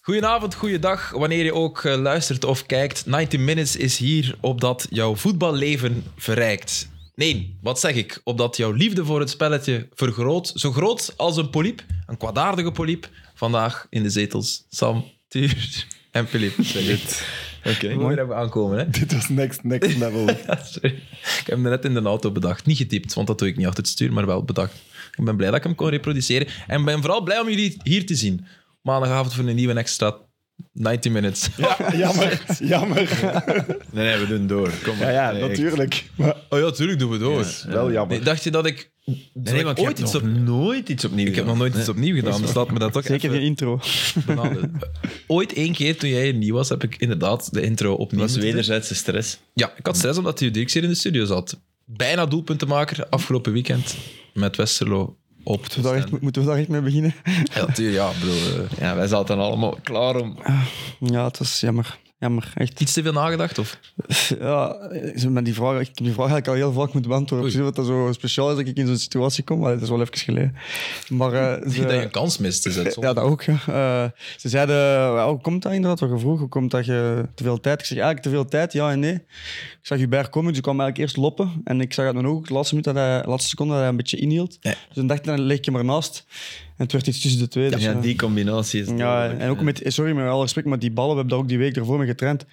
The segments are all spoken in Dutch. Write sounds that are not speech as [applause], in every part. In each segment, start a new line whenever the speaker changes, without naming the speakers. Goedenavond, goeiedag, wanneer je ook eh, luistert of kijkt. 90 Minutes is hier opdat jouw voetballeven verrijkt. Nee, wat zeg ik? Opdat jouw liefde voor het spelletje vergroot. Zo groot als een poliep, een kwaadaardige poliep. Vandaag in de zetels Sam, Tuur en Filip. Oké, mooi dat we aankomen, hè?
Dit was next,
[laughs]
next level.
Ja, sorry. Ik heb hem net in de auto bedacht. Niet getypt, want dat doe ik niet achter het stuur, maar wel bedacht. Ik ben blij dat ik hem kon reproduceren. En ben vooral blij om jullie hier te zien. Maandagavond voor een nieuwe extra 90 minutes.
jammer, jammer.
Nee, nee, we doen door. Kom maar.
Ja, ja,
Nee,
natuurlijk. Maar
Oh ja, tuurlijk doen we door.
wel jammer.
Nee, dacht je dat ik.
Nee, nee, want je
ooit
hebt
iets
nog
op...
nooit iets opnieuw
Ik heb nog nooit iets opnieuw gedaan, dus laat me dat ook
Zeker
even
geen intro. [laughs]
benaderen. Ooit één keer toen jij hier nieuw was, heb ik inderdaad de intro opnieuw.
Dat was
moeten doen.
wederzijdse stress.
Ja, ik had stress omdat hij direct hier in de studio zat. Bijna doelpuntenmaker afgelopen weekend met Westerlo op.
Moeten we daar echt, moeten we daar echt mee beginnen?
Ja, tuur, ja, ik bedoel, eh,
Ja, wij zaten allemaal klaar om...
Ja, het was jammer. Jammer, echt.
iets te veel nagedacht? Of?
Ja, zo met die vraag, ik heb die vraag eigenlijk al heel vaak moeten beantwoorden.
Oei.
Precies wat dat zo speciaal is dat ik in zo'n situatie kom. Maar dat is wel even geleden. Maar eh, ze-
dat je een kans mist. Is dat zo?
Ja, dat ook. Ja. Eh, ze zeiden, "Ja, hoe komt dat inderdaad? Wat je vroeg, hoe komt dat je te veel tijd? Ik zeg eigenlijk te veel tijd, ja en nee. Ik zag Hubert komen, dus ik kwam eigenlijk eerst lopen. En ik zag uit mijn ogen, de laatste, minuut dat hij, de laatste seconde dat hij een beetje inhield.
Ja.
Dus dan dacht ik, dan leg ik hem ernaast. En het werd iets tussen de twee. dus,
Ja,
eh,
die combinatie is...
Ja,
dodelijk.
en ook met, sorry, met alle respect, maar die ballen, we hebben daar ook die week ervoor mee getraind.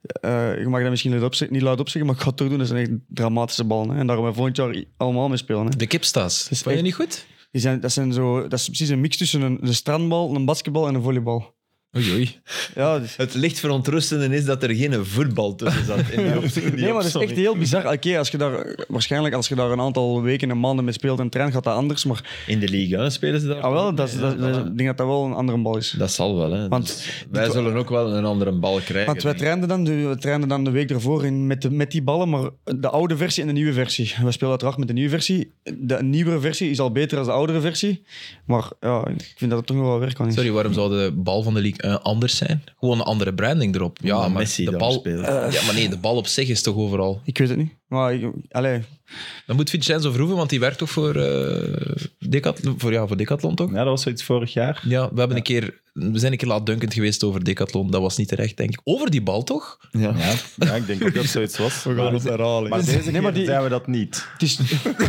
Eh, je mag dat misschien luid opzeg- niet luid opzeggen, maar ik ga het toch doen. Dat zijn echt dramatische ballen. Hè. En daar gaan we volgend jaar i- allemaal mee spelen. Hè.
De kipstaas.
is
Vond je
echt-
niet goed?
Die zijn, dat, zijn zo, dat is precies een mix tussen een, een strandbal, een basketbal en een volleybal.
Oei, oei.
Ja, dus-
Het licht verontrustende is dat er geen voetbal tussen zat. In die optie, die
[laughs] nee, maar dat is echt
opsomming.
heel bizar. Oké, als je daar waarschijnlijk als je daar een aantal weken en maanden mee speelt en traint, gaat dat anders. Maar
In de liga spelen ze daar.
ah, wel, dat, is-
Ja,
dat, dat is-
voilà.
ik denk dat dat wel een andere bal is.
Dat zal wel, hè.
Want
Dus wij zullen ook wel een andere bal krijgen.
Want wij trainden dan, de- we trainden dan de week ervoor in, met, de, met die ballen, maar de oude versie en de nieuwe versie. We spelen uiteraard met de nieuwe versie. De nieuwere versie is al beter dan de oudere versie. Maar ja, ik vind dat het toch nog wel werk aan is.
Sorry, waarom zou de bal van de league eh, anders zijn? Gewoon een andere branding erop. Ja,
Omdat
maar
Messi
de
daar
bal...
speelt.
Ja, maar nee, de bal op zich is toch overal...
Ik weet het niet. Maar ik, allee,
Dan moet Vincenzo Verhoeven, want die werkt toch voor, eh Decathlon, voor, ja, voor Decathlon, toch?
Ja, dat was zoiets vorig jaar.
Ja, we, hebben een keer, we zijn een keer laatdunkend geweest over Decathlon. Dat was niet terecht, denk ik. Over die bal, toch?
Ja.
Ja, ja ik denk dat dat zoiets
[laughs]
was.
We gaan
Maar-
het
Maar deze
Nee, maar
keer
die-
zijn we dat niet.
het is, [laughs]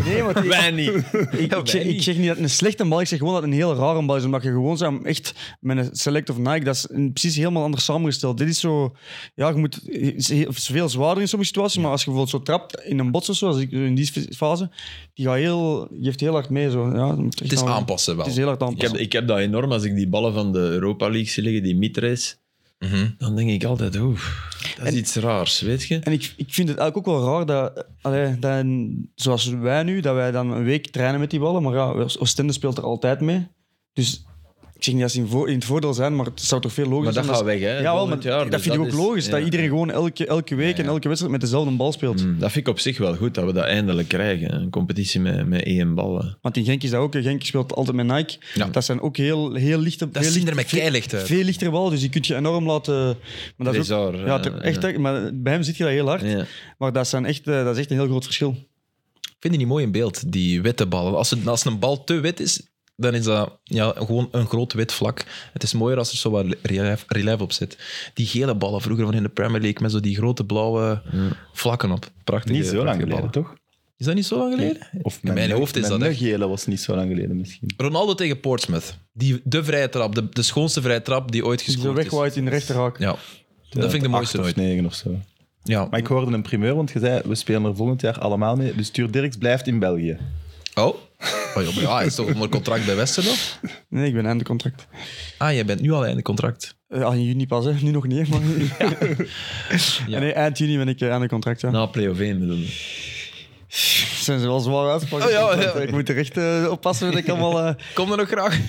nee, maar die-
Wij niet.
ik, ik, zeg, ik zeg niet dat het een slechte bal is, ik zeg gewoon dat het een heel rare bal is. Omdat je gewoon zou hem echt met een Select of Nike, dat is een- precies helemaal anders samengesteld. Dit is zo, ja, je moet, het is heel- het is veel zwaarder in sommige situaties, maar als je bijvoorbeeld zo trapt in een bots of zo, als ik in die fase, die gaat heel, je heeft heel hard mee. Zo. Ja, dat moet
Het
echt
is
wel-
aanpassen wel.
Het is heel hard
Ik heb,
aanpassen.
ik heb dat enorm als ik die ballen van de Europa League zie liggen, die mitrace.
Mhm.
Dan denk ik altijd, oeh, dat is iets raars, weet je?
En ik, ik vind het eigenlijk ook wel raar dat, eh, allee, dat een- zoals wij nu, dat wij dan een week trainen met die ballen. Maar ja, Oostende speelt er altijd mee. Dus ik zeg niet dat ze in, vo- in het voordeel zijn, maar het zou toch veel
Maar
logischer
dat
zijn.
gaat
als-
weg, hè?
Ja, wel, maar
volgend jaar,
dat
dus
vind ik ook
is-
logisch. Dat
ja.
iedereen gewoon elke, elke week en elke wedstrijd met dezelfde bal speelt.
Mm, Dat vind ik op zich wel goed, dat we dat eindelijk krijgen. Een competitie met, met één ballen.
Want in Genk is dat ook. hè. Genk speelt altijd met Nike.
Ja.
Dat zijn ook heel, heel lichte...
Dat
heel
zien er
lichte-
met keilicht uit.
Veel lichter bal, dus die kun je enorm laten... Maar dat is ook,
Bizar,
ja,
eh,
toch echt,
ja.
hè. maar bij hem zit je dat heel hard.
Ja.
Maar dat, zijn echt, eh, dat is echt een heel groot verschil.
Ik vind die niet mooi in beeld, die witte ballen. Als, het, als een bal te wit is, dan is dat ja, gewoon een groot wit vlak. Het is mooier als er zo wat relief, relief op zit. Die gele ballen vroeger van in de Premier League met zo die grote blauwe vlakken op. Prachtige,
Niet zo lang
prachtige
geleden,
ballen.
toch?
Is dat niet zo lang geleden?
Of
mijn
neug-
hoofd is
mijn
dat echt.
neugelen was niet zo lang geleden misschien.
Ronaldo tegen Portsmouth. Die, de vrije trap, de, de schoonste vrije trap die ooit
Zo
gescoord is.
wegwaait in de rechterhaak.
Ja, dat vind ik de mooiste
Acht of
nooit.
negen of zo.
Ja.
Maar ik hoorde een primeur, want je zei, we spelen er volgend jaar allemaal mee. Dus Stuur Dirks blijft in België.
Oh. oh ja, maar ja, hij is toch onder contract bij Westerlo?
Nee, ik ben einde contract.
Ah, jij bent nu al einde contract.
Eh, al in juni pas, hè. nu nog niet.
[laughs]
Maar... [laughs]
Ja.
Nee, eind juni ben ik eh, einde contract.
Nou.
Ja.
Na Play-of-1 bedoel ik.
Zijn ze wel zwaar uitspraken?
Oh, ja, ja.
Ik moet er echt eh, oppassen dat ik allemaal eh,
Kom er nog graag.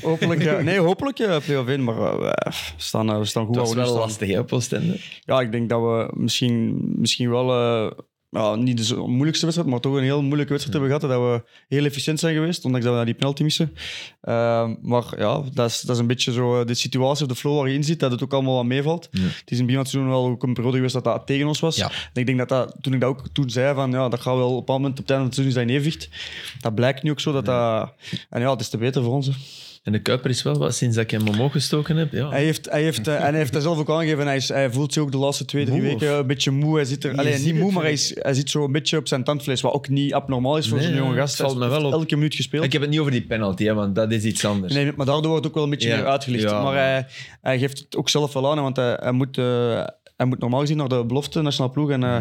[laughs]
hopelijk. eh, nee, hopelijk eh play-off in, maar eh, we staan, eh, we staan goed.
Dat is
waar we nu
wel
staan.
lastig, hè, op Oostende?
Ja, ik denk dat we misschien, misschien wel eh, ja, niet de zo- moeilijkste wedstrijd, maar toch een heel moeilijke wedstrijd hebben gehad. en Dat we heel efficiënt zijn geweest, ondanks dat we naar die penalty missen. Ehm, maar ja, dat is, dat is een beetje zo eh, de situatie of de flow waar je in zit, dat het ook allemaal wat meevalt. Het is in het begin van het seizoen wel ook een periode geweest dat dat tegen ons was.
Ja.
En ik denk dat, dat toen ik dat ook toen zei, van ja, dat gaat wel op een bepaald moment op het einde van het seizoen zijn evenwicht. Dat blijkt nu ook zo, dat dat... En ja, het is te beter voor ons. hè.
En de Kuiper is wel wat sinds dat ik hem omhoog gestoken heb. Ja.
Hij heeft, hij heeft, eh, en hij heeft daar zelf ook aangegeven, hij, is, hij voelt zich ook de laatste twee, drie
Moe,
weken
of?
een beetje moe. Hij zit er,
Je
allee,
ziet
niet moe,
het,
maar hij,
vind
is, hij zit zo een beetje op zijn tandvlees, wat ook niet abnormaal is voor
Nee,
zo'n jonge
ja,
gast.
het valt
Hij
me
heeft
wel op.
elke minuut gespeeld.
Ik heb het niet over die penalty, hè, want dat is iets anders.
Nee, maar daardoor wordt ook wel een beetje
Ja,
meer uitgelicht.
ja.
Maar hij, hij geeft het ook zelf wel aan, hè, want hij, hij moet, eh, hij moet normaal gezien naar de belofte nationale ploeg. En eh,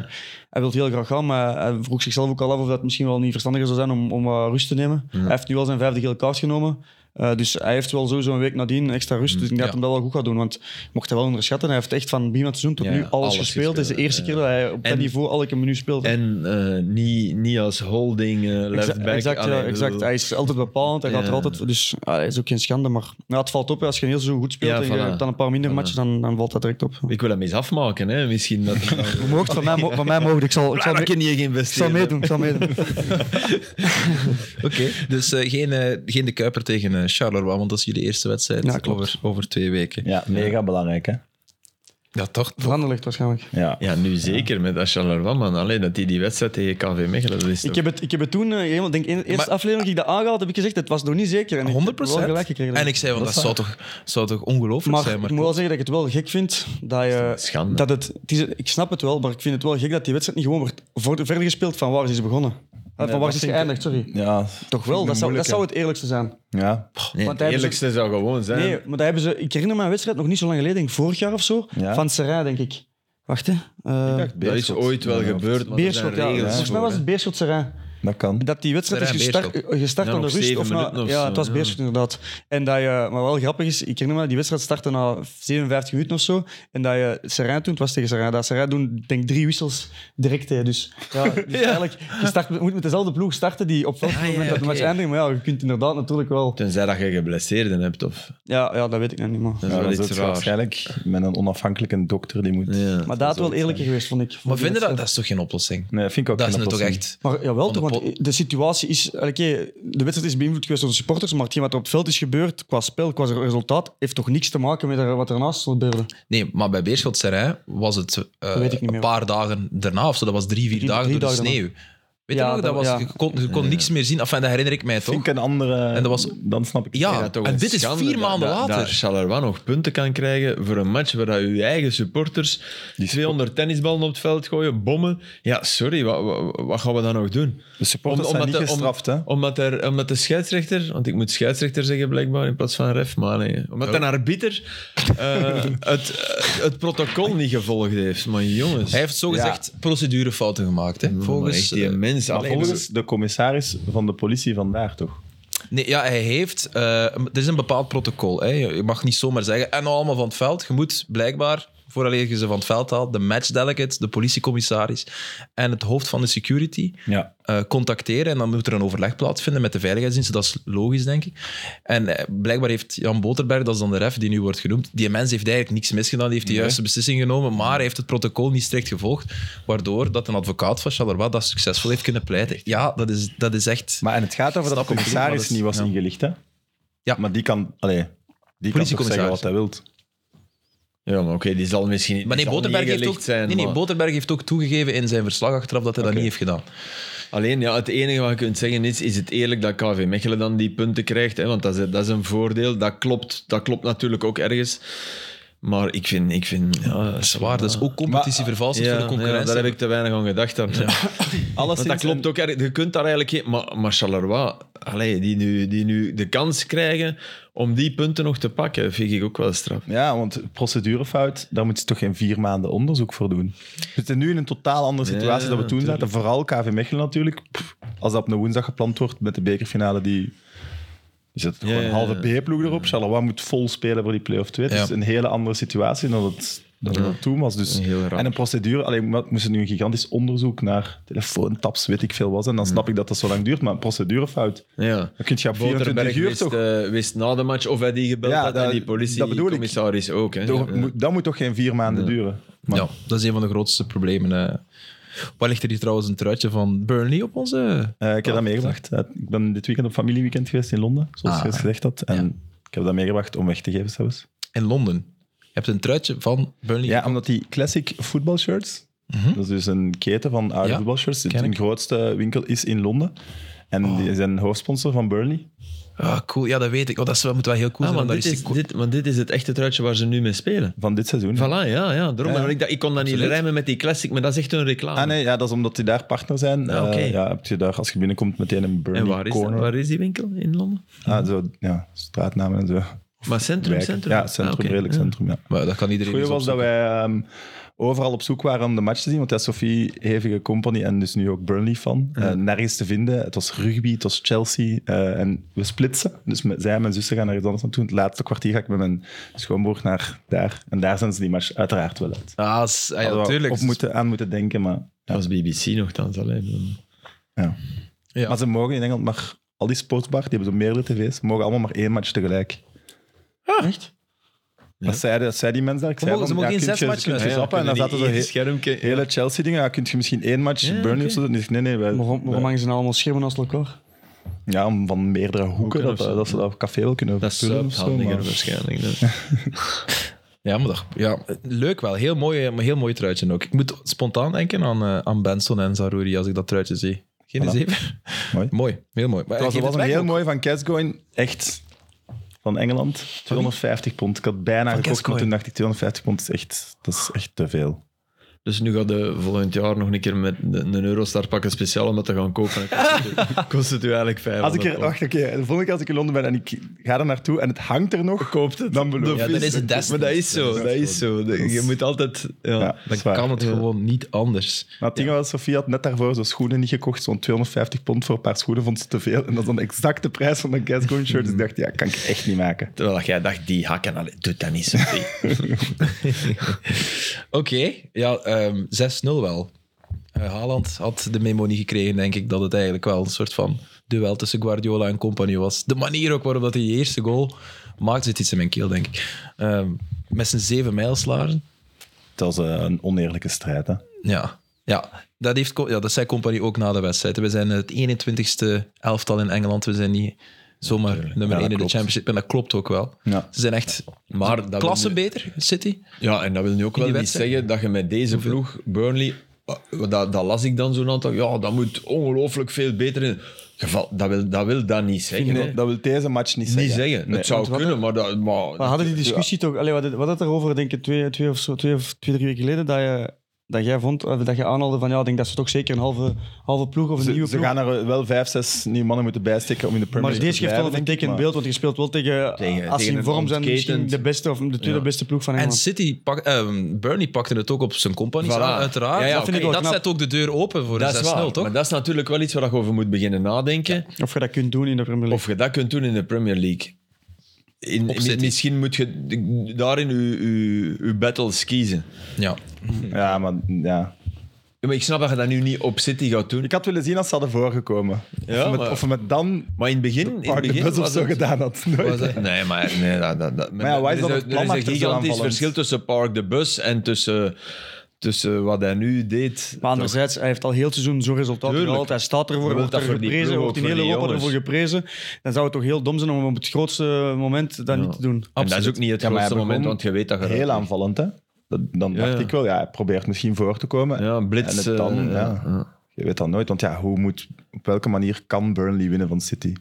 hij wil heel graag gaan, maar hij vroeg zichzelf ook al af of dat misschien wel niet verstandiger zou zijn om, om eh, rust te nemen. Hij heeft nu al zijn vijfde gele kaart genomen. Eh, dus hij heeft wel sowieso een week nadien extra rust. Dus ik denk dat
Mm, Ja.
hij hem dat wel goed gaat doen. Want je mocht hij wel onderschatten. Hij heeft echt van begin van het seizoen tot
Ja,
nu
ja,
alles,
alles
gespeeld. Het is de
gespeeld,
eerste
ja.
keer dat hij op dat
En-
niveau elke minuut speelt.
En eh, niet, niet als holding eh
Exa-
left back.
Exact, ja,
Allee,
exact.
bedoel-
Hij is altijd bepalend. Hij gaat er
Ja.
altijd... Dus ah, hij is ook geen schande, maar ja, het valt op. Als je heel zo goed speelt
Ja,
en je
voilà.
hebt dan een paar minder matchen, dan, dan valt dat direct op.
Ik wil hem eens afmaken, hè. Misschien
[laughs]
dat... [laughs]
Je mocht van mij, mo- van mij mogen. Ik zal, ik
Klaar,
zal, mee-
dat kan niet
ik zal
geïnvesteerd.
meedoen. Ik zal meedoen.
[laughs]
Oké, dus eh, geen, eh, geen de Kuiper tegen eh, Charleroi, want dat is jullie eerste wedstrijd
Ja, klopt.
over, over twee weken.
Ja, mega belangrijk, hè?
Ja, toch?
Veranderlicht waarschijnlijk.
Ja.
Ja, nu zeker met dat Charleroi, man. Alleen dat hij die wedstrijd tegen KV Mechelen... Dat is
Ik
toch-
heb, het, ik heb het toen, eh, helemaal, denk, in de eerste
Maar-
aflevering dat ik dat aangehaald, heb ik gezegd, het was nog niet zeker. En ik heb
100
wel gelijk gekregen.
En ik zei, want dat, zou, toch, zou toch ongelooflijk
maar,
zijn? Maar
ik moet wel zeggen dat ik het wel gek vind dat je...
Schande.
Dat het, het is, ik snap het wel, maar ik vind het wel gek dat die wedstrijd niet gewoon wordt voor, verder gespeeld van waar ze is begonnen. Eh, van waar ze is geëindigd, sorry.
Ja.
Toch wel, dat zou, dat zou het eerlijkste zijn.
Ja. eh,
Nee, het
Want hij heeft
eerlijkste zou gewoon zijn...
Nee, maar daar hebben ze, ik herinner me een wedstrijd nog niet zo lang geleden, denk ik, vorig jaar of zo,
Ja.
van Serrain, denk ik. Wacht hè. Eh,
Dat is ooit wel gebeurd, maar er zijn
Beerschot, ja.
regels
Volgens mij
voor,
was het Beerschot Serrain.
Dat kan.
Dat die wedstrijd is
Serrain,
gestart, eh, gestart
Ja,
aan de
nog
rust.
zeven
Of na,
minuten of
ja,
zo,
het was
ja.
Beerschot inderdaad. En dat je, maar wel grappig is, ik herinner me, die wedstrijd startte na 57 minuten of zo. En dat je Serrain toen, het was tegen Serrain, dat Serrain doen, denk ik, drie wissels direct. Hè,
[laughs]
dus ja, dus eigenlijk, je, start, je moet met dezelfde ploeg starten die op welk
Ah,
moment dat de match eindigt. Maar ja, je kunt inderdaad natuurlijk wel...
Tenzij dat je geblesseerden hebt, of...
Ja, ja dat weet ik nog niet, maar...
Dat is
Ja,
wel
dat
iets
is
raar.
waarschijnlijk met een onafhankelijke dokter die moet...
Ja.
Maar dat had wel eerlijker geweest, vond ik.
maar vinden dat, dat is toch geen oplossing?
Nee, vind ik ook
dat
geen
is nu toch
oplossing.
echt...
Maar jawel,
Van de
toch,
pot.
want de situatie is... oké, de wedstrijd is beïnvloed geweest door de supporters, maar hetgeen wat er op het veld is gebeurd, qua spel, qua resultaat, heeft toch niks te maken met er- wat ernaast gebeurde.
Nee, maar bij Beerschot Serrain was het eh,
weet ik niet
een
meer.
paar dagen daarna of zo. Dat was drie, vier
Drie-
dagen
drie
door de
dagen
sneeuw. Weet
Ja,
je nog? Dat
dat-
was,
ja.
Je kon, je kon niks meer zien. Enfin, dat herinner ik mij toch?
Vind ik een andere...
En dat was-
Dan snap ik het.
Ja,
Ja, toch
en
een
dit is
schande
vier
dat-
maanden
dat-
later.
Dat Charleroi nog punten kan krijgen voor een match waar dat uw eigen supporters 200 tennisballen op het veld gooien, bommen. Ja, sorry, wat, wat, wat gaan we dan nog doen?
De supporters
Om-
zijn
omdat
niet
de- om-
gestraft, hè?
Omdat, er, omdat de scheidsrechter, want ik moet scheidsrechter zeggen blijkbaar in plaats van ref, maar nee. Omdat
Oh.
een arbiter
[laughs]
eh, het, het protocol niet gevolgd heeft. Maar jongens,
Hij heeft zogezegd procedurefouten gemaakt. Hè?
volgens
Volgens,
Mm, die
eh,
mensen.
Maar volgens de commissaris van de politie vandaag, toch?
Nee, ja, hij heeft. eh, een- er is een bepaald protocol. Hè. Je je mag niet zomaar zeggen. En nou allemaal van het veld. Je moet blijkbaar, vooraleer je ze van het veld haalt, de match delegate, de politiecommissaris en het hoofd van de security
Ja.
eh, contacteren. En dan moet er een overleg plaatsvinden met de veiligheidsdiensten. Dat is logisch, denk ik. En eh, blijkbaar heeft Jan Boterberg, dat is dan de ref die nu wordt genoemd, die mens heeft eigenlijk niks misgedaan. Die heeft de juiste beslissing genomen, maar hij heeft het protocol niet strikt gevolgd. Waardoor dat een advocaat van Charleroi dat succesvol heeft kunnen pleiten. Ja, dat is, dat is echt...
Maar en het gaat over dat de
Snap ik, maar
commissaris
dat is-
niet was
ja.
ingelicht, hè?
Ja.
Maar die kan... Allee, die kan toch
Politiecommissaris.
zeggen wat hij wilt.
Ja, maar oké, die zal misschien die
Maar nee,
zal niet
Boterberg heeft,
gelicht
ook,
zijn,
nee, nee,
maar-
Boterberg heeft ook toegegeven in zijn verslag achteraf dat hij dat niet heeft gedaan.
Alleen, ja, het enige wat je kunt zeggen is, is het eerlijk dat KV Mechelen dan die punten krijgt? Hè? Want dat is, dat is een voordeel. Dat klopt, dat klopt natuurlijk ook ergens. Maar ik vind... Ik vind ja,
Zwaar, dat is ook competitievervalsend
ja,
voor de
ja,
concurrentie.
daar heb ik te weinig aan gedacht. Dan. [laughs]
Alles
Want dat klopt ook. erg- Je kunt daar eigenlijk geen... Maar, maar Charleroi, allee, die, nu, die nu de kans krijgen om die punten nog te pakken, vind ik ook wel straf.
Ja, want procedurefout, daar moet je toch geen vier maanden onderzoek voor doen. We zitten nu in een totaal andere situatie
Ja,
dan we toen zaten. Vooral KV Mechelen natuurlijk. Pff, als dat op een woensdag gepland wordt met de bekerfinale, die... Je zet gewoon
ja,
een halve B-ploeg erop. Charleroi moet vol spelen voor die play-off 2. Het
Ja.
is een hele andere situatie dan het, dan het toen was. Dus,
Heel raar.
en een procedure... Alleen moest er nu een gigantisch onderzoek naar telefoontaps, weet ik veel was. En dan snap ik dat dat zo lang duurt. Maar een procedurefout...
Ja.
Dan kun je op 24
Boterberg
uur
wist,
toch...
eh, wist na de match of hij die gebeld
Ja,
had en
dat-
die
dat bedoel ik.
politiecommissaris ook. Hè?
door-
Ja.
moet- Dat moet toch geen vier maanden duren? Maar-
Ja, dat is een van de grootste problemen. eh. Waar ligt er hier trouwens een truitje van Burnley op onze?
Eh, ik heb
Oh,
dat meegebracht. Eh, ik ben dit weekend op familieweekend geweest in Londen, zoals
Ah.
je gezegd had. En ik heb dat meegebracht om weg te geven zelfs.
In Londen. Je hebt een truitje van Burnley.
Ja, omdat die classic voetbalshirts, dat is dus een keten van oude
Ja,
voetbalshirts, die
ken
hun
ik.
grootste winkel is in Londen. En die zijn hoofdsponsor van Burnley.
Ah, cool. Ja, dat weet ik. Oh, dat is wel, moet wel heel cool
Ah,
zijn.
want,
om
dit
daar
is,
eens te-
dit, want dit is het echte truitje waar ze nu mee spelen.
Van dit seizoen.
Voilà, ja, ja. Daarom,
Ja.
maar Ik, dat, ik kon dat niet
Absoluut.
rijmen met die classic, maar dat is echt een reclame.
Ah nee, ja, dat is omdat die daar partner zijn.
Ah,
Eh,
oké.
ja, heb je daar, als je binnenkomt, meteen een Burnley
en waar is,
corner.
waar is die winkel in Londen?
Ah, zo, ja, straatnamen en zo.
Maar centrum,
Wijken.
centrum?
Ja, centrum,
Ah, oké.
redelijk
Ja.
centrum, ja.
Maar dat kan iedereen
Het goede
eens
was dat
opzoeken.
wij ehm, overal op zoek waren om de match te zien, want ja, Sophie, hevige company en dus nu ook Burnley-fan, eh, nergens te vinden. Het was rugby, het was Chelsea eh, en we splitsen. Dus met, zij en mijn zussen gaan ergens anders naartoe. In Het laatste kwartier ga ik met mijn schoonbroer naar daar. En daar zijn ze die match uiteraard wel uit.
Ah, s- ah, ja,
Hadden we
natuurlijk.
Op moeten, aan moeten denken, maar,
Dat was BBC nogthans alleen.
ja.
Ja.
maar ze mogen in Engeland maar... Al die sportsbar, die hebben zo meerdere tv's, mogen allemaal maar één match tegelijk.
Ah.
Echt?
Dat, zei, dat zei die mensen daar. Ik zei
mogen- ze
van,
mogen
ja,
geen
kunt
zes
je-
matchen
kunt je
uit.
zappen? En dan zaten ze heel-
schermpje.
hele Chelsea-dingen. Ja, kun je misschien één match
Ja,
Burnley
oké.
of zo doen? Dus nee, nee. Wij,
Maar waarom waarom hangen ze nou allemaal schermen naast elkaar?
Ja, om van meerdere hoeken,
Hoeken
dat,
of zo.
dat ze dat café wel kunnen
Dat is
vullen of zo,
zuiphandiger
maar-
waarschijnlijk. dan.
[laughs] Ja, maar dat- ja, leuk wel. Heel mooi, eh, maar heel mooi truitje ook. Ik moet spontaan denken aan, eh, aan Benson en Zarouri als ik dat truitje zie. Geen
Voilà.
zeven.
[laughs]
Mooi.
mooi, heel mooi. Maar
Het was,
geef
er
het
was een
weg
heel
ook.
mooi van Cascoin, echt, van Engeland. 250 pond. Ik had bijna gekocht, maar
Cascoin.
toen dacht ik 250 pond is echt, dat is echt te veel.
Dus nu gaat de volgend jaar nog een keer met een een Eurostar pakken speciaal om dat te gaan kopen. Dan kost [laughs] het u- kost het u eigenlijk 500
Als ik er,
pond.
wacht, oké, de volgende keer als ik in Londen ben en ik ga er naartoe en het hangt er nog, koopt het. dan beloof
Ja,
ik.
dan is het
Maar
destijds.
dat is zo, dat is zo. De- Je moet altijd... Ja.
Ja, dat is
Dan
waar.
kan het gewoon niet anders.
Maar het ding was, Sofie had net daarvoor zo schoenen niet gekocht. Zo'n 250 pond voor een paar schoenen vond ze te veel. En dat is dan exact de prijs van een Cascoin shirt. Dus ik dacht, ja, kan ik echt niet maken.
Terwijl dat jij dacht, die hakken, allee, doe dat [laughs] niet zo
[laughs] Oké, ja, ehm 6-0 wel. Eh, Haaland had de memo niet gekregen, denk ik, dat het eigenlijk wel een soort van duel tussen Guardiola en compagnie was. De manier ook waarop dat hij die eerste goal maakt, zit iets in mijn keel, denk ik. Ehm, met zijn zeven mijlslaarzen.
Dat was eh, een oneerlijke strijd, hè.
Ja, ja. Dat, heeft, Co- ja, dat zei Company ook na de wedstrijd. We zijn het 21ste elftal in Engeland. We zijn niet zomaar nummer 1
Ja,
in de
klopt.
Championship. En dat klopt ook wel.
Ja.
Ze zijn echt
Maar dat wil
klasse
nu-
beter, City.
Ja, en dat wil nu ook
die
wel niet
wedstrijd?
zeggen dat je met deze ploeg, Burnley, eh, dat, dat las ik dan zo'n aantal, ja, dat moet ongelooflijk veel beter in. Geval, dat, wil, dat wil dat niet zeggen. hè.
Dat wil deze match niet zeggen.
Niet zeggen.
Nee.
het zou
wat-
kunnen, maar... Dat, maar,
Maar hadden die discussie toch... Allee, wat, wat had erover, denk ik, twee, twee, of zo, twee of twee, drie weken geleden, dat, je, dat jij vond, eh, dat je aanhaalde van, ja, ik denk dat ze toch zeker een halve, halve ploeg of een
Ze,
nieuwe
ze
ploeg...
gaan er wel vijf, zes nieuwe mannen moeten bijsteken om in de Premier
Maar
League
deze
te
geeft wel een
blijven, denk
vertekend
ik, maar-
beeld, want je speelt wel tegen,
Tegen-
als ze
tegen
in
een
vorm zijn, misschien
ontketend-
de beste of de tweede beste ploeg van
En
Engeland.
City pak, ehm, Burnley pakte het ook op zijn company,
Voilà.
uiteraard.
Ja, ja,
dat vind
oké.
ik wel
Dat
knap. zet ook de deur open voor
Dat is
de 6-0,
waar,
toch?
maar dat is natuurlijk wel iets waar je over moet beginnen nadenken.
Of je dat kunt doen in de Premier League.
Of je dat kunt doen in de Premier League. In,
Op
mi-
City.
misschien moet je daarin je, je, je battles kiezen.
Ja.
Ja, maar ja.
Ja, Maar ik snap dat je dat nu niet op City gaat doen.
Ik had willen zien als ze hadden voorgekomen.
Ja,
of, we met,
maar-
of we met dan
Maar in het begin... In het
Park de
begin
Bus of
was
zo
het-
gedaan had. Nooit.
was het- Nee, maar... Nee, dat, dat, dat,
ja, waar is
er
dan het
een-
plan
Er is
achter
een
zo'n
gigantisch
aanvallend?
verschil tussen Park de Bus en tussen, tussen wat hij nu deed.
Maar anderzijds, hij heeft al heel het seizoen zo'n resultaat
Tuurlijk.
gehaald. Hij staat ervoor,
Je wilt
wordt er
dat voor die
geprezen,
ploeg
wordt in
ook,
heel
voor die
Europa ervoor geprezen. Dan zou het toch heel dom zijn om op het grootste moment dat niet te doen.
En dat is ook niet het
Ja, maar hij
grootste moment,
begon
want je weet dat je... eruit
Heel
ligt.
aanvallend, hè. Dat, dan
Ja.
dacht ik wel, ja, hij probeert misschien voor te komen.
Ja,
en
blitz.
het dan,
eh,
ja. Je weet dat nooit, want ja, hoe moet, op welke manier kan Burnley winnen van City?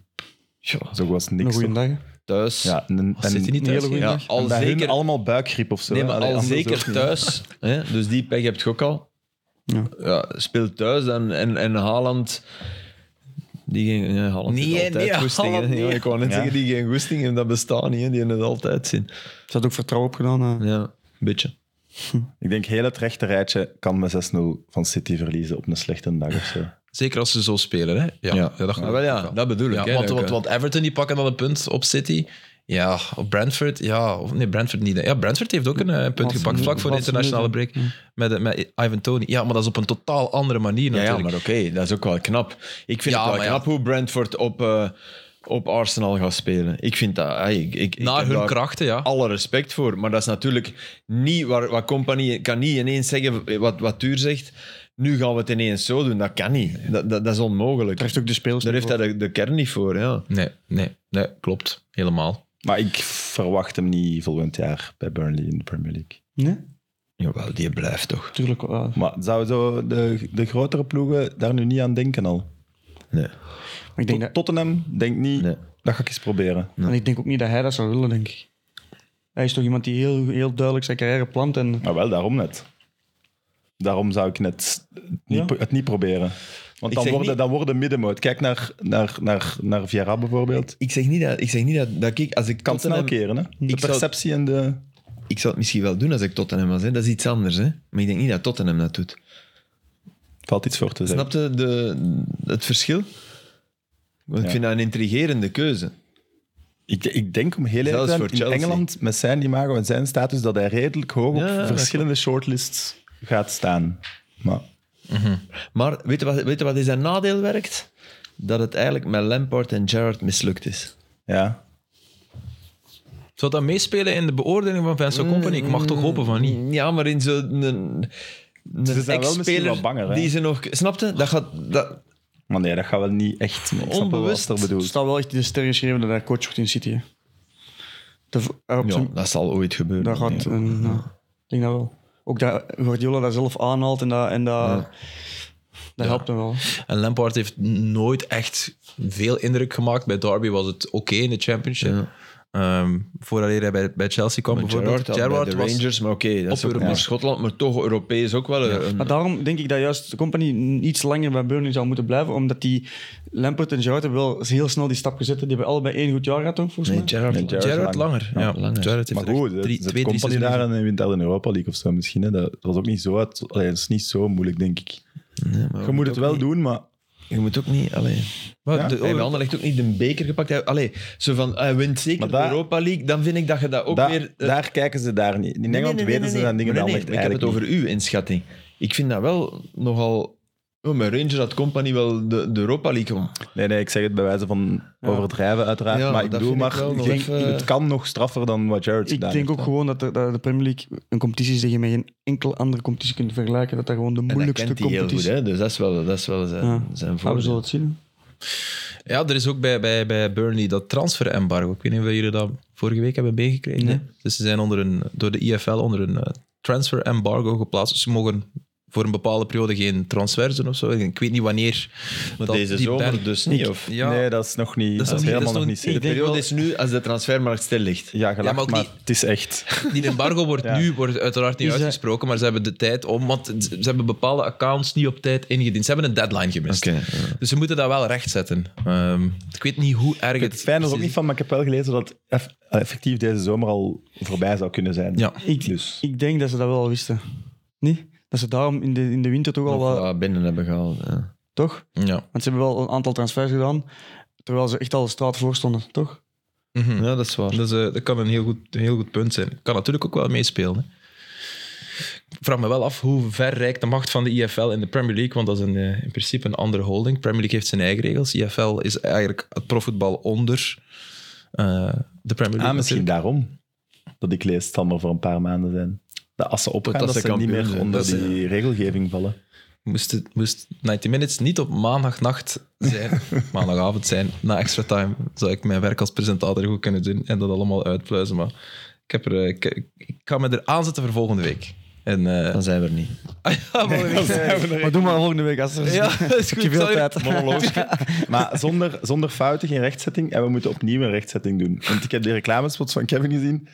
Ja,
Zo was
Een
niks.
goede
toch?
dag. hè.
Thuis.
Ja, en, en,
Zit hij niet
Een
thuis?
hele goede
Ja,
dag.
en
al
bij hun
zeker...
allemaal buikgriep of zo.
Nee,
hè.
maar
Allee,
al
anders ook
zeker [laughs]
niet.
thuis. Hè? Dus die pech heb je ook al.
Ja.
Ja. speelt thuis dan, en, en Haaland... Die ging, ja, Haaland
Nee,
heeft altijd
nee,
goesting.
Haaland
hè. Ja,
niet.
ik wou net
Ja.
zeggen, die geen goesting en dat bestaat niet. Hè? Die hebben het altijd zien.
Ze had ook vertrouwen opgedaan. eh.
Ja, een beetje.
Ik denk, heel het rechte rijtje kan met 6-0 van City verliezen op een slechte dag of zo.
Zeker als ze zo spelen, hè? Ja, ja. dat
Ah, wel, ja, dat bedoel ik.
Ja,
hè,
want,
dat
want,
ik, eh,
want Everton die pakken dan een punt op City. Ja, op Brentford. Ja, of nee, Brentford niet. hè. Ja, Brentford heeft ook een eh, punt
Wat
gepakt
een-
vlak voor de
wat een
internationale break met, eh, met Ivan Tony. Ja, maar dat is op een totaal andere manier
Ja, ja,
natuurlijk.
maar oké, dat is ook wel knap. Ik vind
Ja,
het wel
maar ja.
knap hoe Brentford op, eh, op Arsenal gaat spelen. Ik vind dat... ah, ik, ik, ik
Na
heb
hun
daar-
krachten, ja.
alle respect voor. Maar dat is natuurlijk niet waar, wat compagnie kan niet ineens zeggen wat, wat Tuur zegt. Nu gaan we het ineens zo doen. Dat kan niet. Dat, dat, dat is onmogelijk.
Daar heeft ook de spelers
Daar
niet
heeft hij de, de kern niet voor. Ja.
Nee, nee, nee, klopt. Helemaal.
Maar ik verwacht hem niet volgend jaar bij Burnley in de Premier League.
voor. Nee?
Jawel, die blijft toch.
Tuurlijk. eh, wel.
Maar zouden zo de, de grotere ploegen daar nu niet aan denken al?
Nee.
Maar ik denk dat,
Tottenham, denk niet.
Nee.
Dat ga ik eens proberen.
en ik denk ook niet dat hij dat zou willen, denk ik. Hij is toch iemand die heel, heel duidelijk zijn carrière plant en
Maar wel, daarom net. Daarom zou ik net niet, pro- het niet proberen. Want dan
zeg
worden,
niet-
dan worden middenmoot. Kijk naar, naar, naar, naar Vieira bijvoorbeeld.
Ik zeg niet dat ik, zeg niet dat, dat ik als ik
Kan snel
Tottenham-
keren, hè? De
Ik zou-
perceptie en de...
Ik zou het misschien wel doen als ik Tottenham was, hè. dat is iets anders. Hè. Maar ik denk niet dat Tottenham dat doet.
Valt iets voor te zeggen.
Snap je de, het verschil? Want
Ja.
ik vind dat een intrigerende keuze.
Ik, ik denk om heel eerlijk
Zelfs
te zijn,
voor
in
Chelsea.
Engeland, met zijn imago en zijn status, dat hij redelijk hoog
Ja,
op
dat
verschillende shortlists gaat staan. Maar
Maar weet je wat, weet je wat is zijn nadeel werkt? Dat het eigenlijk met Lampard en Gerrard mislukt is.
ja,
Zou dat meespelen in de beoordeling van Vincent Company? Ik mag toch hopen van Oh, niet.
Ja, maar in zo'n... Een, een
Ze zijn wel misschien
ex-speler
wat banger, hè?
Die ze nog... Snapte? Dat gaat... Dat,
maar nee, dat gaat wel niet echt. Ik snap wel
Onbewust
wat er
het
bedoelt.
staat wel echt in de sterren geschreven dat hij coach wordt in City. hè. De, v- hij op
ja,
zijn-
dat zal ooit gebeuren.
dat gaat,
Ja.
en, ja, ik denk dat wel. Ook dat Guardiola dat zelf aanhaalt en dat, en dat, dat helpt hem wel.
En Lampard heeft nooit echt veel indruk gemaakt. Bij Derby was het oké in de championship.
Ja.
Ehm vooraleer hij bij, bij Chelsea kwam
Maar
bijvoorbeeld.
Gerrard, had bij
Gerrard
de
was...
Rangers, maar oké, dat is
op
ook maar
Europees.
Schotland, maar toch Europees ook wel. een-
Maar daarom denk ik dat juist de company iets langer bij Burnley zou moeten blijven, omdat die Lampert en Gerrard hebben wel heel snel die stap gezet. Die hebben allebei één goed jaar gehad, toch, volgens
nee,
mij?
Gerrard.
Nee, Gerrard
Gerrard langer. Ja,
langer.
Gerrard heeft
Maar
er echt
goed,
drie-
drie,
twee, drie
company
seizoenen
daar en hij wint daar in Europa League of zo misschien. Hè. Dat was ook niet zo, uit, allee, dat is niet zo moeilijk, denk ik.
maar
Je moet het wel
ook
doen, maar
niet- Je moet ook niet... Allee.
Maar
Ja,
de-
Hij heeft Anderlecht ook niet de beker gepakt. Hij- Allee, zo van, "Ah, hij wint zeker
Maar daar-
de Europa League. Dan vind ik dat je dat ook
daar,
weer... eh,
daar kijken ze daar niet. In Engeland
nee, nee,
weten
nee,
ze
nee.
dat dingen
Maar
wel
nee,
echt
nee, maar Ik heb
eigenlijk
het over uw inschatting. Ik vind dat wel nogal... Oh, met Ranger had Company wel de, de Europa League gewonnen.
niet. Nee, nee, ik zeg het bij wijze van overdrijven uiteraard.
Ja,
maar ik
dat
bedoel
vind ik
maar,
wel
ik
nog
denk,
even-
het kan nog straffer dan wat Jared
Ik
gedaan
denk ook
heeft, hè.
gewoon dat, er- dat de Premier League een competitie is die je met geen enkele andere competitie kunt vergelijken. Dat dat gewoon de
En dat
moeilijkste
kent hij heel
competitie
goed,
is.
hè? dus dat is wel, dat is wel zijn,
Ja.
zijn
Ja, we zullen
voordeel.
het zien.
Ja, er is ook bij, bij, bij Burnley dat transferembargo. Ik weet niet of jullie dat vorige week hebben meegekregen. hè? Dus ze zijn onder een, door de IFL onder een eh, transferembargo geplaatst. Dus ze mogen voor een bepaalde periode geen transfers doen of zo. Ik weet niet wanneer.
Maar
dat
deze
die
zomer
ban-
dus niet, of?
Ja,
Nee, dat is nog niet. Dat is,
nog niet-
helemaal
dat is nog
nog niet
niet-
De
zeker.
denk
periode
wel-
is nu als de transfermarkt stil ligt.
Ja, gelacht,
maar ook
maar,
niet-
het is echt.
die embargo wordt nu wordt uiteraard niet
Is dat-
uitgesproken, maar ze hebben de tijd om, want ze hebben bepaalde accounts niet op tijd ingediend. Ze hebben een deadline gemist.
Oké, ja.
Dus ze moeten dat wel rechtzetten. Ehm ik weet niet hoe erg
Het
het
fijn is ook
precies
niet van, maar ik heb wel gelezen dat eff- effectief deze zomer al voorbij zou kunnen zijn.
Ja.
Ik,
Dus.
ik denk dat ze dat wel al wisten. Niet? Dat ze daarom in de, in de winter toch al
Of
wel...
wat binnen hebben gehaald. Ja.
Toch?
Ja.
Want ze hebben wel een aantal transfers gedaan, terwijl ze echt al de straat voor stonden, toch?
Mhm.
ja, dat is waar.
Dat, is, eh, dat kan een heel goed, een heel goed punt zijn. Kan natuurlijk ook wel meespelen. hè. Ik vraag me wel af hoe ver reikt de macht van de IFL in de Premier League, want dat is een, eh, in principe een andere holding. Premier League heeft zijn eigen regels. IFL is eigenlijk het profvoetbal onder eh, de Premier League.
Ah, misschien daarom dat ik lees het zal maar voor een paar maanden zijn. Dat als ze opgaan,
Dat
dat
ze
ze niet
kampioen
meer
zijn.
onder
Dat ze-
die regelgeving vallen.
Moest, het- moest 90 Minutes niet op maandagnacht zijn, maandagavond zijn, na extra time, zou ik mijn werk als presentator goed kunnen doen en dat allemaal uitpluizen. Maar ik, heb er, eh, ik, ik ga me er aanzetten voor volgende week. En,
[laughs]
eh,
Dan zijn we er niet.
ja, volgende week.
Maar doe maar volgende week, als er
Ja, dat is
Heb
goed.
je veel
Sorry.
tijd.
[laughs] Maar zonder, zonder fouten geen rechtzetting. En we moeten opnieuw een rechtzetting doen. Want ik heb die reclamespots van Kevin gezien.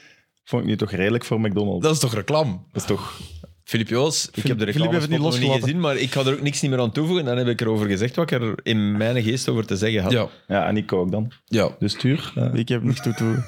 Vond ik nu toch redelijk voor McDonald's. Dat
Dat is toch reclame?
is toch...
Filip Joos, ik
Ik heb de
Philippe heeft
reclame niet
het niet
nog niet
losgelaten.
gezien, maar ik ga er ook niks niet meer aan toevoegen. Dan heb ik erover gezegd wat ik er in mijn geest over te zeggen had.
Ja,
Ja, en ik ook dan.
ja.
Dus stuur. eh,
[laughs] Ik heb niks toe toe.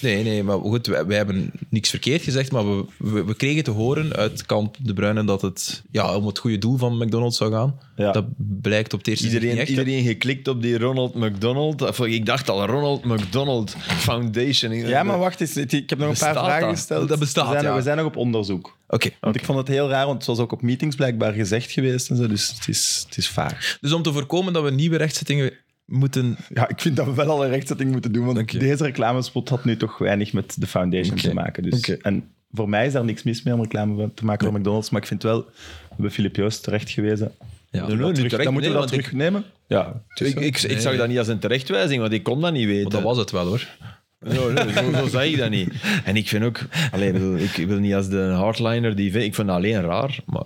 Nee, nee, maar goed, wij, wij hebben niks verkeerd gezegd, maar we, we, we kregen te horen uit kamp De Bruyne dat het ja, om het goede doel van McDonald's zou gaan.
Ja.
Dat blijkt op het eerste zicht niet
Iedereen,
echt.
iedereen geklikt op die Ronald McDonald. Of, ik dacht al, Ronald McDonald Foundation. Ik-
ja, maar
Eh,
wacht eens. het- Ik heb nog een
Bestaat
paar vragen
dat?
gesteld.
Dat bestaat,
we zijn,
ja.
we zijn nog op onderzoek.
Oké,
Want ik vond het heel raar, want het was ook op meetings blijkbaar gezegd geweest. En zo, dus het is, het is vaag.
dus om te voorkomen dat we nieuwe rechtszittingen moeten...
Ja, ik vind dat we wel al een rechtzetting moeten doen. Want deze reclamespot had nu toch weinig met de foundation te maken. Dus, En voor mij is daar niks mis mee om reclame van- te maken voor McDonald's. Maar ik vind wel, we hebben Filip Joost terecht gewezen.
Ja.
Nee, nee, niet
Terug-
terecht.
dan moeten we
Nee,
dat
want ik-
terugnemen. Ja,
Ik, ik, ik zag dat niet als een terechtwijzing, want ik kon dat niet weten.
Want dat was het wel, hoor.
[laughs] No, no, zo, zo zag ik dat niet. En ik vind ook... Allee, ik, bedoel, ik wil niet als de hardliner die... vind- Ik vond dat alleen raar, maar...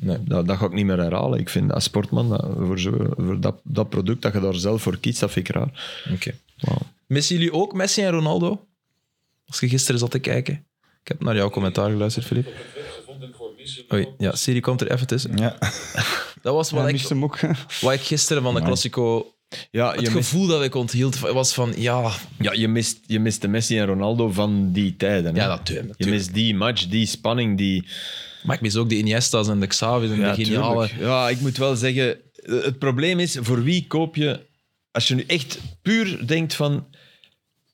Nee.
Dat, dat ga ik niet meer herhalen. Ik vind als sportman, dat- voor, zo, voor dat, dat product dat je daar zelf voor kiest, dat vind ik raar.
Oké.
Wauw.
Missen jullie ook Messi en Ronaldo? Als je gisteren zat te kijken. Ik heb naar jouw commentaar geluisterd, Filip. Oei, ja, Siri komt er even tussen.
Ja.
[laughs]
Dat was wat,
Ja,
ik,
mist hem ook.
wat ik gisteren van de Classico...
Ja,
Het
je mist,
gevoel dat ik onthield was van, ja...
ja, je, mist, je mist de Messi en Ronaldo van die tijden. hè.
Ja, dat tuurlijk,
Je mist die match, die spanning, die...
Maar ik mis ook de Iniesta's en de Xavi's en de geniale...
tuurlijk. Ja, ik moet wel zeggen, het probleem is, voor wie koop je... Als je nu echt puur denkt van,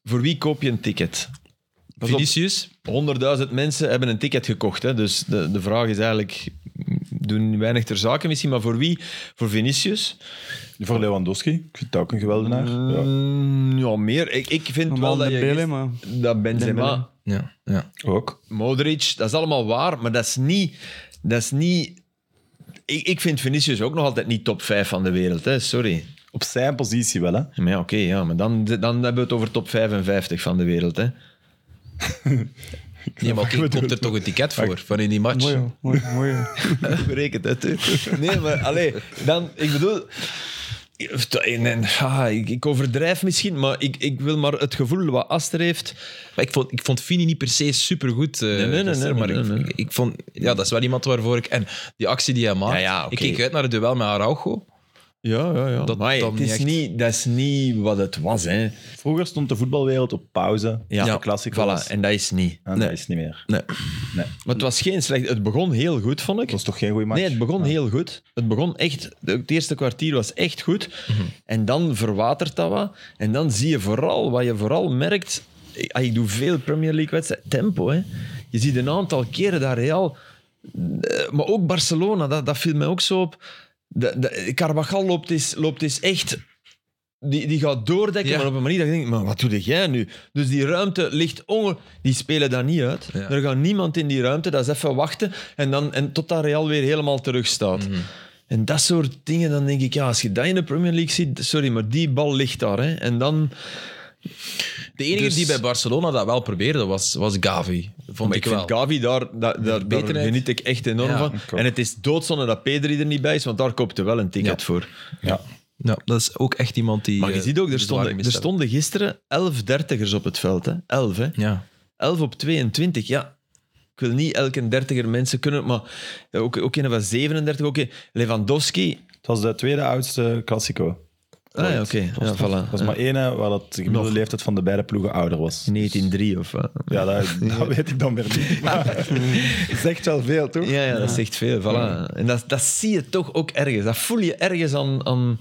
voor wie koop je een ticket? Pas op,
Vinicius?
100.000 mensen hebben een ticket gekocht. Hè? Dus de, de vraag is eigenlijk, doen weinig ter zake misschien, maar voor wie? Voor Vinicius?
Voor Lewandowski, ik vind het ook een geweldenaar. Ja,
Mm, ja, meer. Ik, ik vind
Normaal
wel
de
dat, je,
Bele, maar...
dat Benzema,
Ja, ja.
ook.
Modric, dat is allemaal waar, maar dat is niet... Dat is niet ik, ik vind Vinicius ook nog altijd niet top 5 van de wereld, hè? sorry.
Op zijn positie wel, hè.
Maar ja, oké, ja, maar dan, dan hebben we het over top 55 van de wereld. [laughs] Hè.
Nee,
[laughs]
maar toen komt er toch een ticket voor, van in die match.
Mooi, hoor. mooi, mooi. hoor.
Berekend uit. hè. [laughs] Nee, maar allee, dan, ik bedoel. en- en, ah, ik, ik overdrijf misschien, maar ik, ik wil maar het gevoel wat Aster heeft.
Maar ik vond, ik vond Fini niet per se supergoed. eh
nee, nee,
gisteren, maar
nee,
ik,
nee, nee.
Ik, ik vond... Ja, dat is wel iemand waarvoor ik... En die actie die hij maakt.
Ja, ja, oké.
Ik keek uit naar het duel met Araujo.
Ja, ja, ja. Dat,
Amai,
het is niet, dat is niet wat het was, hè?
Vroeger stond de voetbalwereld op pauze.
Ja,
de klassiekers.
Voilà, en dat is niet.
En
Nee.
dat is niet meer.
Nee.
Maar het was geen slecht. Het begon heel goed, vond ik.
Dat is toch geen goede match?
Nee, het begon heel goed. Het begon echt... Het eerste kwartier was echt goed. En dan verwatert dat wat. En dan zie je vooral, wat je vooral merkt... Ik, ah, ik doe veel Premier League wedstrijden. Tempo, hè. Je ziet een aantal keren dat Real... eh, Maar ook Barcelona, dat, dat viel mij ook zo op. De, de, Carvajal loopt is, loopt is echt... Die, die gaat doordekken,
Ja.
maar op een manier dat je denkt, maar wat doe jij nu? Dus die ruimte ligt onge... Die spelen daar niet uit.
Ja.
Er gaat niemand in die ruimte, dat is even wachten. En, dan, en tot dat Real weer helemaal terug staat. En dat soort dingen, dan denk ik, ja, als je dat in de Premier League ziet, sorry, maar die bal ligt daar. Hè. En dan...
De enige
Dus-
die bij Barcelona dat wel probeerde was, was Gavi. Vond
Maar
ik,
ik
wel.
vind Gavi, daar, daar, daar, daar
beter uit.
geniet ik echt enorm
Ja,
van.
ook.
En het is doodzonde dat Pedri er niet bij is, want daar koopt hij wel een ticket
Ja.
voor.
Ja.
Ja, dat is ook echt iemand die.
Maar je
eh,
ziet ook,
die
er stonden,
zwaar
er stonden gisteren 11 dertigers op het veld. Hè. 11, hè.
gemist hebben. Ja.
11 op 22, ja. Ik wil niet elke dertiger mensen kunnen, maar ook, ook een van 37, ook een- Lewandowski.
Het was de tweede oudste Classico.
Ah, ja, oké. Ja, voilà.
Er was maar één hè, waar dat de gemiddelde
Nog.
leeftijd van de beide ploegen ouder was.
1903 of wat.
[laughs] Ja, dat, dat weet ik dan weer niet. Maar het [laughs] zegt wel veel, toch?
Ja, ja, dat zegt veel. Voilà. En dat, dat zie je toch ook ergens. Dat voel je ergens aan. aan...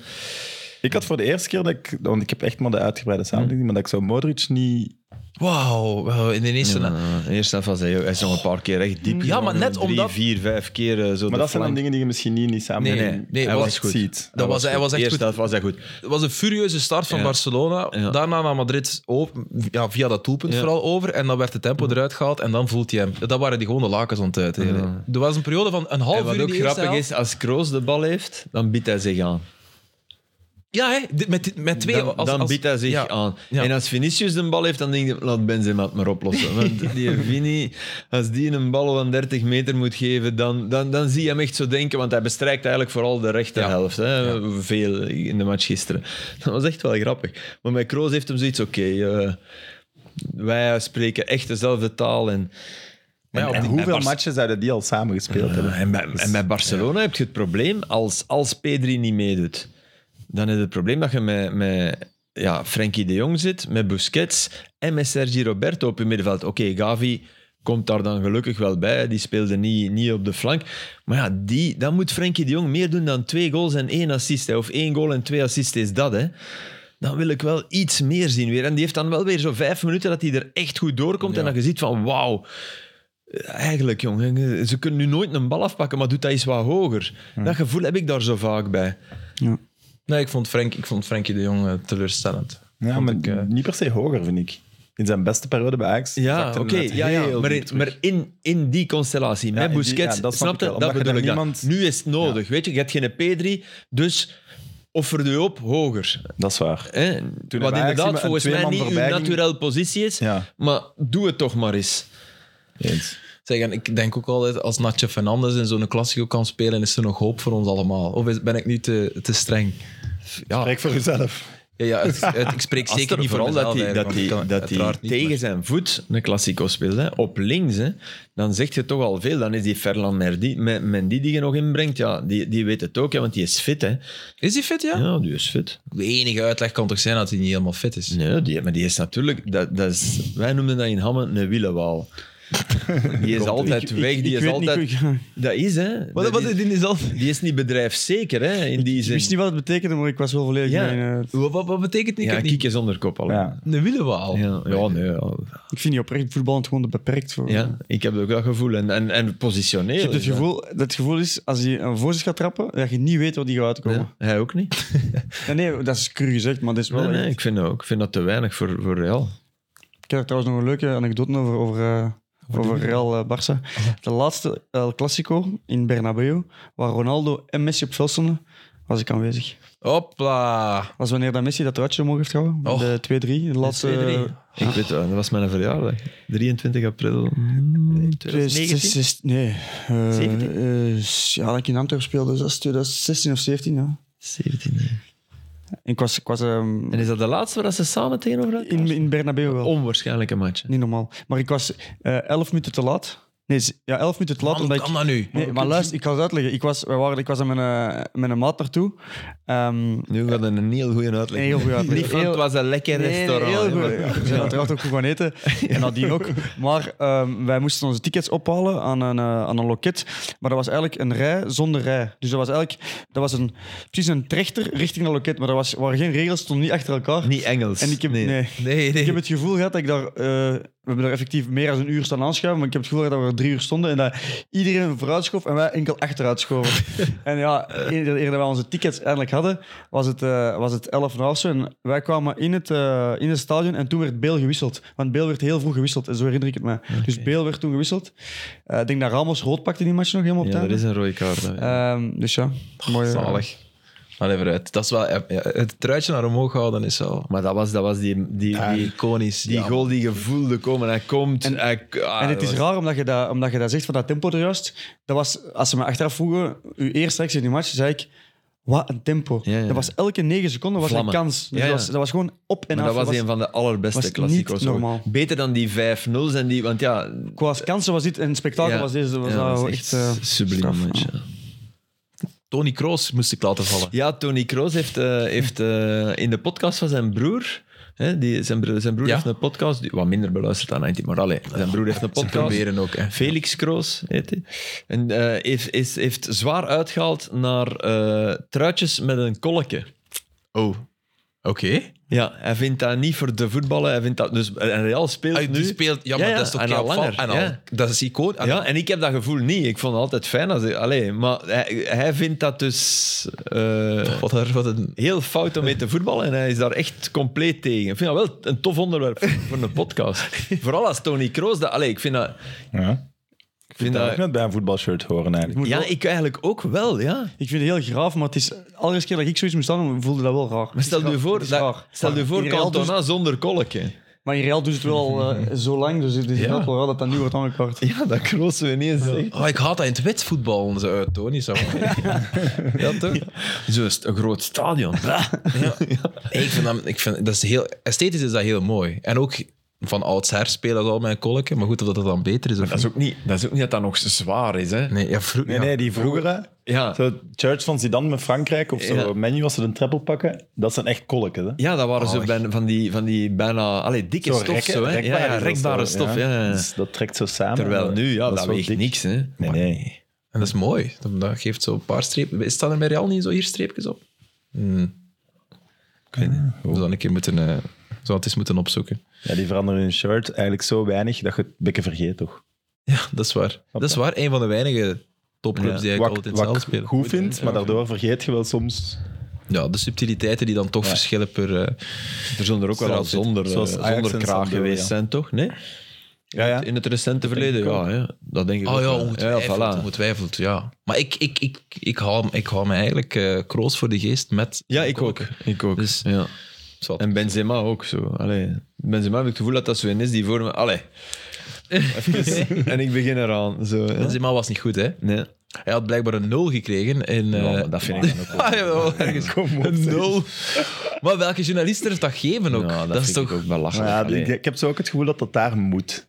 Ik had voor de eerste keer dat ik... Want ik heb echt maar de uitgebreide samenvatting, maar dat ik zo Modric niet...
Wauw, wauw, in de eerste. na-
Eerst af was hij, hij is nog een paar keer echt diep.
Ja, maar
gegaan.
net
Drie,
omdat-
vier, vijf keer eh, zo.
Maar dat zijn dan
dingen.
dingen die je misschien niet in die samenvatting
Nee, nee, nee,
echt
was echt
goed.
ziet.
Dat was, hij was echt
Eerst
goed.
helft was hij goed.
Het was een furieuze start van
Ja.
Barcelona.
Ja.
Daarna naar Madrid op- ja, via dat doelpunt
Ja.
vooral over. En dan werd het tempo eruit gehaald. En dan voelt hij hem. Dat waren die gewoon de lakens aan het uitdelen.
Ja.
Er was een periode van een half
En wat
uur in
ook
die eerste
grappig
helft.
is, als Kroos de bal heeft, dan biedt hij zich aan.
Ja, hè, dit- met, met twee.
dan,
als-
dan
als-
biedt hij zich
ja.
aan.
Ja.
En als Vinicius de bal heeft, dan denk je, laat Benzema het maar
[laughs]
oplossen. Want die Vini, als die een bal van 30 meter moet geven, dan, dan, dan zie je hem echt zo denken, want hij bestrijkt eigenlijk vooral de rechterhelft. Hè? Veel in de match gisteren. [laughs] Dat was echt wel grappig. Maar met Kroos heeft hem zoiets, oké, eh, wij spreken echt dezelfde taal en...
Maar ja, op
En
die-
hoeveel
Barce-
matches zouden die al samen gespeeld hebben?
En bij, en bij Barcelona heb je het probleem, als, als Pedri niet meedoet, dan is het probleem dat je met, met ja, Frenkie de Jong zit, met Busquets en met Sergi Roberto op je middenveld. Oké, Gavi komt daar dan gelukkig wel bij, die speelde niet, niet op de flank. Maar ja, die, dan moet Frenkie de Jong meer doen dan twee goals en één assist. Hè. Of één goal en twee assists is dat, hè. Dan wil ik wel iets meer zien weer. En die heeft dan wel weer zo vijf minuten dat hij er echt goed doorkomt. En dat je ziet van, wauw, Eigenlijk, jongen. Ze kunnen nu nooit een bal afpakken, maar doet dat eens wat hoger.
Hm.
Dat gevoel heb ik daar zo vaak bij.
Nee, ik vond, Frank, ik vond Frenkie de Jong eh, teleurstellend.
Ja,
Vond
maar
ik, eh,
niet per se hoger, vind ik. In zijn beste periode bij Ajax.
Ja,
zakte
oké.
hij net
ja, ja,
heel
maar
diep
in, maar in, in die constellatie,
in
met
die-
Busquets,
ja, dat snap
snap je?
ik wel,
Dat
omdat je
bedoel ik
dan
dan.
niemand-
Nu is het nodig, weet je. Je hebt geen Pedri, dus offer je op hoger.
Dat is waar.
Hè?
hebben
Wat
Ajax iemand-
inderdaad
een
volgens mij
tweeman
niet uw
voorbij ging.
naturel positie is,
Ja.
maar doe het toch maar eens.
Eens.
Zeg, en ik denk ook altijd, als Nacho Fernandes in zo'n klassico kan spelen, is er nog hoop voor ons allemaal. Of is- ben ik nu te, te streng? Ja,
Kijk voor jezelf.
ja, ja het- het- ik spreek zeker niet voor
vooral dat
mezelf
hij, dat hij,
eigenlijk, want ik kan
dat hij
uiteraard niet,
tegen
maar-
zijn voet een Classico speelt, hè, op links, hè, dan zegt je toch al veel. Dan is die Ferland Merdi, Men- Mendy die je nog inbrengt, ja, die, die weet het ook, hè, want die is fit. Hè.
Is hij fit, ja?
Ja, die is fit.
De enige uitleg kan toch zijn dat hij niet helemaal fit is?
Nee, die, maar die is natuurlijk... Dat, dat is, wij noemden dat in Hammen een
[laughs]
wielenwaal. Die is altijd weg, die is altijd... Dat is, hè.
Wat,
Dat
wat
is-
is dit is al-
die is niet bedrijfszeker, hè, in die
Ik
zin.
wist niet wat het betekende, maar ik was wel volledig
Ja.
mijn, eh,
Wat, wat, wat betekent niet? Ik
ja,
heb niet-
kiek is onder kop al.
Ja.
Een wielenwaal.
Ja, ja, nee, ja.
Ik vind die oprecht voetballend gewoon te beperkt. Voor.
Ja, ik heb ook dat gevoel. En, en, en positioneel.
Je hebt het
is dat.
gevoel, dat gevoel is, als hij een voorzet gaat trappen, dat je niet weet waar die gaat uitkomen.
Ja, hij ook niet.
Ja, nee, dat is cru gezegd, maar dat is wel...
Nee, nee,
Oh, echt-
ik vind dat ook. Ik vind dat te weinig voor, voor Real.
Ik heb daar trouwens nog een leuke anekdote over, over, eh, over Real eh, Barça. De laatste El Clasico in Bernabeu, waar Ronaldo en Messi op veld stonden, was ik aanwezig.
Hopla.
was wanneer dat Messi dat truitje omhoog heeft gehouden.
Och.
de 2-3, de laatste...
2-3.
Ik weet wel, dat was mijn verjaardag. 23 april mm,
Zes-
2019.
zes- nee. eh,
17?
eh, ja, dat ik in Antwerpen speelde, dat is 2016 of 17, ja.
17. ja.
En ik was, ik was ehm,
En Oh. is dat de laatste waar ze samen tegenover elkaar
in, in Bernabeu wel.
Onwaarschijnlijke match. hè.
Niet normaal. Maar ik was eh 11 minuten te laat. Nee, z- ja, 11 minuten te laat.
Wat
omdat
kan
ik,
dat nu?
nee, maar luister, ik ga het uitleggen. Ik was, wij waren, ik was aan mijn, eh, met een maat naartoe. Ehm,
Nu gaat het een heel goede uitleg.
Een heel goede uitleg.
Die [laughs] vond
Heel-
was een lekker
Nee, nee,
restaurant.
heel
hè,
goed.
maar-
Ja, we zijn uiteraard ook goed gaan
[laughs]
eten. En nadien ook. Maar ehm, wij moesten onze tickets ophalen aan een, eh, aan een loket. Maar dat was eigenlijk een rij zonder rij. Dus dat was eigenlijk dat was een, precies een trechter richting een loket. Maar er was, waren geen regels, stonden niet achter elkaar.
Niet Engels.
En ik heb, nee.
Nee, nee.
ik heb het gevoel gehad dat ik daar... eh, we hebben daar effectief meer dan een uur staan aanschuiven. Maar ik heb het gevoel gehad dat we er drie uur stonden. En dat iedereen vooruit schoof en wij enkel achteruit schoven. en ja, eerder, eerder wij onze tickets eindelijk hadden, was het, eh, was het 11 uur of zo. En wij kwamen in het, eh, in het stadion en toen werd Beel gewisseld. Want Beel werd heel vroeg gewisseld. En zo herinner ik het me. Dus Beel werd toen gewisseld. Eh, ik denk dat Ramos rood pakte in die match nog helemaal op
Ja,
tijd.
er is een rode kaart. hè.
dus ja, mooi.
Zalig. Maar even uit. Dat is wel, ja, het truitje naar omhoog houden is wel
Maar dat was, dat was die, die, die,
iconisch.
die goal die je voelde komen. Hij komt. En, hij, ah,
En het is
dat was-
raar omdat je dat, omdat je dat zegt van dat tempo er juist. Dat was, als ze me achteraf vroegen, uw eerste actie in die match, zei ik, wat een tempo.
Ja, ja.
Dat was elke negen seconden was er een
Vlammen.
kans. Dus
Ja,
Dat,
ja.
was, dat was gewoon op en
Maar
af.
dat was,
Dat
een
was-
van de allerbeste
was niet
klassiekers. ooit.
normaal.
Beter dan die 5-0's en die... Want ja...
Qua kansen was dit en spektakel
ja,
was deze. Was
ja,
dat
was
echt, eh,
sublime
straf.
match, ja.
Tony Kroos moest ik laten vallen.
Ja, Tony Kroos heeft, eh, heeft eh, in de podcast van zijn broer... Hè, die, zijn broer, zijn broer
Ja.
heeft een podcast, die, wat minder beluisterd dan 19, maar allee, zijn broer heeft een
[laughs]
podcast.
proberen ook, hè.
Felix Kroos heet hij. En eh, heeft, is, heeft zwaar uitgehaald naar eh, truitjes met een kolletje.
Oh, oké.
Ja, hij vindt dat niet voor de voetballen. Hij vindt dat, dus, en Real speelt
Ah,
nu...
die speelt, ja, maar
Ja, ja,
dat is toch
en
kei
al
opvallend.
langer,
En al-
ja.
nou, Dat is icoon. Ah, En-
Ja, en ik heb Ah, dat gevoel niet. Ik vond het altijd fijn als ik... Allee, maar hij, hij vindt dat dus eh,
Wat, een- wat een...
heel fout om mee te voetballen en hij is daar echt compleet tegen. Ik vind dat wel een tof onderwerp voor een [laughs] podcast. Vooral als Tony Kroos... Dat, allee, ik vind dat...
Ja.
Ik vind
Dat
dat
ook net bij een voetbalshirt horen eigenlijk.
moet
ja,
wel-
ik eigenlijk ook wel, ja.
Ik vind het heel graaf, maar het is, elke keer dat ik zoiets moest doen, voelde dat wel raar.
Maar stel je voor, dat, stel je voor
Cantona.
Cantona zonder kolletje.
Maar in Real doet het
[laughs]
wel al eh, zo lang, dus het is
Ja.
ook wel raar dat dat nu wordt aangekaart.
Ja, dat Kroos zo ineens zegt.
Oh, ik haat dat in het wit voetbal, onze uit, Tony. [laughs] Zo. ja, toch?
Zo is het een groot [laughs] stadion.
Hey, ik vind dat, ik vind, dat is heel, esthetisch is dat heel mooi. En ook van oudsher spelen dat al met een kolken. Maar goed, of dat dat dan beter is of
Dat is ook niet dat, is ook niet dat, dat nog zo zwaar is, hè.
niet. Nee, ja, vroeg,
Nee,
ja.
nee, die vroegere.
Ja.
Zo Church van Zidane met Frankrijk of zo.
Ja.
Menu als ze een treppel pakken. Dat zijn echt kolken. Hè?
Ja, dat waren zo
Oh,
bij- van, die, van die bijna allee, dikke
Zo
stof.
rekken-
zo, hè? Ja,
rekbaar
ja,
is dat
rekbare
zo,
stof. Ja. ja.
Dus dat trekt zo samen.
Terwijl nu, ja, dat,
is wel
weegt
dik.
niks. Hè.
Nee, nee.
En dat is mooi. Dat- Dat geeft zo een paar streepjes. Staan er bij Real niet zo hier streepjes op? Hmm. Ik weet niet.
Ah,
We zouden een keer moeten, eh, we zouden het eens moeten opzoeken. [laughs]
Ja, die veranderen hun shirt eigenlijk zo weinig dat je het bekken vergeet, toch?
Ja, dat is waar. Dat is waar. Een van de weinige topclubs die eigenlijk altijd
wat
hetzelfde
ik
spelen.
goed vind, maar daardoor vergeet je wel soms.
Ja, de subtiliteiten die dan toch verschillen per... eh,
Er zullen er ook wel al
Zoals-
zonder, eh,
zoals Ajax
zonder
en
kraag
Sandro,
geweest
ja.
zijn, toch? Nee?
Ja, ja.
In het recente verleden, ja, ja. Dat denk ik
Oh
ook
ja,
wel.
ongetwijfeld.
Ja, voilà.
ongetwijfeld, ja. Maar ik, ik, ik, ik, haal, ik haal me eigenlijk eh kroos voor de geest met...
Ja, ik ook. Ik ook.
Dus-
ja.
Zat.
[laughs] En Benzema ook zo. Allee. Benzema heb ik het gevoel dat dat zo een is die voor me... Allee. Even. en ik begin eraan. Zo, hè.
Benzema was niet goed, hè?
nee.
Hij had blijkbaar een 0 gekregen in... eh,
Ja, maar dat vind
[laughs]
ik [laughs] dan ook wel-
Ah, jawel, ergens.
Kom op,
Een
zeg.
nul. [laughs] Maar welke journalist durft dat geven ook?
Ja,
dat
dat,
is
vind
toch...
ik ook belachelijk.
Nou Ja,
Ja,
Allee.
ik, ik heb zo ook het gevoel dat dat daar moet.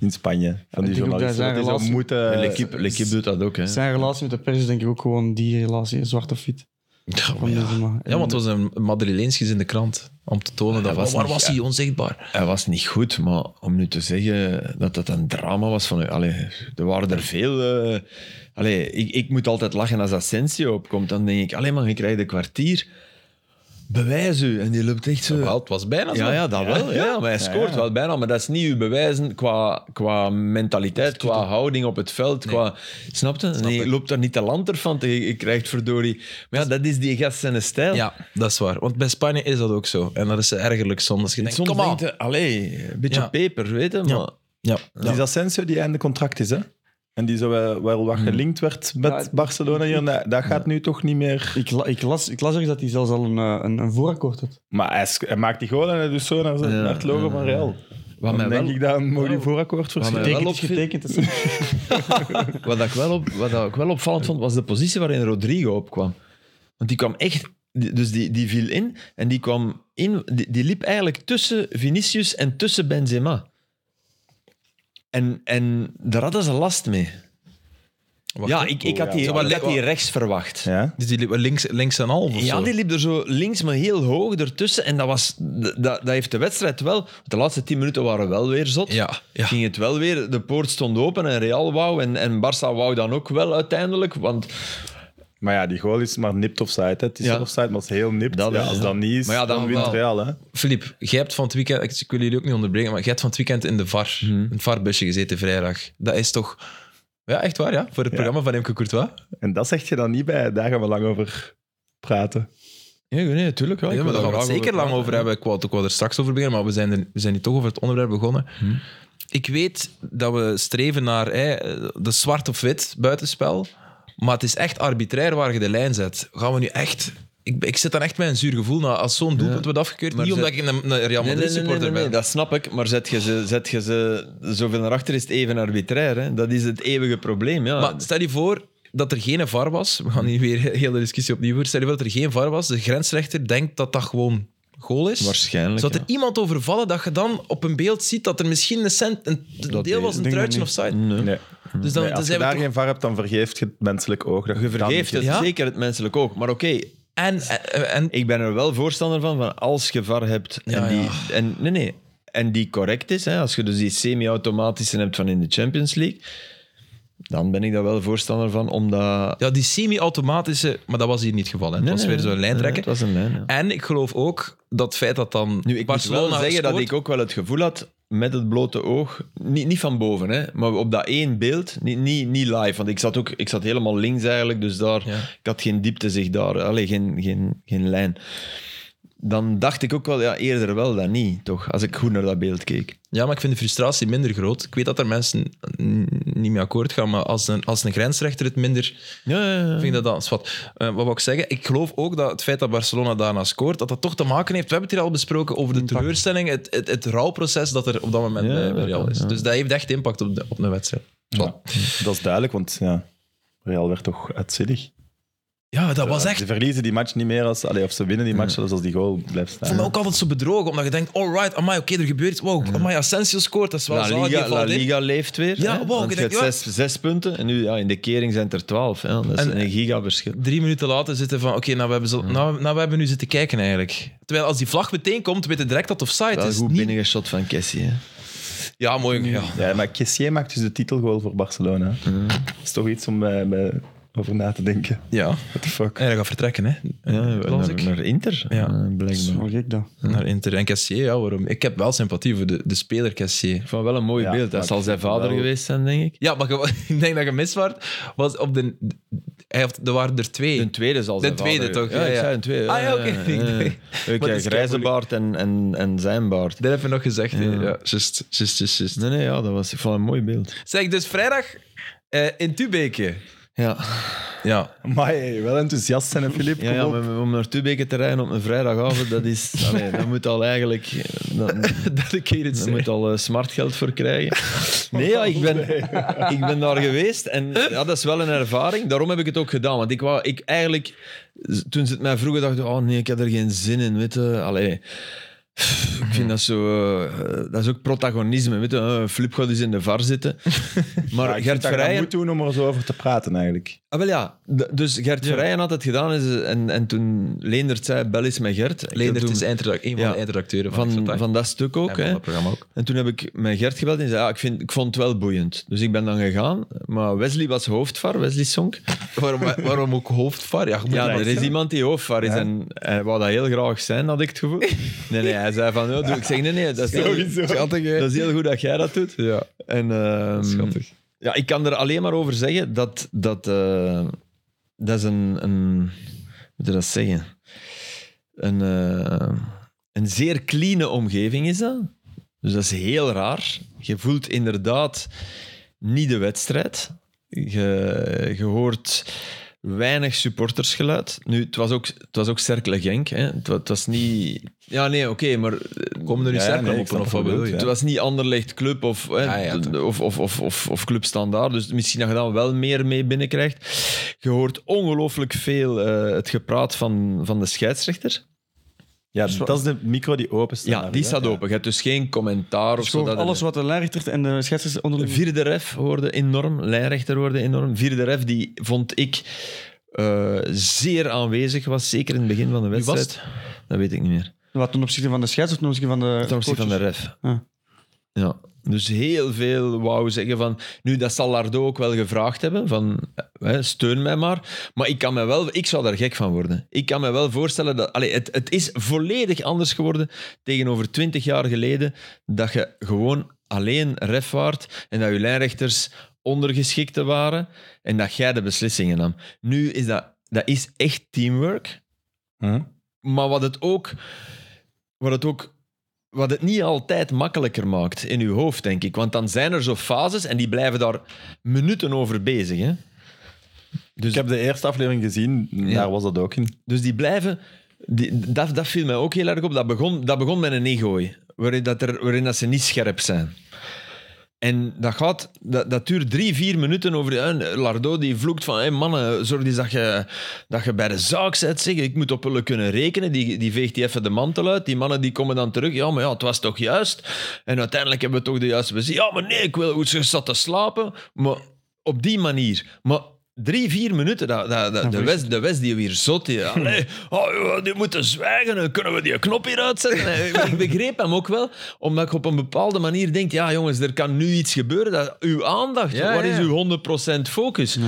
In Spanje. Van die
ik denk ook
journalisten.
dat
Dat
zijn
die zo
relatie-
moeten...
eh,
En L'Equipe L'Equipe doet dat ook, hè.
Zijn relatie met de pers is denk ik ook gewoon die relatie, zwarte fiet.
Ja, maar
Van
ja.
Benzema. En-
Ja, want het was een Madrileensjes in de krant. Om te tonen dat...
dat was
waar
niet-
was hij onzichtbaar?
Hij was niet goed, maar om nu te zeggen dat dat een drama was van... Allee, er waren er veel... eh, allee, ik, ik moet altijd lachen als Asensio opkomt. Dan denk ik, alleen maar, je krijgt een kwartier. Bewijs u. En die loopt echt zo...
Wel, het was bijna zo.
Ja, ja, dat wel. Ja, maar hij scoort wel bijna. Maar dat is niet uw bewijzen qua, qua mentaliteit, qua houding op het veld. Qua, snap je? Nee, je loopt daar niet de lanter van. Je, je krijgt verdorie... Maar ja, dat is die gast zijn stijl.
Ja, dat is waar. Want bij Spanje is dat ook zo. En dat is ergerlijk soms. Als je denkt,
Soms
kom aan.
denk je, allee, een beetje
Ja.
peper, weet je, maar...
Ja. Ja.
Die is Asensio die einde contract is, hè? En die zo wel, wel
Hmm.
wat gelinkt werd met
Ja,
Barcelona hier. En dat, dat gaat nu toch niet meer...
Ik, la- ik, las, ik las ergens dat hij zelfs al een, eh, een, een voorakkoord had.
Maar hij, sk- hij maakt die goal en hij doet zo naar, zijn-
Ja,
naar het logo
ja,
van
ja.
Real.
Wat
dan
mij
denk
wel-
ik dat een mogelijk voorakkoord
mij
verschil.
wel
Getekend is
opviel-
getekend. dat is-
Wat, dat ik wel op, wat dat ik wel opvallend vond, was de positie waarin Rodrigo opkwam. Want die kwam echt... die- Dus die, die viel in en die kwam in... Die, die liep eigenlijk tussen Vinicius en tussen Benzema. En, en daar hadden ze last mee.
Wacht,
ja,
hè. Oh,
ik, ik had die,
Zo, wat
ik
li-
had die rechts verwacht. Ja.
Ja?
Dus die liepen links, links en half of zo?
die liep er zo links, maar heel hoog ertussen. En dat, was, dat, dat heeft de wedstrijd wel... De laatste tien minuten waren wel weer zot.
Ja, ja.
ging het wel weer. De poort stond open en Real wou. En, en Barça wou dan ook wel uiteindelijk. Want
Maar ja, die goal is maar nipt offside. Hè. Het is
Ja.
wel offside, maar het is heel nipt.
Dat
ja,
is,
als
ja.
dat niet is,
Maar ja,
dan,
dan
wint
wel.
Real. Hè.
Filip, jij hebt van het weekend, ik ik wil jullie ook niet onderbreken, maar jij hebt van het weekend in de VAR, in het VAR-busje gezeten vrijdag. Dat is toch, ja, echt waar, ja, voor het programma van Emke Courtois.
En dat zeg je dan niet bij. Daar gaan we lang over praten.
Ja, nee, natuurlijk.
Ja, maar daar gaan we het zeker lang over hebben. Ik wou, ik wou er straks over beginnen, maar we zijn, er, we zijn hier toch over het onderwerp begonnen. Ik weet dat we streven naar hè, de zwart of wit buitenspel, maar het is echt arbitrair waar je de lijn zet. Gaan we nu echt... Ik, ik zit dan echt met een zuur gevoel na, als zo'n doelpunt wordt afgekeurd.
Maar
niet
zet-
omdat ik een, een Real Madrid
Nee, nee, nee, nee,
supporter
nee, nee,
ben.
dat snap ik. Maar zet je ze, zet je ze zoveel naar achter, is het even arbitrair. Hè? Dat is het eeuwige probleem. Ja.
Maar stel je voor dat er geen VAR was. We gaan hier weer [laughs] heel de discussie opnieuw voeren. Stel je voor dat er geen VAR was. De grensrechter denkt dat dat gewoon goal is.
Waarschijnlijk,
Zou er
ja.
iemand overvallen dat je dan op een beeld ziet dat er misschien een, cent, een een
Dat
deel was, een
denk ik
truitje of
niet.
side.
Nee.
Nee.
Dus dan,
Nee, als
dan
je
zijn we
daar
toch-
geen var hebt, dan vergeeft je het menselijk oog. Dat
Je
dan
vergeeft
niet
het,
is.
Ja?
zeker het menselijk ook. Maar oké,
En, en, en-
ik ben er wel voorstander van, van als je VAR hebt en,
Ja,
die,
ja.
en, nee, nee, en die correct is, hè, als je dus die semi-automatische hebt van in de Champions League, dan ben ik daar wel voorstander van, omdat...
ja, die semi-automatische... Maar dat was hier niet het geval. Hè. Het
Nee,
was
nee,
weer zo'n
nee,
lijntrekker.
Het was een lijn, ja.
En ik geloof ook dat het feit dat dan
Nu, ik
Barcelona
moet wel zeggen dat
scoort-
ik ook wel het gevoel had, met het blote oog, niet, niet van boven, hè, maar op dat één beeld, niet, niet, niet live, want ik zat, ook, ik zat helemaal links eigenlijk, dus daar,
Ja.
ik had geen dieptezicht daar, allee, geen, geen, geen lijn. Dan dacht ik ook wel, ja, eerder wel dan niet, toch, als ik goed naar dat beeld keek.
Ja, maar ik vind de frustratie minder groot. Ik weet dat er mensen mm, niet mee akkoord gaan, maar als een, als een grensrechter het minder
Ja, ja, ja.
Vind ik dat dan zwart. Eh, wat wou ik zeggen? Ik geloof ook dat het feit dat Barcelona daarna scoort, dat dat toch te maken heeft. We hebben het hier al besproken over de teleurstelling, het, het, het rouwproces dat er op dat moment
Ja,
eh, bij
dat
Real
kan,
is.
ja.
Dus dat heeft echt impact op de, op de wedstrijd.
Ja. Dat is duidelijk, want ja, Real werd toch uitzinnig.
Ja, dat was echt.
Ze verliezen die match niet meer, als, allee, of ze winnen die match zelfs als die goal blijft
Ik
staan.
vond me ook altijd zo bedrogen, omdat je denkt: alright, amai, oké, er gebeurt iets. Wow, amai, Asensio scoort, dat is wel
Mm. La
zalig, die
Liga, La
valt in.
Liga leeft weer.
Ja,
hè,
wow,
want
ik
je
denk,
hebt
ja.
zes, zes punten en nu ja, in de kering zijn het er twaalf. Hè. Dat is
En-
een gigaverschil.
Drie minuten later zitten van: oké, nou, we hebben zo- nou, nou, we hebben nu zitten kijken eigenlijk. Terwijl als die vlag meteen komt, weet je direct dat het offside
Dat is
is.
goed
Niet-
binnengeschot van Kessie. Hè.
Ja, mooi. Ja.
Ja, maar Kessier maakt dus de titelgoal voor Barcelona. Dat is toch iets om eh, bij- over na te denken.
ja.
What the fuck.
En hij gaat vertrekken, hè?
Ja,
las
naar,
ik.
naar Inter,
Ja.
eh,
Dat is
blijkbaar.
wel gek, dat.
Naar Inter en Cassier, ja, waarom? Ik heb wel sympathie voor de, de speler Cassier.
Van wel een mooi
Ja,
beeld.
maar
Dat zal
ik
zijn
vind
vader
wel-
geweest zijn, denk ik.
Ja, maar ge- [laughs] ik denk dat je mis werd, was op de... Hij had, er waren er twee.
De tweede zal
De
zijn
tweede
vader-
toch?
Ja,
Ja,
ik
ja.
zei een tweede.
Ah, ja, oké. Ik denk-
Ik
Maar het is
grijze
keigoed.
baard en, en, en zijn baard.
Dat heb je nog gezegd. hè.
Ja.
Ja, just, just, just, just.
Nee, nee, ja, dat was ik vond het een mooi beeld.
Zeg, dus vrijdag eh, in Tubeke.
Ja,
[laughs] Ja.
Maar hey, wel enthousiast zijn, hè, Filip.
ja,
Kom
ja
op.
om, om naar Tubeke te rijden op een vrijdagavond, dat is... allee, dat moet al eigenlijk... Dat,
Derde keer het
Daar moet al eh, smart geld voor
[laughs]
krijgen. Nee, ja, ik, ben, [laughs] ik ben daar geweest en ja, dat is wel een ervaring. Daarom heb ik het ook gedaan. Want ik wou ik eigenlijk, z- toen ze het mij vroegen, dacht ik: oh nee, ik heb er geen zin in. Weet je. Allee, pff, ik vind dat zo, eh, dat is ook protagonisme. Weet je. Eh, Flip gaat dus in de var
[laughs]
zitten. Maar
Ja, ik vind dat
Gert
je dat
Verheyen,
moet doen om er zo over te praten, eigenlijk.
Ah, wel ja. D- dus Gert Verheyen had het gedaan en, en, en toen Leendert zei: bel eens met Gert. Ik
Leendert
doe-
is eindredac- een van
Ja.
de eindredacteuren van,
van,
Vandaag.
van dat stuk ook.
en
hè.
van dat programma ook.
En toen heb ik met Gert gebeld en die zei, ja, ik, vind, ik vond het wel boeiend. Dus ik ben dan gegaan. Maar Wesley was hoofdvar, Wesley Sonk.
[laughs] Waarom, waarom ook hoofdvar? Ja, je moet
Ja,
dat
er is iemand die hoofdvar is en hij wou dat heel graag zijn, had ik het gevoel. Nee, nee, hij zei van, oh, doe. ik zeg, nee, nee, dat is, heel,
Schattig, hè?
dat is heel goed dat jij dat doet.
Ja,
En, ehm,
schattig.
ja, ik kan er alleen maar over zeggen dat dat, eh, dat is een, een... Hoe moet je dat zeggen? Een, eh, een zeer clean omgeving is dat. Dus dat is heel raar. Je voelt inderdaad niet de wedstrijd. Je, je hoort weinig supportersgeluid. Nu, het was ook, het was ook Cercle Genk. Hè. Het, wa- het was niet... Ja, nee, oké, maar...
Komen er nu
Ja,
sterker
nee, ik
op
snap
of
wat
wat bedoel
je
je?
Het was niet Anderlecht Club of, hè,
Ah, ja,
d-
toch.
of, of, of, of, of Club Standaard. Dus misschien dat je dan wel meer mee binnenkrijgt. Je hoort ongelooflijk veel eh, het gepraat van, van de scheidsrechter.
Ja, dat is de micro die open staat.
Ja, die staat open. Je hebt dus geen commentaar of
Dus
zo.
gewoon
dat-
alles wat de lijnrechter en de scheidsrechter onder
Vierde ref hoorde enorm, lijnrechter hoorde enorm. Vierde ref, die vond ik eh, zeer aanwezig was, zeker in het begin van de
Wie was
wedstrijd. Dat weet ik niet meer.
Wat ten opzichte van de scheids of ten opzichte van de
Ten opzichte van de
eh, coaches?
ref.
Ah.
Ja. Dus heel veel wou zeggen van... Nu, dat zal Lardo ook wel gevraagd hebben, van eh, hè, steun mij maar. Maar ik, kan me wel, ik zou daar gek van worden. Ik kan me wel voorstellen dat... Allee, het, het is volledig anders geworden tegenover twintig jaar geleden, dat je gewoon alleen ref waart en dat je lijnrechters ondergeschikte waren en dat jij de beslissingen nam. Nu is dat... Dat is echt teamwork. Maar wat het ook, wat het ook, wat het niet altijd makkelijker maakt in uw hoofd, denk ik. Want dan zijn er zo fases en die blijven daar minuten over bezig. Hè?
Dus ik heb de eerste aflevering gezien, daar was dat ook in.
Dus die blijven, die, dat, dat viel mij ook heel erg op. Dat begon, dat begon met een egooi, waarin, dat er, waarin dat ze niet scherp zijn. En dat, gaat, dat, dat duurt drie, vier minuten over. Hè, Lardo die vloekt van: hey, mannen, zorg eens dat je, dat je bij de zaak zet. Zeg. Ik moet op jullie kunnen rekenen. Die, die veegt die even de mantel uit. Die mannen die komen dan terug. Ja, maar ja, het was toch juist. En uiteindelijk hebben we toch de juiste beslissing. Ja, maar nee, ik wil. Ze zat te slapen. Maar op die manier. Maar drie, vier minuten. Dat, dat, dat- de, West, de West die weer zot.
[laughs]
Die, allee, oh, ja, die moeten zwijgen. Dan kunnen we die knop hier uitzetten. Ik- Ik begreep hem ook wel. Omdat ik op een bepaalde manier denk: ja, jongens, er kan nu iets gebeuren. Dat, uw aandacht.
Ja,
waar
ja,
is
ja.
uw 100% focus.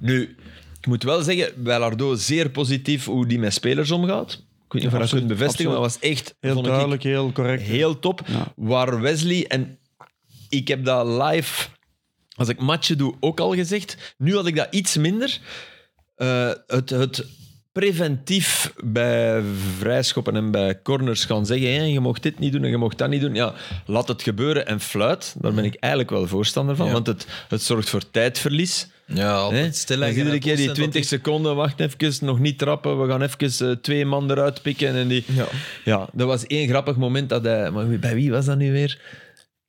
Nu, ik moet wel zeggen, bij Lardo zeer positief hoe die met spelers omgaat. Ik weet niet of je dat
absoluut,
kunt bevestigen, maar was echt
Heel
vond ik,
duidelijk, heel correct.
heel top.
Ja.
Waar Wesley en ik heb dat live, als ik matchen doe, ook al gezegd. Nu had ik dat iets minder. Eh, het, het preventief bij vrijschoppen en bij corners gaan zeggen: hé, je mocht dit niet doen en je mocht dat niet doen. Ja, laat het gebeuren en fluit. Daar ben ik eigenlijk wel voorstander van,
Ja.
want het, het zorgt voor tijdverlies.
Ja,
Hè?
altijd stil
Dat is iedere keer die 20
20
seconden, wacht even, nog niet trappen. We gaan even eh, twee man eruit pikken. En die... ja. dat was één grappig moment dat hij... Maar wie- bij wie was dat nu weer?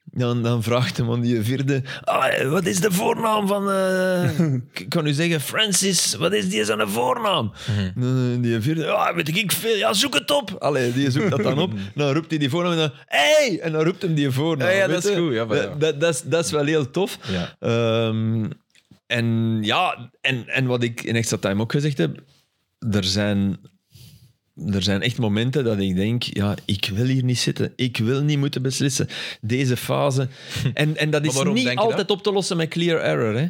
Dan, dan vraagt hem aan die vierde... "Ah, eh, wat is de voornaam van...
[laughs]
eh, ik ik kan u zeggen, Francis, wat is die zijn voornaam?
Mhm.
Eh, Die vierde, ja, weet ik veel. Ja, zoek het op. Allee, die zoekt dat
[laughs]
dan op. Dan roept hij die voornaam en dan... Hey! En dan roept hem die voornaam.
Ja, ja,
weet
dat is
je.
goed, ja, maar ja.
Dat- dat, dat, is, dat is wel heel tof.
Ja.
Ehm, en ja, en, en wat ik in Extra Time ook gezegd heb, er zijn, er zijn echt momenten dat ik denk, ja, ik wil hier niet zitten. Ik wil niet moeten beslissen. Deze fase. En, en dat is
Hm. waarom
niet
denk je dat?
altijd op te lossen met clear error, hè.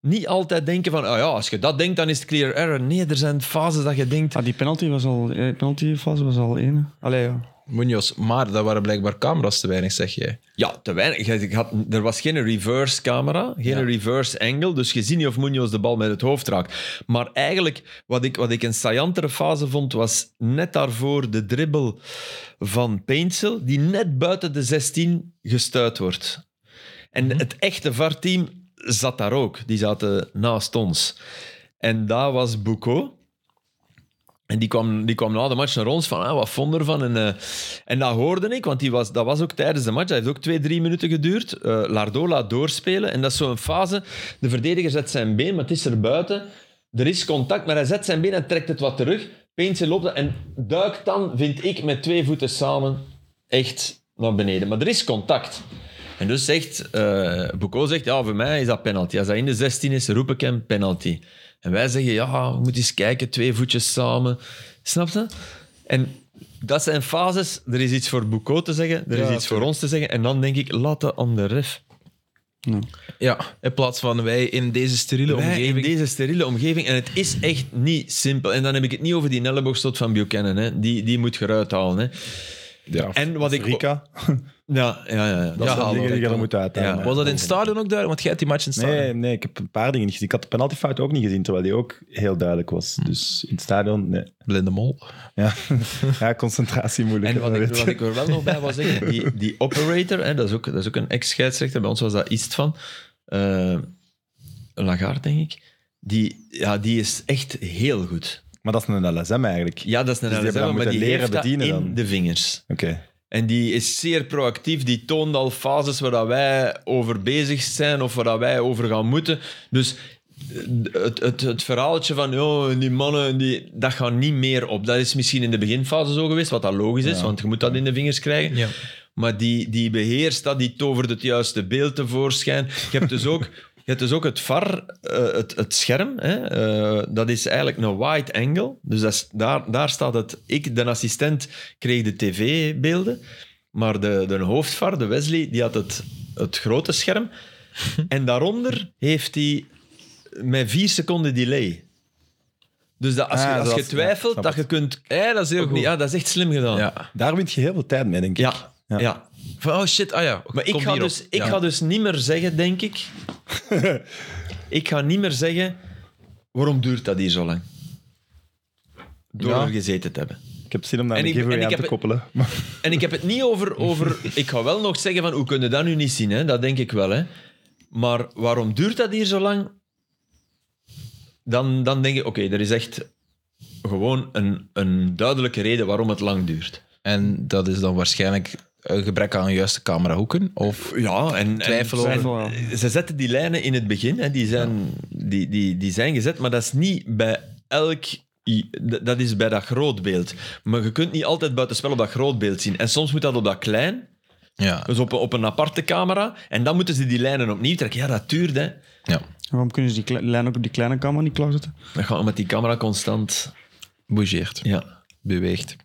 Niet altijd denken van, oh ja, als je dat denkt, dan is het clear error. Nee, er zijn fases dat je denkt...
Ah, die penalty was al, eh, penaltyfase was al één. hè. Allee, ja.
Munoz, maar daar waren blijkbaar camera's te weinig, zeg jij.
Ja, te weinig. Je- je had- er was geen reverse camera, geen reverse angle. Dus je ziet niet of Munoz de bal met het hoofd raakt. Maar eigenlijk, wat ik, wat ik een saillantere fase vond, was net daarvoor de dribbel van Paintsel, die net buiten de 16 gestuit wordt. En het echte VAR-team zat daar ook. Die zaten naast ons. En daar was Buko. En die kwam, die kwam na de match naar ons van, ah, wat vond ervan? En, eh, en dat hoorde ik, want die was, dat was ook tijdens de match. Dat heeft ook twee, drie minuten geduurd. Eh Lardo laat doorspelen. En dat is zo'n fase, de verdediger zet zijn been, maar het is er buiten. Er is contact, maar hij zet zijn been en trekt het wat terug. Peentje loopt dat en duikt dan, vind ik, met twee voeten samen echt naar beneden. Maar er is contact. En dus zegt, eh Boucault zegt, ja, voor mij is dat penalty. Als dat in de 16 is, roep ik hem penalty. En wij zeggen, ja, we moeten eens kijken, twee voetjes samen. Snap je? En dat zijn fases. Er is iets voor Boucault te zeggen, er is iets voor ons te zeggen. En dan denk ik, laat dat aan de ref.
Ja, in plaats van wij in deze steriele
Wij
omgeving.
In deze steriele omgeving. En het is echt niet simpel. En dan heb ik het niet over die elleboogstoot van Buchanan. Hè. Die, die moet je eruit halen. Hè.
Ja.
En wat ik...
Rika,
Ja, ja, ja. ja.
dat
Oh, Ja,
is de
haal
dingen die je
dat.
er moet uithalen.
Ja.
Was dat in het stadion ook duidelijk? Want jij hebt die match in het stadion.
Nee, nee, ik heb een paar dingen niet gezien. Ik had de penaltyfout ook niet gezien, terwijl die ook heel duidelijk was.
Hm.
Dus in het stadion, nee.
Blinde mol.
[laughs]
Ja, ja concentratie moeilijk.
En wat
hè,
ik,
weet
wat
je.
ik er wel nog bij wil
[laughs]
zeggen, die, die operator, hè, dat, is ook, dat is ook een ex-scheidsrechter, bij ons was dat iets van, eh Lagarde denk ik, die, ja, die is echt heel goed.
Maar dat is een LSM eigenlijk.
Ja, dat is een
Dus die
LSM,
hebben dat
maar
moeten
die
leren
heeft dat
bedienen
in
dan.
de vingers.
Oké.
En die is zeer proactief, die toont al fases waar dat wij over bezig zijn of waar dat wij over gaan moeten. Dus het, het, het verhaaltje van oh, die mannen, die, dat gaat niet meer op. Dat is misschien in de beginfase zo geweest, wat dat logisch is, want je moet dat in de vingers krijgen.
Ja.
Maar die, die beheerst dat, die tovert het juiste beeld tevoorschijn. Je hebt dus ook, je hebt dus ook het VAR, eh, het, het scherm, hè, eh, dat is eigenlijk een wide angle. Dus dat is, daar, daar staat het. Ik, de assistent, kreeg de tv-beelden. Maar de, de hoofdvar, de Wesley, die had het, het grote scherm. En daaronder heeft hij met vier seconden delay. Dus dat als,
Ah,
je, als
dat-
je twijfelt,
ja, snap
dat je
het.
kunt... Hé, dat is heel
goed.
Ja, dat is echt slim
[laughs]
gedaan.
Ja.
Daar wint je heel veel tijd mee, denk ik.
ja.
Ja.
ja.
Van, oh shit, ah ja.
Maar ik,
kom
ga
hierop.
dus, ik
Ja.
ga dus niet meer zeggen, denk [laughs] ik. ik ga niet meer zeggen. Waarom duurt dat hier zo lang? Door
Ja.
er gezeten te hebben.
Ik heb zin om daar
En
een
ik- en
giveaway
ik
aan te
heb- [laughs]
koppelen. Maar
En ik heb het niet over. [laughs] over ik ga wel nog zeggen van hoe kunnen dat nu niet zien? Hè? Dat denk ik wel. Hè? Maar waarom duurt dat hier zo lang? Dan, dan denk ik, oké, er is echt gewoon een, een duidelijke reden waarom het lang duurt.
En dat is dan waarschijnlijk een gebrek aan de juiste camerahoeken? Of...
Ja, en, en
Twijfel over.
Twijfel, ja.
Ze zetten die lijnen in het begin, hè. Die, zijn, die, die, die zijn gezet, maar dat is niet bij elk. i- d- Dat is bij dat grootbeeld. Maar je kunt niet altijd buitenspel op dat grootbeeld zien. En soms moet dat op dat klein,
Ja.
dus op een, op een aparte camera. En dan moeten ze die lijnen opnieuw trekken. Ja, dat duurt, hè.
ja.
Waarom kunnen ze die kle- lijn ook op die kleine kamer niet klaarzetten?
Dat gaat omdat die camera constant...
Bougeert.
Ja.
Beweegt.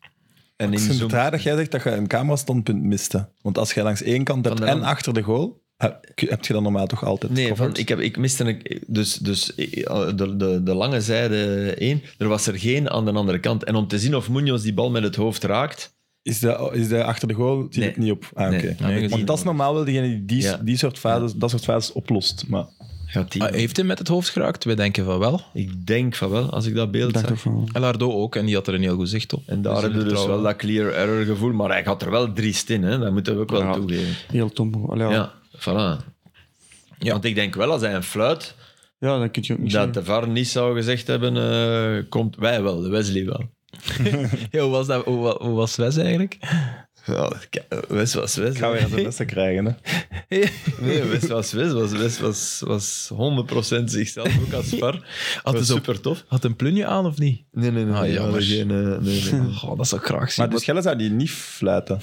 En
ik
in
vind
zoom...
het raar dat jij zegt dat je een camerastandpunt miste. Want als jij langs één kant hebt
Van de
en
rand.
achter de goal, heb heb je dat normaal toch altijd
Nee,
covered?
van, ik, heb, ik miste... Een, dus dus eh, de, de, de lange zijde één, er was er geen aan de andere kant. En om te zien of Munoz die bal met het hoofd raakt...
Is dat is dat achter de goal? Zie je
Nee.
het niet op? Ah,
Nee,
oké.
dat heb ik
Want
niet
dat is normaal wel degene die die,
Ja.
die soort fases, dat soort fases oplost.
[laughs]
Maar
Gaat die...
Ah, heeft hij met het hoofd geraakt? Wij denken van wel.
Ik denk van wel, als ik dat
Ik
beeld
dacht ook
zag.
van...
En Lardo ook, en die had er een heel goed zicht op.
En daar hebben we dus wel dat clear error gevoel, maar hij gaat er wel drie in, hè? dat moeten we ook wel
Ja.
toegeven.
Heel tom. Allee,
Ja,
ja. Ja.
voilà.
Ja.
Want ik denk wel, als hij een fluit,
dan kun je ook niet
dat de VAR niet zou gezegd hebben, eh, komt wij wel, de Wesley wel.
hoe, was dat, hoe, wa- hoe was Wes eigenlijk?
Ja, k- Wes was Wes.
gaan we
hè.
weer zijn lessen krijgen.
[laughs]
Hè?
Nee, Wes was Wes, was, Wes was, was 100% zichzelf, ook [laughs] als VAR. Dat was
het ook-
super tof.
Had een plunje aan of niet?
Nee, nee, nee.
Ah,
nee, we hadden
jammer.
geen, eh, nee, nee.
Goh, dat zou ik graag zien.
Maar dus Schelle zou die niet
[laughs]
fluiten.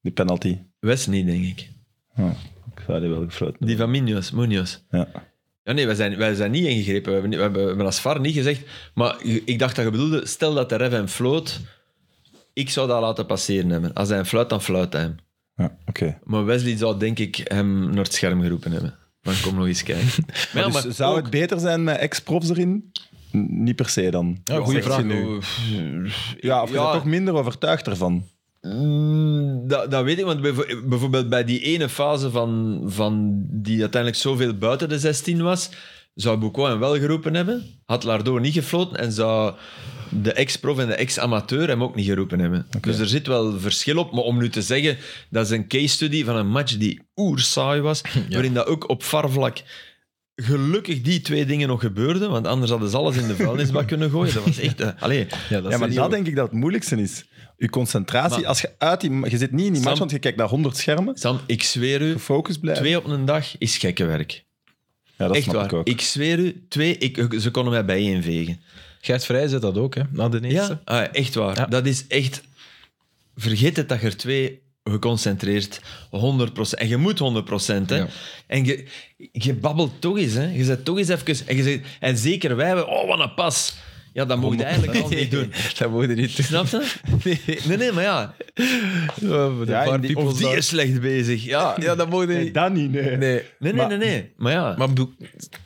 Die penalty.
Wes niet, denk ik.
Ja, ik zou die wel gefluiten.
Die van Munoz, Munoz.
Ja.
Ja, nee, wij zijn, wij zijn niet ingegrepen. We hebben, niet- we hebben, we hebben als VAR niet gezegd. Maar ik dacht dat je bedoelde, stel dat de ref hem floot, ik zou dat laten passeren hebben. Als hij hem fluit, dan fluit hij hem.
Ja, oké.
Maar Wesley zou denk ik hem naar het scherm geroepen hebben. Dan kom nog eens kijken. Maar ja,
[laughs] Maar dus
maar
zou
ook-
het beter zijn met ex-profs erin? N- niet per se dan.
Ja, goeie
Zeg je
vraag.
Nu. Ja, of je
Ja.
bent toch minder overtuigd ervan.
Mm, Dat, dat weet ik, want bijvo- bijvoorbeeld bij die ene fase van, van die uiteindelijk zoveel buiten de 16 was, zou Boukwa hem wel geroepen hebben, had Lardo niet gefloten en zou de ex-prof en de ex-amateur hem ook niet geroepen hebben. Dus er zit wel verschil op, maar om nu te zeggen, dat is een case study van een match die oersaai was, waarin dat ook op varvlak gelukkig die twee dingen nog gebeurden, want anders hadden ze alles in de vuilnisbak kunnen gooien. Dat was echt... eh, allee,
Ja, dat
ja,
is
maar
niet
dat
goed.
denk ik dat het moeilijkste is. Je concentratie, als je uit die... Je zit niet in die
Sam-
match, want je kijkt naar 100 schermen.
Sam, ik zweer u,
Gefocust blijven.
twee op een dag is gekke werk.
ja, dat
Echt
snap ik
waar.
ook.
Ik, zweer u, twee, ik, ze konden mij bijeenvegen.
Gert Vrij zet dat ook, hè, na de eerste.
Ja, ah, echt waar.
Ja.
Dat is echt... Vergeet het dat je er twee geconcentreerd 100%. En je moet 100%. Hè?
Ja.
En je, je babbelt toch eens. Hè? Je zet toch eens even... En, je zegt, en zeker wij, we- oh, wat een pas. Ja, dat mocht je eigenlijk al niet doen.
Dat mogen we niet
Snap je? Nee. nee, maar ja.
Ja,
paar
en die-
people
Of die
daar-
is slecht bezig. Ja, ja dat mocht je
Nee,
niet.
dat niet, nee.
Nee,
Nee, nee, nee, nee. Maar ja.
maar bedoel,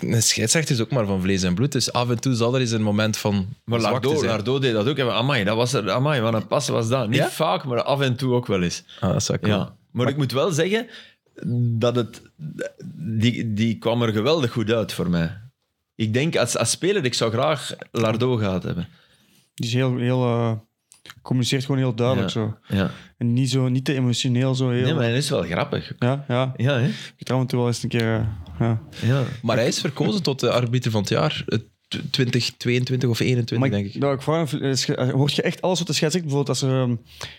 een scheidsrechter is ook maar van vlees en bloed. Dus af en toe zal er eens een moment van
Maar
zwakte
Lardo,
zijn.
Lardo deed dat ook. En we, Amai, dat was er, amai, wat een pas was dat. Niet
Ja?
vaak, maar af en toe ook wel eens.
Ah, dat zou
Ja.
kunnen.
Maar, ik moet wel zeggen dat het... Die, die kwam er geweldig goed uit voor mij. Ik denk, als, als speler, ik zou graag Lardo gehad hebben.
Die is heel, heel eh, communiceert gewoon heel duidelijk
Ja.
zo.
Ja.
En niet, zo, niet te emotioneel zo. Heel,
Nee, maar hij is wel grappig.
Ja, ja.
Ja, hè?
Ik trouw hem toe wel eens een keer. eh, ja.
Ja.
Maar hij is verkozen tot de arbiter van het jaar. eh, tw- 2022 of 21,
maar
denk
ik,
ik.
nou, ik vraag me af, is ge- hoort je echt alles wat de scheids zegt? Bijvoorbeeld als er, ehm,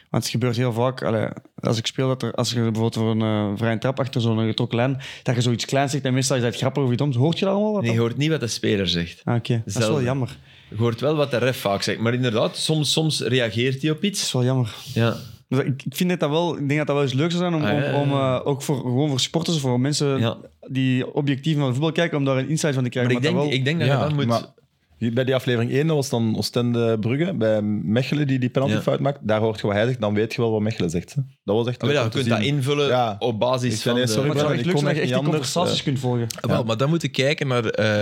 want het gebeurt heel vaak, allee, als ik speel, dat er, als er bijvoorbeeld voor een eh, vrije trap achter zo'n getrokken lijn, dat je zoiets kleins zegt en meestal is dat grappig of iets doms. Hoort je dat allemaal? Wat
Nee,
dan?
je hoort niet wat de speler zegt.
Ah, oké. Dat is wel
Zelden.
jammer. Dat
Je hoort wel wat de ref vaak zegt. Maar inderdaad, soms, soms reageert hij op iets.
is wel jammer.
Ja.
Dus ik, ik vind dat dat wel, ik denk dat dat wel eens leuk zou zijn om,
Ah, ja, ja, ja.
om, om, eh, ook voor, gewoon voor sporters, voor mensen
Ja.
die objectief naar voetbal kijken, om daar een insight van te
Maar
krijgen.
ik denk,
dat wel-
ik denk dat je
Ja,
dan moet... Ah,
Maar hier bij die aflevering 1 dat was dan Oostende Brugge. Bij Mechelen die die penaltyfout maakt. Daar hoort je wat hij zegt. Dan weet je wel wat Mechelen zegt. hè. Dat was echt
Ah, wel,
leuk
ja,
om
je
te
kunt
zien.
dat invullen
Ja.
op basis
Ik
van...
ben heel
de-
sorry,
Maar het zou
Ik
echt
kon echt
leuk zijn dat je echt
niet
die
anders,
conversaties
eh.
kunt volgen.
Ah, wel, maar dan moet ik kijken naar eh,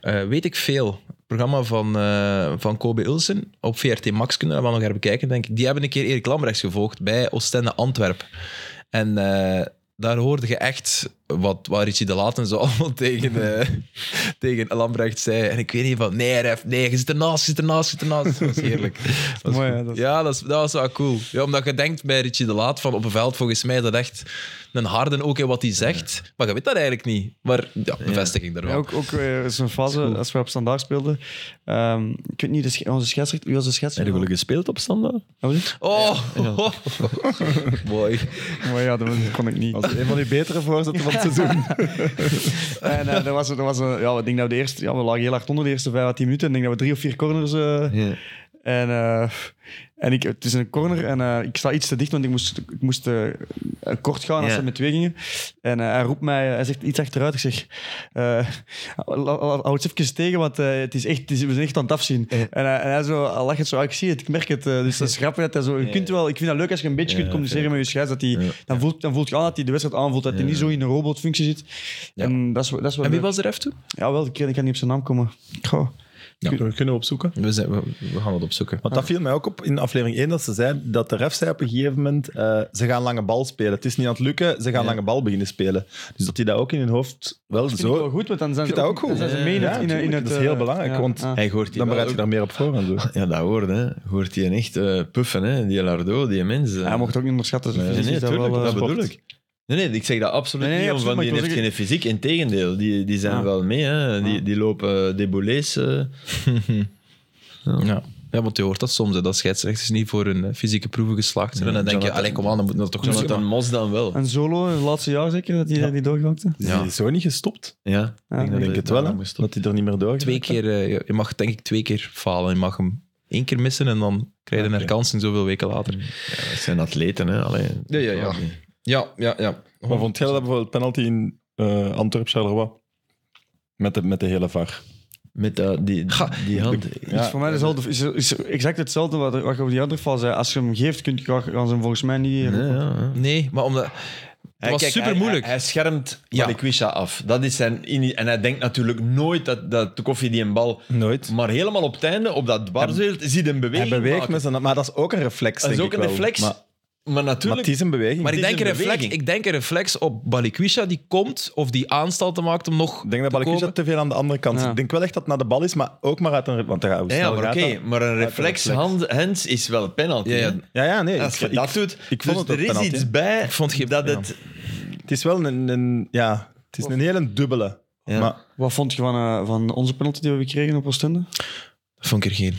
eh, Weet ik veel. Het programma van, eh, van Kobe Ilsen op VRT Max kunnen we dat wel nog herbekijken, denk ik. Die hebben een keer Erik Lambrechts gevolgd bij Oostende Antwerpen. En eh, daar hoorde je echt wat, wat Richie de Laten zo [laughs] allemaal tegen, eh, [laughs] tegen Lambrecht zei. En ik weet niet van, nee ref, nee, je zit ernaast, je zit ernaast, je zit ernaast. Dat was heerlijk. Dat was
Mooi,
goed.
hè, dat is-
Ja, dat, is, dat was wel cool. Ja, omdat je denkt bij Richie de Laat van op een veld, volgens mij dat echt een harde ook in wat hij zegt. Maar je weet dat eigenlijk niet. Maar ja, bevestiging daar
Ja,
wel.
ook ook eh, zo'n fase als we op standaard speelden. Ehm, ik weet niet, de sch- onze scheidsrechter, wie was de scheidsrechter?
jullie gespeeld op standaard?
Oh, was het?
Oh, mooi.
Maar ja, dat kon ik niet.
Dat is een van die betere voorzetten
[laughs]
van het seizoen.
En eh, dat was, dat was een, ja, ik denk dat we de eerste, ja, we lagen heel hard onder de eerste 5 à 10 minuten. Ik denk dat we drie of vier corners. eh, En, eh, en ik, het is een corner en eh, ik sta iets te dicht, want ik moest, ik moest eh, kort gaan als
Ja.
ze met twee gingen. En eh, hij roept mij, hij zegt iets achteruit. Ik zeg, eh, [laughs] la- la- houd eens even tegen, want eh, het is echt, het is, we zijn echt aan het afzien. En, hij- en hij, zo, hij lacht het zo, ah, ik zie het, ik merk het. eh, dus dat is grappig dat hij zo, je kunt wel, ik vind dat leuk als je een beetje kunt communiceren met je scheids, dat hij, dan, voelt, dan voelt je aan dat hij de wedstrijd aanvoelt, dat hij niet zo in een robotfunctie zit. En dat is, dat is
[laughs]
wel
En wie
leuk.
was de ref toen?
Ja, wel, ik kan ik kan niet op zijn naam komen. Goh.
We kunnen opzoeken.
We, zijn, we, we gaan het opzoeken.
Want dat viel mij ook op in aflevering 1 dat ze zei dat de ref zei op een gegeven moment: eh, ze gaan lange bal spelen. Het is niet aan het lukken, ze gaan lange bal beginnen spelen. Dus dat die dat ook in hun hoofd wel
Vind ik wel
zo.
goed, want dan zijn
Ik
ze
vind dat ook goed.
dan zijn ze mee in
Ja,
het- in, het- in
tuurlijk,
het...
dat is heel
eh,
belangrijk, want-
Hij hoort die
Dan
wel
bereid je
ook-
daar meer op voor
[laughs]
en zo.
Ja, dat hoort, hè. Je Hoort die echt eh, puffen, hè. Die Lardo, die mensen.
Hij mocht ook niet onderschatten. zijn
Nee, nee,
fysiek is
tuurlijk,
wel, eh,
Dus dat
sport.
bedoel ik. Nee, nee, ik zeg dat absoluut
Nee, nee,
niet, om
absoluut,
van die
maar ik
heeft
wil
geen fysiek. Integendeel, die, die zijn
Ja.
wel mee, hè. Die,
Ja.
die lopen eh, deboulés.
Ja. ja, want je hoort dat soms, hè, dat scheidsrechters niet voor hun eh, fysieke proeven geslaagd zijn. en dan denk je, allee, kom aan, dan moeten we dat toch
Jonathan
doen.
Mos dan wel.
En Solo, het laatste jaar zeker, dat hij die doorgelokte.
Is
Ja.
die zo niet gestopt?
Ja,
Ja,
Ik denk het wel, hè, dat hij er niet meer door gaat.
Twee keer, eh, je- je mag denk ik twee keer falen. Je mag hem één keer missen en dan krijg je een herkansing zoveel weken later.
dat zijn atleten, hè. Allee,
Ja, ja, ja. Ja, ja, ja.
Maar vond jij dat bijvoorbeeld penalty in eh Antwerp Charleroi? Met de, met de hele VAR.
Met dat, die, die hand.
Ja.
Dus voor mij is, het is, is exact hetzelfde wat, wat je over die andere val zei. Als je hem geeft, kun je gaan ze hem volgens mij niet...
Ja, ja, hè.
Nee, maar omdat... Het was
Kijk,
super moeilijk.
Hij, hij schermt
Ja.
Balikwisha af. Dat is zijn ini- en hij denkt natuurlijk nooit dat, dat de koffie die een bal.
Hmm.
Nooit.
Maar helemaal op het einde, op dat barzeelt, ziet hem bewegen.
Hij beweegt
maken.
met zijn... Maar dat is ook een reflex,
Dat is
denk
ook
ik
een
wel.
reflex.
Maar,
Maar, Maar
Maar
natuurlijk...
het is een beweging.
Maar ik
Het
denk,
is
een
een
reflex,
beweging.
ik denk een reflex op Balikwisha die komt of die aanstalten maakt om nog.
Ik denk dat
te
Balakic
komen.
te veel aan de andere kant zit.
Ja.
Ik denk wel echt dat het naar de bal is, maar ook maar uit een... Want daar hoe
Ja,
snel
ja, maar
gaat
oké,
dat?
maar een reflex,
reflex.
hand, hands is wel een penalty.
Ja, ja.
hè?
Ja, ja, nee.
Als je
ik,
dat
ik-
doet,
ik
dus
vond het
er
ook
is
penalty,
iets
hè.
bij
Vond je-
dat
ja.
het...
Het is wel een... een ja, het is een hele dubbele.
Ja.
Maar
Wat vond je van, eh, van onze penalty die we kregen op Oostende?
Vond ik er geen.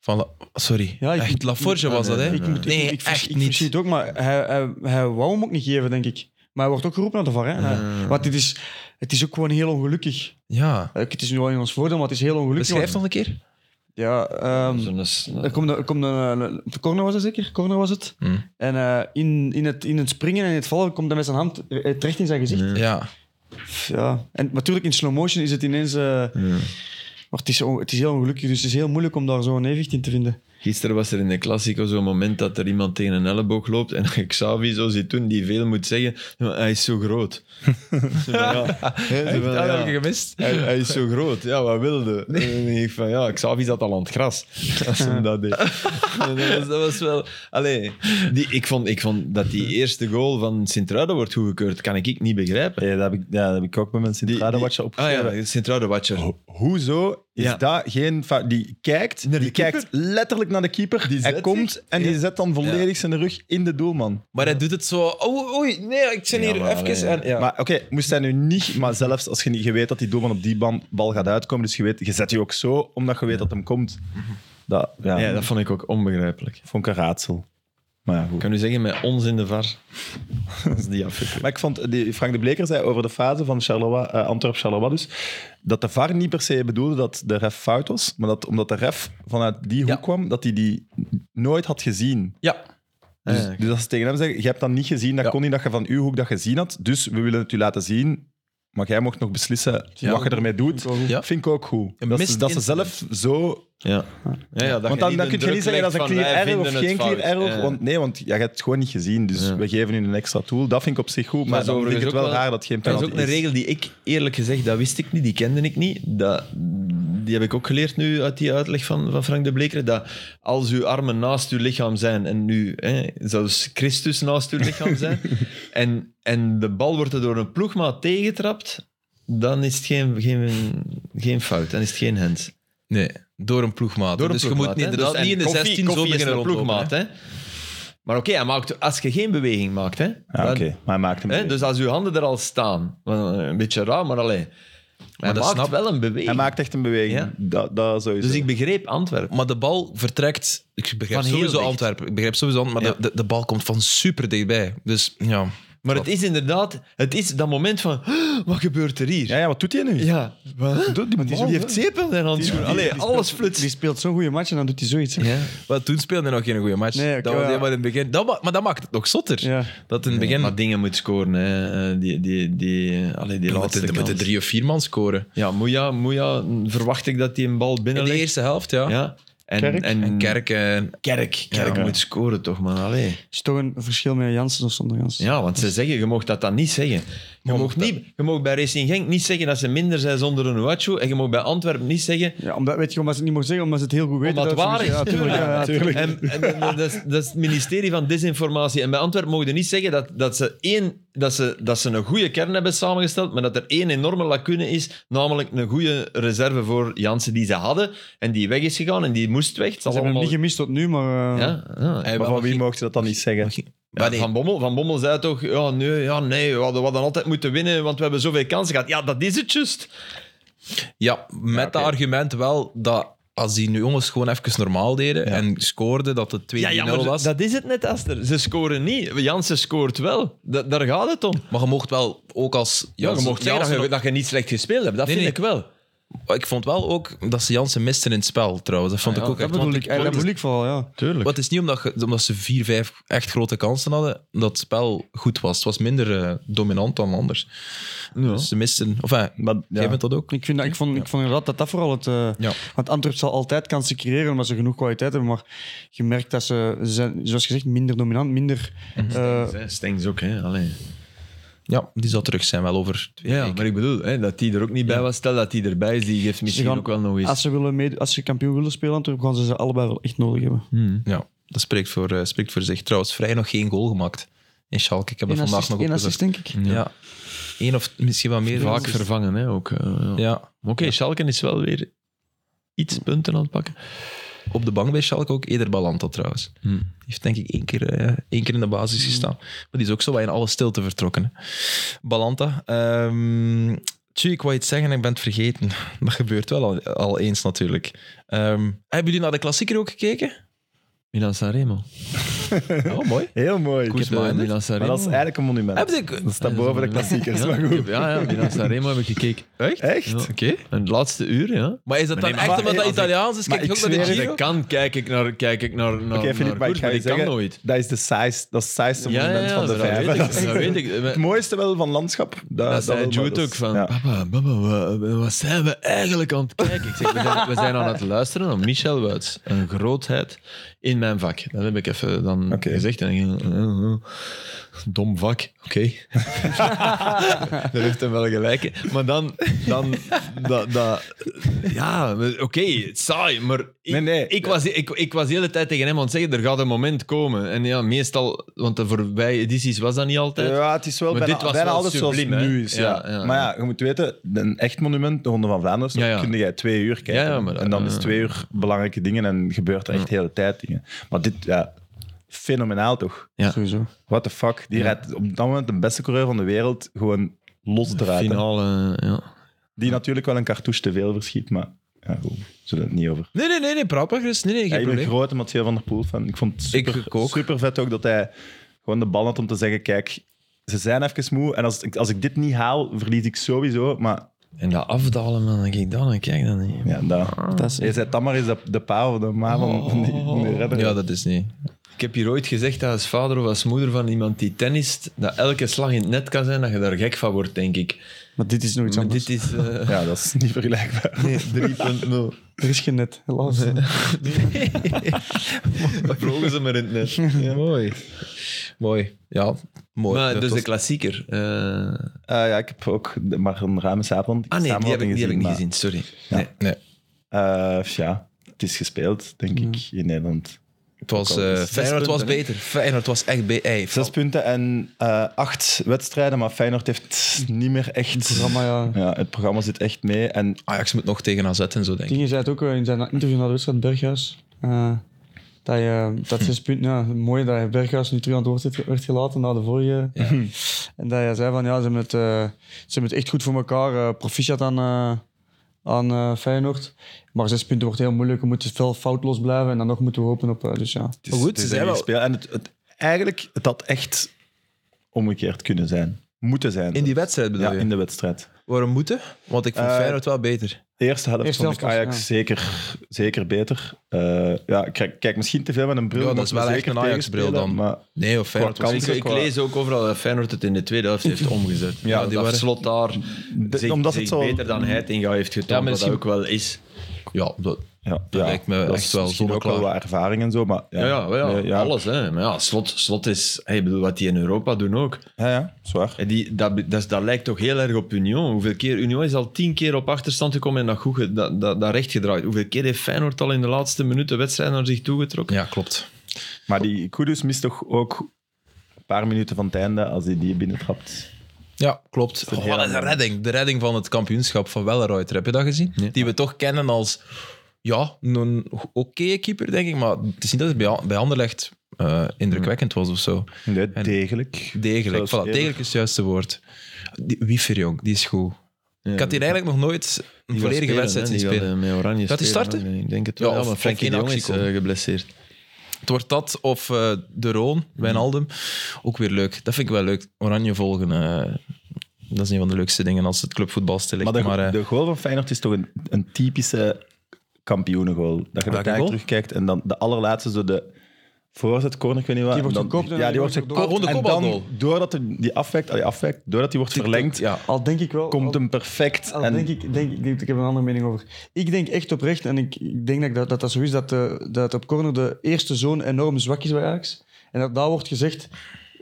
Van La- Sorry.
Ja, ik-
echt, Laforge
Ah,
was
nee,
dat, hè?
nee, nee.
Nee,
ik, ik, vers-
echt
ik
niet.
verschiet ook, maar hij, hij, hij wou hem ook niet geven, denk ik. Maar hij wordt ook geroepen naar de VAR. Hè? En hij- Want het is, het is ook gewoon heel ongelukkig.
Ja.
Eh, Het is nu wel in ons voordeel, maar het is heel ongelukkig.
Beschrijf nog een keer.
Ja, ehm,
Zo'n s-
er komt, er komt een, eh, een- de corner was het zeker? Corner was het.
Hmm.
En eh, in, in, het, in het springen en in het vallen komt hij met zijn hand eh, terecht in zijn gezicht.
Hmm.
Ja.
Ja. En natuurlijk in slow motion is het ineens... eh,
Hmm.
Maar het is, on- het is heel ongelukkig, dus het is heel moeilijk om daar zo'n evenwicht in te vinden.
Gisteren was er in de Classico zo'n moment dat er iemand tegen een elleboog loopt en [laughs] dat je Xavi zo ziet doen, die veel moet zeggen, maar hij is zo groot. Zo van, ja. Hè, zo van,
dat
ja.
heb ik gemist.
Hij, hij is zo groot, ja, wat wilde? En dan denk ik van, ja, Xavi zat al aan het
[laughs]
gras als hem dat deed. En dat,
[laughs]
was, dat was wel... Allee, die, ik, vond, ik vond dat die eerste goal van Sint-Truiden wordt goedgekeurd, kan ik, ik niet begrijpen.
ja, dat, heb ik, ja, dat heb ik ook bij mensen in
Die-
de radenwatcher
die- Ah
opgeschreven.
ja, Sint-Truiden-watcher.
Ho- Hoezo is
Ja.
dat geen fout? Die kijkt,
Naar de
die kijkt letterlijk naar de keeper.
Die
hij
zet
komt
zich.
en die
Ja.
zet dan volledig zijn rug in de doelman.
Maar hij doet het zo. Oh, oei, nee, ik zit
Ja,
hier
maar
even.
alleen-
En, ja.
Maar oké, moest hij nu niet, maar zelfs als je, niet, je weet dat die doelman op die ban- bal gaat uitkomen, dus je, weet, je zet je ook zo omdat je weet dat hem komt. Dat, ja,
Mhm. Ja, dat vond ik ook onbegrijpelijk.
vond ik een raadsel. Maar ja, goed.
Ik kan u zeggen, met ons in de
[laughs]
var is die afgekeurd.
Maar ik vond, die Frank de Bleker zei over de fase van Charleroi, eh, Antwerp-Charleroi dus, dat de VAR niet per se bedoelde dat de ref fout was, maar dat omdat de ref vanuit die hoek
Ja.
kwam, dat hij die nooit had gezien.
ja.
Dus,
Ah, ja.
dus als ze tegen hem zeggen, je hebt dat niet gezien, dat
Ja.
kon niet dat je van uw hoek dat gezien had, dus we willen het u laten zien, maar jij mocht nog beslissen
Ja.
wat je ermee doet.
Ja.
Vind ik ook goed.
Een
dat, ze,
mist
dat ze
incident.
zelf zo...
Ja. Ja, ja, dat
want
je
dan,
niet
dan
de
kun je
druk
niet zeggen dat
legt
is een
van,
clear
wij
error of
vinden het
geen clear
fout.
error.
Ja.
Want, nee, want ja, je hebt het gewoon niet gezien. Dus
Ja.
we geven u een extra tool. Dat vind ik op zich goed. Maar
is
dan vind ik
overigens
het wel,
ook wel-
raar dat het geen
Dat
penalty
is ook een regel die ik, eerlijk gezegd, dat wist ik niet, die kende ik niet. Dat, die heb ik ook geleerd nu uit die uitleg van, van Frank de Bleker. Dat als uw armen naast uw lichaam zijn, en nu hè, zelfs Christus naast uw lichaam [laughs] zijn, en, en de bal wordt er door een ploegmaat tegentrapt, dan is het geen, geen, geen fout, dan is het geen hands.
Nee, door een ploegmaat.
Door een
dus je
ploegmaat,
moet niet,
hè.
inderdaad
Dus-
niet in
en
de
koffie-
16 zo
koffie is
beginnen
een
rondlopen.
ploegmaat, hè. Maar oké, hij maakt, als je geen beweging maakt, hè,
Ah,
dan-
Oké, maar hij maakt hem.
hè, dus als je handen er al staan, wel, eh, een beetje raar, maar alleen. Hij
dat
maakt
snap-
wel een beweging.
Hij maakt echt een beweging.
Ja.
Dat, dat sowieso.
Dus ik begreep Antwerpen.
Maar de bal vertrekt. Ik begrijp
Van heel
sowieso
dicht.
Antwerpen. Ik begrijp sowieso Antwerpen. Maar
Ja.
de, de, de bal komt van super dichtbij. Dus ja.
Maar het is inderdaad, het is dat moment van, "Huh, wat gebeurt er hier?
ja, ja, wat doet hij nu?
Ja, wat?
Doet die,
Die
bal,
heeft
hè?
zeep in zijn handschoen. Allee, alles
Die
flutst.
speelt zo'n goede match en dan doet hij zoiets. hè.
Ja.
[laughs] Maar toen speelde hij nog geen goede match.
Nee, oké,
dat was
ja.
helemaal in het begin. Dat, ma- maar dat maakt het nog zotter.
Ja.
Dat in het begin.
Maar dingen moet scoren, hè. Eh, Die, die, die, eh, allee, die
Ja,
laatste
met, met de
kans.
drie of vier man scoren.
Ja, Moeja, Moeja verwacht ik dat hij een bal
In de
binnenlegt.
eerste helft, ja.
Ja. En,
Kerk?
En,
En Kerk. eh, En,
Kerk, Kerk
Ja.
moet scoren toch, man. Allee.
is toch een verschil met Jansen of zonder Jansen.
Ja, want ze zeggen, je mocht dat dan niet zeggen. Je
Maar
mocht,
mocht
niet, je mocht bij Racing Genk niet zeggen dat ze minder zijn zonder een Wachu. En je mocht bij Antwerpen niet zeggen...
Ja, omdat, weet je, omdat ze het niet mogen zeggen, omdat ze het heel goed weten.
Omdat het
dat ze
waar is.
Ja,
[laughs]
tuurlijk, ja, ja, tuurlijk.
En, en, en dat, is, dat is het ministerie van Desinformatie. En bij Antwerpen mogen niet zeggen dat, dat, ze één, dat, ze, dat ze een goede kern hebben samengesteld, maar dat er één enorme lacune is, namelijk een goede reserve voor Jansen die ze hadden en die weg is gegaan en die moest weg. Het
Ze
zal
hebben hem
allemaal...
niet gemist tot nu, maar... eh,
ja, ja.
Hij
Maar
mag-
van wie mocht je dat dan niet zeggen?
mag-
Ja,
Maar nee,
van, Bommel, van Bommel zei toch, ja, nee, ja, nee we, hadden, we hadden altijd moeten winnen, want we hebben zoveel kansen gehad. Ja, dat is het juist.
ja, met
Ja,
dat
oké.
argument wel dat als die nu jongens gewoon even normaal deden en scoorden, dat het 2-0
Ja, ja, maar
was.
dat is het net, Aster. Ze scoren niet. Jansen scoort wel. Da- daar gaat het om.
Maar je mocht wel, ook als
Ja, je
Jansen-
mocht zeggen dat
Jansen
je, dat je niet slecht gespeeld hebt. Dat
Nee,
vind
nee.
ik wel.
nog- Ik vond wel ook dat ze Jansen misten in het spel, trouwens. Dat vond
Ah,
ik
ja,
ook
dat
echt...
bedoel
want
ik,
ik-
eh, dat
want
bedoel ik vooral, ja.
Tuurlijk.
Maar het is niet omdat, je- omdat ze vier, vijf echt grote kansen hadden dat het spel goed was. Het was minder eh, dominant dan anders. Dus ze misten... Of ja,
Maar, ja.
jij bent dat ook.
Ik, vind dat, ik, vond, ik vond inderdaad dat dat vooral het... eh,
Ja.
Want Antwerpen zal altijd kansen creëren, omdat ze genoeg kwaliteit hebben. Maar je merkt dat ze, ze zijn, zoals gezegd, minder dominant, minder...
Mhm.
eh,
Stengs ook, hè. Allee.
Ja, die zal terug zijn wel over twee
Ja,
weken.
maar ik bedoel, hè, dat die er ook niet bij was. Stel dat die erbij is, die geeft misschien
gaan-
ook wel nog eens. Hmm.
als, ze willen mee, als ze kampioen willen spelen, Antwerpen, gaan ze ze allebei wel echt nodig hebben.
Ja. dat spreekt voor, eh, spreekt voor zich. Trouwens, vrij nog geen goal gemaakt in Schalke. Ik heb dat
Eén
vandaag
assist,
nog
één
opgezocht.
assist, denk ik.
Ja. Eén of misschien wel meer.
Vaak
assist.
vervangen, hè, ook. eh, ja.
Ja,
Maar Oké, Schalke is wel weer iets punten aan het pakken.
op de bank bij Schalke ook. Eder Balanta trouwens.
Hm.
Die heeft denk ik één keer, eh, één keer in de basis gestaan. Maar die is ook zo wat in alle stilte vertrokken. hè. Balanta. ehm tjie, ik wou iets zeggen en ik ben het vergeten. [laughs] Dat gebeurt wel al, al eens natuurlijk. Ehm, hebben jullie naar de klassieker ook gekeken?
Milan [laughs] Sanremo.
Oh, mooi.
Heel mooi.
Goed, eh,
minded.
Milan
Maar
Sanremo.
dat is eigenlijk een monument.
Heb ik...
Dat staat
Ja,
boven de
dat is een
klassiekers, maar
Ik heb-
goed.
Ja, ja, Milan Sanremo heb ik gekeken.
Echt?
Echt?
Ja.
Oké.
En het laatste uur, ja.
Maar is dat dan
Maar
echt
maar-
omdat dat
als ik-
Italiaans is?
maar
Kijk je
ik
ook naar de
zweer
Giro?
kan, kijk ik naar... Kijk ik naar, naar,
Oké, Filip, maar ik ga je zeggen, dat is de saaist, dat is het saaiste
Ja, ja,
monument
ja,
van de
dat
vijf.
weet ik. Dat weet ik.
[laughs] Het mooiste wel van landschap. Dat,
Dat zei
wel, maar
Jude
Ah, dat
ook
is-
van,
ja.
papa, papa, wat, wat zijn we eigenlijk aan het kijken? Ik zeg, we zijn, we zijn aan het luisteren naar Michel Wuits. Een grootheid in mijn vak. Dat heb ik even dan
Oké.
gezegd. En ik, denk, eh, eh, dom vak, oké. [laughs] Daar heeft hem wel gelijk in. Maar dan, dan dat, dat, ja, oké, het is saai, maar ik,
Nee, nee.
ik, was, ik, ik was de hele tijd tegen hem aan het zeggen, er gaat een moment komen. En ja, meestal, want de voorbije edities was dat niet altijd.
Ja, het is wel
Maar
bijna,
dit was
bijna
wel
alles
subliem,
zoals
hè?
het nu is. Ja.
Ja, ja,
maar
ja.
ja, je moet weten, een echt monument, de Ronde van Vlaanderen, zo
Ja, ja.
kun jij twee uur kijken.
Ja, ja, maar eh, dat-
en dan is
ja.
twee uur belangrijke dingen en gebeurt er echt de hele tijd dingen. Maar dit, ja, fenomenaal toch?
Ja.
Sowieso.
What the fuck? Die rijdt op dat moment de beste coureur van de wereld gewoon los eruit. hè.
Finale, ja.
Die natuurlijk wel een cartouche te veel verschiet, maar ja, goed, we zullen het niet over
Nee, nee, nee, nee, prapper. Dus nee, nee, geen
Ja, ik ben een
probleem.
grote Mathieu van der Poel fan. Ik vond het super,
Ik ook.
super vet ook dat hij gewoon de bal had om te zeggen: kijk, ze zijn even moe. En als, ik- als ik dit niet haal, verlies ik sowieso. Maar
En dat afdalen, man, dan kijk dan en kijk dan niet.
ja, dat,
Dat is
je zei dan maar eens de, de pa of de ma van, van die,
Oh.
van die redder.
Ja, dat is niet.
Ik heb hier ooit gezegd dat als vader of als moeder van iemand die tennist, dat elke slag in het net kan zijn, dat je daar gek van wordt, denk ik.
Maar dit is nog iets
Maar
anders.
dit is eh, [laughs]
Ja, dat is niet vergelijkbaar.
3.0.
Er is geen net, helaas.
[laughs]
Dat vroegen ze maar in het net.
Mooi. Mooi. Ja, mooi.
Maar
Dat
dus
was-
de klassieker. eh,
Eh, ja, ik heb ook de- maar een ruime avond.
ah nee, die heb, ik, die heb ik niet gezien, sorry. Nee.
Nee,
eh, ja, het is gespeeld, denk ik, in Nederland.
het was,
Ook al
eh,
zes
Feyenoord was
punten, hè?
beter. Feyenoord was echt beter. Hey,
Zes punten en eh, acht wedstrijden, maar Feyenoord heeft niet meer echt...
Programma, ja.
Ja, het programma zit echt mee. En
Ajax moet nog tegen AZ en zo, denk ik.
Dingen zei het ook eh, in zijn interview na de wedstrijd Berghuis. eh, dat, je, eh, dat
[laughs]
zes punten, ja, mooi dat je Berghuis nu terug aan het woord werd- werd gelaten na de vorige. [laughs] En dat je zei van ja, ze hebben het, eh, ze hebben het echt goed voor elkaar. eh, proficiat aan, eh, aan eh, Feyenoord. Maar zes punten wordt heel moeilijk. We moeten veel foutloos blijven en dan nog moeten we hopen op. eh, dus ja,
Het
Maar goed,
het
ze zijn
een
wel-
gespeeld. En het, het- eigenlijk, het had echt omgekeerd kunnen zijn. Moeten zijn.
In die wedstrijd bedoel
ja,
je?
in de wedstrijd.
Waarom moeten? Want ik vond
Eh,
Feyenoord wel beter.
De eerste helft
Eerste
vond ik
helft was-
Ajax
ja.
zeker, zeker beter. Eh, ja, ik kijk, kijk misschien te veel met een bril.
Ja, dat
omdat
is
we
wel echt
zeker
een Ajax-bril
tegenspelen,
dan.
Maar
Nee, of Feyenoord
Qua
was
Ik,
kansen
zeker...
ik
qua-
lees ook overal dat Feyenoord het in de tweede helft heeft omgezet. Ja,
die
dat
waren-
slot daar zich,
omdat
zich
het zo-
beter dan hij het ingaan heeft getoond,
maar
wat
misschien-
dat ook wel is.
Ja, dat,
ja,
Dat
ja,
lijkt me
dat
echt
is
wel
misschien ook wel
zonneklaar.
wat ervaring en zo. Maar ja,
Ja, ja, ja,
Nee, ja.
alles. Hè. Maar ja, slot, slot is... hey, Ik bedoel, wat die in Europa doen ook.
Ja, ja, zwaar.
En Die, dat, be- dat, is- dat lijkt toch heel erg op Union. Hoeveel keer, Union is al tien keer op achterstand gekomen en dat, goed, ge- dat, dat, dat recht gedraaid. Hoeveel keer heeft Feyenoord al in de laatste minuut de wedstrijd naar zich toegetrokken?
ja, klopt.
Maar die Kudus mist toch ook een paar minuten van het einde als hij die binnentrapt.
Ja, klopt. Oh, wat een redding. De redding van het kampioenschap van Welleruiter. Heb je dat gezien?
Nee.
Die we toch kennen als... Ja, een oké keeper, denk ik. Maar het is niet dat het bij, bij Anderlecht eh, indrukwekkend was of zo.
Nee,
En-
degelijk.
Degelijk.
Zelfs
Voilà,
eerder.
degelijk is het juiste woord. Die, Wiefer, jong. Die is goed. ik had hier eigenlijk nog nooit een
Die gaat
volledige
spelen,
wedstrijd
hè.
zien
Die
spelen.
gaat, eh, met Oranje
Gaat hij
spelen,
starten?
hè. Ik denk het
Ja,
wel. Ja,
of-
maar
of
Frenkie
in
de Jong
actie
is
komen.
eh, geblesseerd.
Het wordt dat of eh, De Roon, Wijnaldum. Ook weer leuk. Dat vind ik wel leuk. Oranje volgen. eh, dat is een van de leukste dingen als het clubvoetbal stil ligt.
Maar de,
Maar, eh,
de goal van Feyenoord is toch een, een typische kampioenengoal. Dat je
Welke
daar
goal?
terugkijkt en dan de allerlaatste, zo de voorzet corner, ik weet niet wat.
Die wordt
en dan-
gekopt en
Ja,
dan Oh,
die wordt
wordt
gekopt.
door- door-
Oh, en
door-
dan,
kopbalgoal.
doordat hem die afwijkt, allee, afwijkt, doordat die wordt verlengd,
Ja,
al denk ik wel.
komt
al-
hem perfect.
Al
en
Ah, denk ik, denk, ik, ik heb een andere mening over. Ik denk echt oprecht, en ik, ik denk dat dat, dat, dat zo is, dat, de, dat op corner de eerste zoon enorm zwak is bij Ajax. En dat daar wordt gezegd,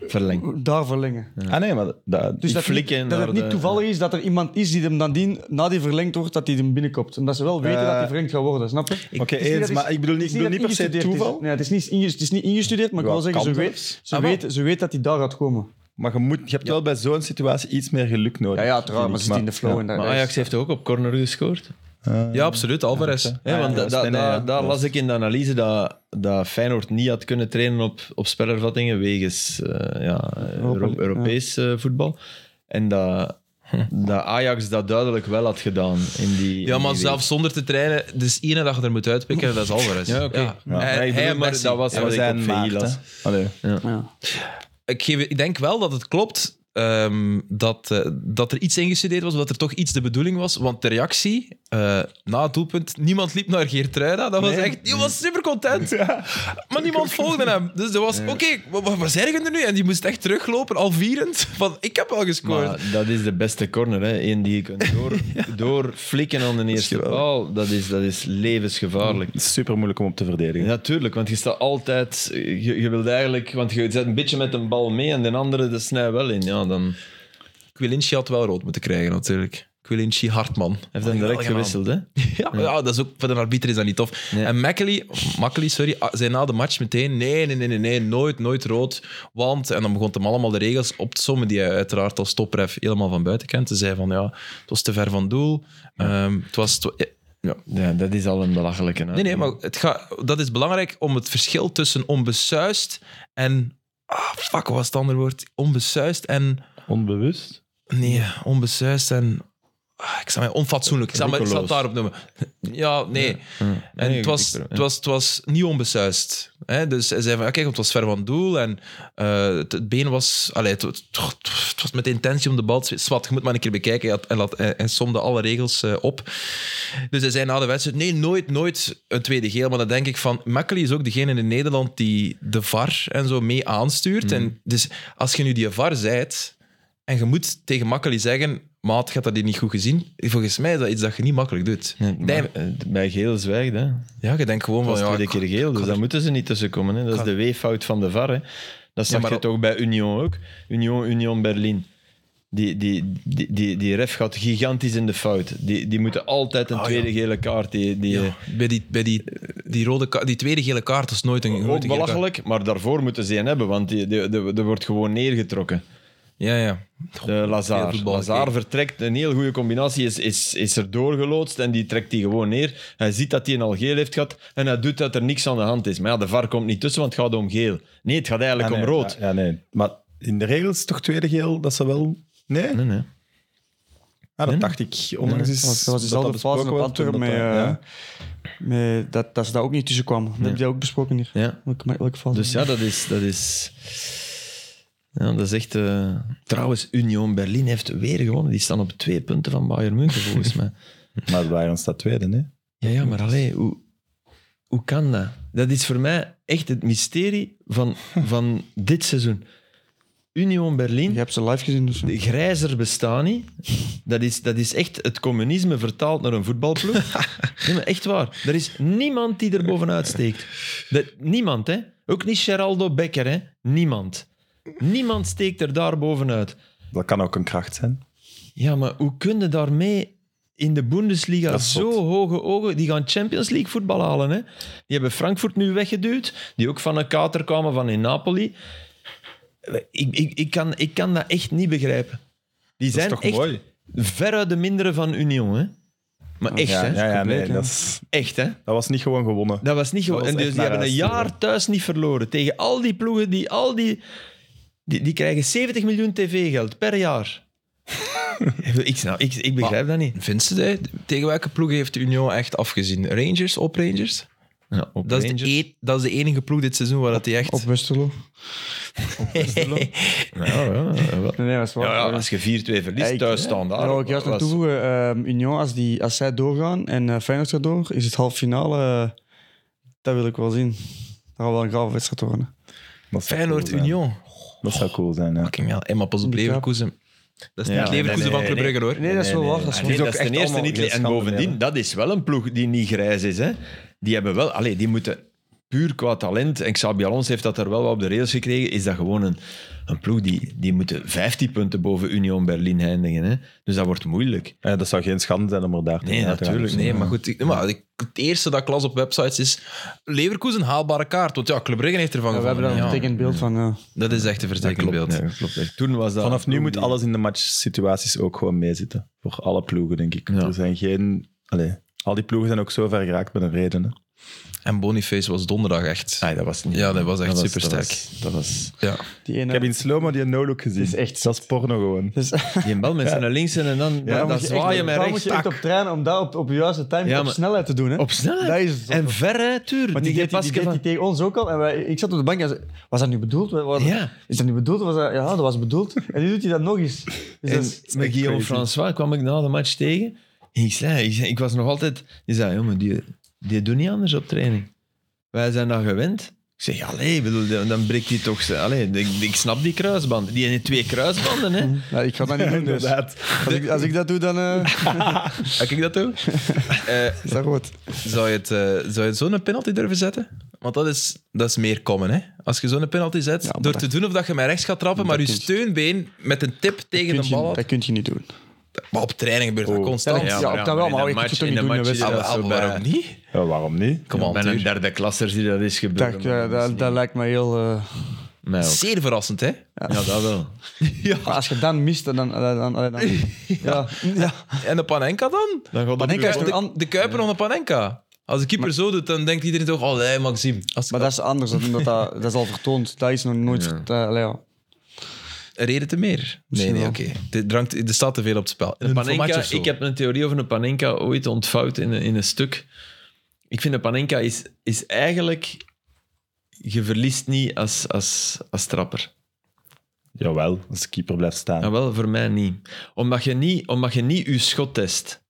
verlengt.
daar verlengen.
Ah nee, maar dat,
Dus dat,
flikken
niet, dat
naar
het niet
de-
toevallig is dat er iemand is die hem dan dien, na die verlengd wordt, dat die hem binnenkopt. Omdat ze wel weten dat die
Eh,
verlengd gaat worden, snap je?
Oké,
Het is niet
eens,
dat
maar
is-
ik bedoel niet,
het
ik
is
bedoel
dat
niet per se
ingestudeerd is.
toeval.
Nee, het is niet, inge- het is niet ingestudeerd, maar ik
Ja,
wil zeggen, ze,
kan dus.
weet,
zelfs.
ze,
Ah, wel.
weten, ze weet dat hij daar gaat komen.
Maar je, moet, je hebt wel bij zo'n situatie iets meer geluk nodig.
Ja, ja, trouwens, maar
vind
ze
ik.
zit in de flow. en dat,
Maar
dat is-
Ajax heeft ook op corner gescoord.
Eh,
Ja, absoluut. Alvarez.
Hè, want
ja,
da-
dat
da-
is Penne,
da-
ja.
daar las ik in de analyse dat, dat Feyenoord niet had kunnen trainen op, op spelervattingen wegens eh, ja, Euro-
ja.
Europees eh, voetbal. En dat, dat Ajax dat duidelijk wel had gedaan. In die, in
ja, maar
die
zelfs zonder te trainen, dus één dag er moet uitpikken, dat is Alvarez.
Ja, oké. Ja.
Hij,
Maar ik
hij
bedoel,
en
maar
Messi.
dat was
Ja,
wat
we
ik op
zijn
VI
maart,
las.
hè. Allee.
ja.
ik, geef, ik denk wel dat het klopt ehm, dat, eh, dat er iets ingestudeerd was, dat er toch iets de bedoeling was. Want de reactie eh, na het doelpunt, niemand liep naar Geertruida. Dat was echt, die was super content. Maar niemand volgde hem. Dus dat was, oké, wat wat wat zeggen er nu? En die moest echt teruglopen, al vierend. Van, ik heb al gescoord.
Maar dat is de beste corner, hè? Eén die je kunt door, door flikken aan de eerste
geweldig.
paal. Dat is, dat is levensgevaarlijk.
Het is super moeilijk om op te verdedigen.
Natuurlijk, want je staat altijd. Je, je wilt eigenlijk. Want je zet een beetje met een bal mee en de andere de snij wel in. Ja, dan
Quilinci had wel rood moeten krijgen, natuurlijk. Quilinci Hartman.
heeft
Oh,
hij direct gewisseld, hè?
[laughs] Ja, maar ja, dat is ook, voor de arbiter is dat niet tof.
Nee.
En Makkely, of Makkely, sorry, ah, zei na de match meteen: nee, nee, nee, nee, nee, nooit, nooit rood. Want, en dan begon hem allemaal de regels op te sommen, die hij uiteraard als topref helemaal van buiten kent. Hij zei van ja, het was te ver van doel. Ehm, het was. het wa- ja, ja.
Ja, dat is al een belachelijke. hè.
Nee, nee, maar het ga, dat is belangrijk om het verschil tussen onbesuist en. Ah, fuck, wat was het andere woord? Onbesuist en.
Onbewust?
Nee, onbesuist en. ah, Ik zou mij onfatsoenlijk. Ik zou mij- ik zal het
Roekeloos.
daarop noemen. Ja, nee.
Ja.
En
Nee,
het,
ik-
was,
ik-
het, was, het was niet onbesuist. Hè? Dus hij zei van, ja, kijk, het was ver van doel. En eh, het, het been was... Allee, het, het- het was met de intentie om de bal te... Swat, je moet maar een keer bekijken. Hij had- Hij, laat, hij, hij somde alle regels eh, op. Dus hij zei na de wedstrijd, nee, nooit, nooit een tweede geel. Maar dan denk ik van, Makkely is ook degene in Nederland die de VAR en zo mee aanstuurt.
Hmm.
En dus als je nu die VAR zijt en je moet tegen Makkely zeggen... Maat, gaat dat hier niet goed gezien? Volgens mij is dat iets dat je niet makkelijk doet.
Nee, maar,
Nee.
eh, bij geel zwijgt, hè?
Ja, je denkt gewoon
Dat was
van... Oh Ja,
tweede
ik-
keer geel, dus daar moeten ze niet tussenkomen. Hè? Dat is de weeffout van de VAR. Hè? Dat zag
maar
je
dat-
toch bij Union ook. Union, Union Berlin. Die, die, die, die, die ref gaat gigantisch in de fout. Die, die moeten altijd een tweede gele kaart. Die, die,
Ah, Ja, bij die, bij die, die, rode ka- die tweede gele kaart is nooit een nooit een
Ook
gele kaart.
belachelijk, maar daarvoor moeten ze een hebben, want die- die- die- er wordt gewoon neergetrokken.
Ja, ja.
De Lazar.
voetbal
Lazar
gekeken.
vertrekt, een heel goede combinatie is, is, is er doorgeloodst en die trekt die gewoon neer. Hij ziet dat hij een al geel heeft gehad en hij doet dat er niks aan de hand is. Maar ja, de VAR komt niet tussen, want het gaat om geel. Nee, het gaat eigenlijk
Ah,
om
nee,
rood.
Ja, ja, nee. Maar in de regels is het toch tweede geel dat ze wel... Nee?
Nee, nee.
Ah, dat dacht ik. Ondanks is
Dat was- dat was
dat
dezelfde
dat
fase
besproken
op
werd toen
Antwerpen met,
dat-
eh,
ja.
met dat, dat ze daar ook niet tussen kwamen. Dat heb je ook besproken hier.
Ja.
Welke, welke fase?
Dus ja, dat is... Dat is ja, dat is echt... eh, Trouwens, Union Berlin heeft weer gewonnen. Die staan op twee punten van Bayern München, volgens mij.
Maar Bayern staat tweede, nee?
Ja, ja maar allee, hoe, hoe kan dat? Dat is voor mij echt het mysterie van, van dit seizoen. Union Berlin,
Je hebt ze live gezien, dus...
de grijzer bestaan niet. Dat is, dat is echt het communisme vertaald naar een voetbalploeg. Nee, maar echt waar. Er is niemand die er bovenuit steekt. Dat, niemand, hè. Ook niet Geraldo Becker, hè. Niemand. Niemand steekt er daar bovenuit.
Dat kan ook een kracht zijn.
Ja, maar hoe kun je daarmee in de Bundesliga
Dat is
zo
zot.
hoge ogen... Die gaan Champions League voetbal halen, hè. Die hebben Frankfurt nu weggeduwd, die ook van een kater kwamen van in Napoli. Ik, ik, ik, kan, ik kan dat echt niet begrijpen. Die
Dat is
zijn
toch
echt
mooi?
veruit de mindere van Union, hè. Maar echt,
ja,
hè.
ja, ja, nee,
compleet,
dat, is-
Echt, hè.
dat was niet gewoon gewonnen.
Dat was niet gewoon...
was
en dus
echt
die
naar
hebben een
huis,
jaar
ja.
thuis niet verloren. Tegen al die ploegen die al die... Die, die krijgen 70 miljoen tv-geld per
[laughs]
jaar. ik, snap, ik, ik begrijp dat niet.
Vindt ze dat? Tegen welke ploeg heeft de Union echt afgezien? Rangers, op Rangers?
Ja, op
Dat, Is
Rangers.
de e- dat is de enige ploeg dit seizoen waar dat die echt...
Op Westerlo.
Ja, ja, ja, wel.
Nee, nee, dat is waar.
Ja, ja, als je 4-2 verliest,
Ik-
thuis staan daar.
Daar wil ik juist aan toevoegen. ehm, Union, als, die, als zij doorgaan en eh, Feyenoord gaat door, is het halve finale. eh, dat wil ik wel zien. Dat gaat wel een gave wedstrijd worden.
Dat zou
Feyenoord,
cool zijn.
Union.
Dat zou cool zijn, ja.
Fucking hell. En maar pas op
Die
Leverkusen. Dat is
Ja,
niet het Leverkusen
nee, nee,
van Club
nee.
Brugge, hoor.
Nee, dat is wel waar. Dat is
Ah,
wel
nee,
is ook
dat is ten
echt
eerste
allemaal
niet.
geen
En
schande,
bovendien,
ja.
dat is wel een ploeg die niet grijs is. Hè. Die hebben wel, allee, die moeten puur qua talent, en Xabi Alonso heeft dat daar wel wat op de rails gekregen, is dat gewoon een, een ploeg die, die moeten 15 punten boven Union Berlin eindigen. Hè? Dus dat wordt moeilijk.
Eh, dat zou geen schande zijn om er daar te
Nee,
uit te gaan.
natuurlijk.
Nee, maar goed. ik- maar ik- het eerste dat ik las op websites is Leverkusen haalbare kaart. Want ja, Club Brugge heeft ervan
we
gevonden.
hebben daar een
ja.
tekend beeld van. Ja.
Dat is echt een vertekend beeld.
Ja, klopt. echt. Toen was dat...
Vanaf nu
toen
moet
die-
alles in de matchsituaties ook gewoon meezitten. Voor alle ploegen, denk ik.
Ja.
Er zijn geen... Allee, al die ploegen zijn ook zo ver geraakt met een reden. Hè.
En Boniface was donderdag echt.
Ah, dat was niet...
Ja, dat was echt
dat
supersterk.
was- dat was...
Ja.
Die ene,
Ik heb in slow-mo die no-look gezien.
is echt
dat is porno gewoon.
dus,
Die
[laughs]
bal met zijn links en dan,
Ja,
dan,
moet
dan
je
zwaai je met
daar moet
rechts.
je echt op
tak.
trainen om dat op, op de juiste timing,
Ja,
op
maar-
snelheid te doen. Hè.
Op
Dat
snelheid.
is het.
en ver, hè, tuur. Die
Want die, deed, die, die,
Pascal
deed
van-
die tegen ons ook al. En wij, ik zat op de bank en zei, was dat nu bedoeld? Wa- wa-
Ja.
Is dat nu bedoeld? Was dat, ja, dat was bedoeld. En nu doet hij dat nog eens. Dus dat
En
is-
met Guillaume
crazy.
François kwam ik na de match tegen. En ik zei, ik, zei- ik was nog altijd... Die zei, jongen, die, die doen niet anders op training. Wij zijn dat gewend. Ik zeg, allee, bedoel, dan- dan breekt hij toch... zijn- Allee, ik, ik snap die kruisbanden. Die heeft twee kruisbanden, [laughs] hè.
Ja, ik ga dat niet doen. dus. Als, ik, als ik dat doe,
[laughs]
dan eh,
Kan ik dat doen? Eh,
is dat goed.
zou, je het, eh, zou je het zo'n penalty durven zetten? Want dat is, dat is meer common, hè? Als je zo'n penalty zet,
Ja, maar
door
dat-
te doen of dat je met rechts gaat trappen, maar je
kun je-
steunbeen met een tip tegen de
Kun je-
bal.
dat kun je niet doen.
Maar op training gebeurt dat constant.
Ja,
Ja,
op dat wel,
in
maar
de
ik
match-
moet het
in
toch
de
niet doen,
match
hè,
is
maar-
dat
ah,
zo
maar
bij-
waarom niet?
Ja, waarom niet?
Kom
Bij een derde klasser zie je dat is gebeurd.
Dat, eh, dat, dat lijkt me
[laughs]
heel... eh,
Mij ook.
Zeer verrassend, hè?
Ja, dat wel.
maar als je dan mist, dan... dan, dan, dan, dan- ja. ja.
En de Panenka dan?
Dan gaat
Panenka is
de,
toch an-
de Kuiper of de Panenka? Als de keeper zo doet, dan denkt iedereen toch, allee, Maxime. Als
Maar dat is anders, omdat dat, dat is al vertoond. Dat is nog nooit...
Ja.
vertoond. Allee, ja.
Een oh, reden te meer. Nee,
Misschien
nee,
wel.
oké. Er hangt- Er staat te veel op het spel.
Een
formatje
panenka,
of zo.
ik heb een theorie over een panenka ooit ontvouwd in een, in een stuk. Ik vind een panenka is, is eigenlijk... Je verliest niet als, als, als trapper.
Jawel, als de keeper blijft staan.
Ah, wel, voor mij niet. Omdat je niet, omdat je, niet je schot test.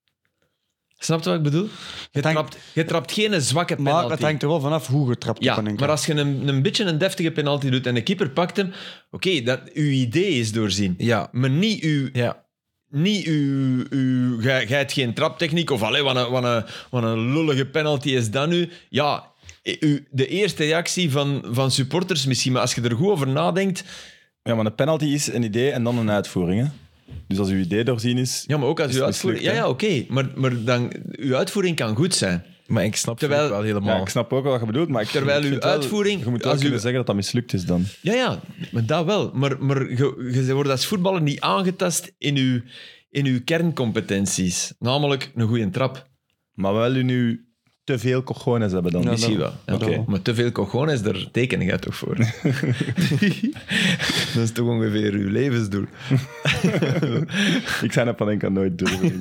Snap je wat ik bedoel? Je,
hangt-
trapt, je trapt geen zwakke penalty.
Maar het hangt er wel vanaf hoe getrapt
ja,
kan ik.
maar als je een, een beetje een deftige penalty doet en de keeper pakt hem, oké, dat uw idee is doorzien.
Ja,
Maar niet uw
ja.
niet uw, uw gij, gij hebt geen traptechniek of allee, wat een, wat, een, wat een lullige penalty is dat nu. Ja, uw, de eerste reactie van, van supporters misschien, maar als je er goed over nadenkt,
Ja, maar een penalty is een idee en dan een uitvoering. Hè? Dus als uw idee doorzien is...
ja, maar ook als
Is
uw
het
uitvoering, ja,
mislukt,
ja, oké, maar, maar dan, uw uitvoering kan goed zijn.
Maar ik snap
Terwijl-
het wel
Ja,
helemaal.
ik snap ook wat je bedoelt, maar ik,
Terwijl
ik
uw
vind wel-
uitvoering-
Je moet wel
als uw-
kunnen zeggen dat dat mislukt is dan.
Ja, ja, maar dat wel. Maar, maar je, je wordt als voetballer niet aangetast in uw, in uw kerncompetenties, namelijk een goede trap.
Maar wel nu te veel cojones hebben dan.
Ja,
Misschien-
Misschien wel. Ja,
Oké.
oké. Maar te veel cojones, daar teken jij toch voor? [laughs] dat is toch ongeveer uw levensdoel.
[laughs] Ik zou dat van enkel nooit durven.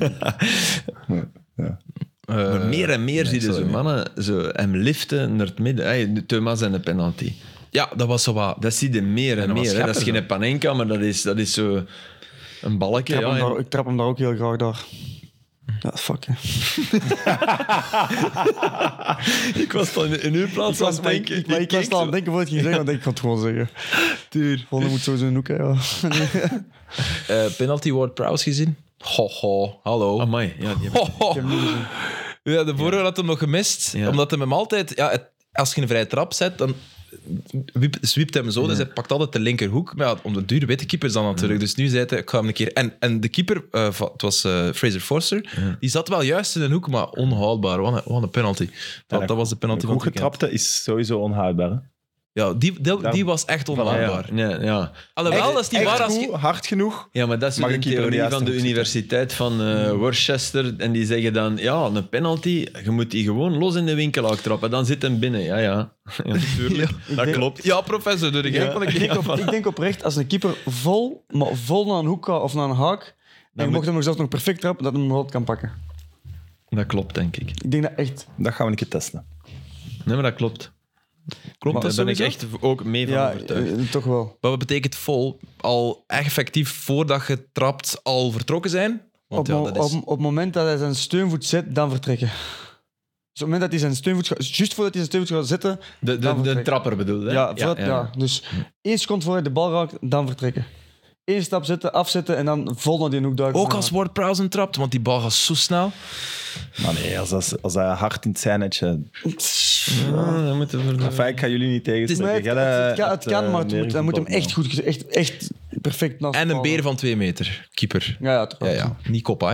Ja, ja.
Eh,
Maar meer en meer zie je
sorry.
zo mannen zo hem liften naar het midden. Hey, de Thomas en de penalty.
Ja, dat was zo wat.
Dat zie je meer en,
dat was
meer. hè. Dat is
schepper,
geen panenka, maar dat is, dat is zo een balkje.
Ik trap,
Ja,
hem daar,
en-
ik trap hem daar ook heel graag daar. Ja, fuck. [laughs] Hè.
[laughs] ik was dan in, in uw plaats aan het
maar
denken.
ik, maar ik
keek
was al aan
zo.
het denken voordat ik ging zeggen, want ik kan het gewoon zeggen. Tuur. Volgende moet sowieso een hoek, hè, ja.
Eh, penalty Ward Prowse gezien? Ho, ho, hallo.
Amai, ja, die heb-
Ho, ho. Ja, de vorige had hem nog gemist.
Ja.
Omdat hij hem altijd... Ja, het- als je een vrije trap zet, dan wiep- zwiept hij hem zo. Dus hij pakt altijd de linkerhoek. Maar ja, om de duur weet de keeper dan natuurlijk. Dus nu zei hij, ik ga hem een keer... En, en de keeper, eh, va- het was eh, Fraser Forster, die zat wel juist in een hoek, maar onhoudbaar. Wat een, wat een penalty. Dat,
een
dat was de
Een
penalty van
goed
het weekend.
getrapte is sowieso onhoudbaar. hè.
Ja, die, die, die
Daarom-
was echt
ja,
onhoudbaar.
ja, ja.
Alhoewel, dat is niet
Echt
waar als
goed,
je...
hard genoeg.
Ja, maar dat is
Mag
een
ik keeper in de
theorie
juiste
van de
hoek zitten?
universiteit van eh, Worcester. En die zeggen dan, ja, een penalty, je moet die gewoon los in de winkel trappen. Dan zit hem binnen. Ja, ja. [laughs] ja natuurlijk. dat
denk-
klopt.
Ja, professor, doe ik
Ik denk- ik, [laughs] denk op- ik denk oprecht, als een keeper vol, maar vol naar een hoek gaat of naar een haak, en je mocht hem nog zelfs nog perfect trappen, dat hij hem rood kan pakken.
Dat klopt, denk ik.
Ik denk dat echt...
Dat gaan we een keer testen.
Nee, maar dat klopt.
Klopt
Daar
dat
ben ik
sowieso?
echt ook mee van
ja,
overtuigd.
eh, toch wel.
Maar wat betekent vol? Al effectief voordat je trapt al vertrokken zijn?
Op,
Want ja,
mo-
dat is...
op, op het moment dat hij zijn steunvoet zet, dan vertrekken. Dus op het moment dat hij zijn steunvoet gaat... Juist voordat hij zijn steunvoet gaat zetten...
De, de,
dan
de
vertrekken.
trapper bedoel je?
Ja, voordat- ja. dus één seconde voordat hij de bal raakt, dan vertrekken. Eén stap zetten, afzetten en dan vol naar die hoek duiken.
Ook als Ward Prowse een trapt, want die bal gaat zo snel.
Maar nee, als, als, als hij hard in het scènetje...
Ah, dan moeten we...
Enfin, ik ga jullie niet
Nee,
tegenspreken.
het,
Jij,
het-
eh,
het kan, het
hebt,
kan,
eh,
maar het moet, hij moet hem
neergevoetbald,
echt goed, echt, echt perfect naast
En een
ballen.
beer van twee meter, keeper.
Ja, ja, toch
Ja, ja. Niet Koppa,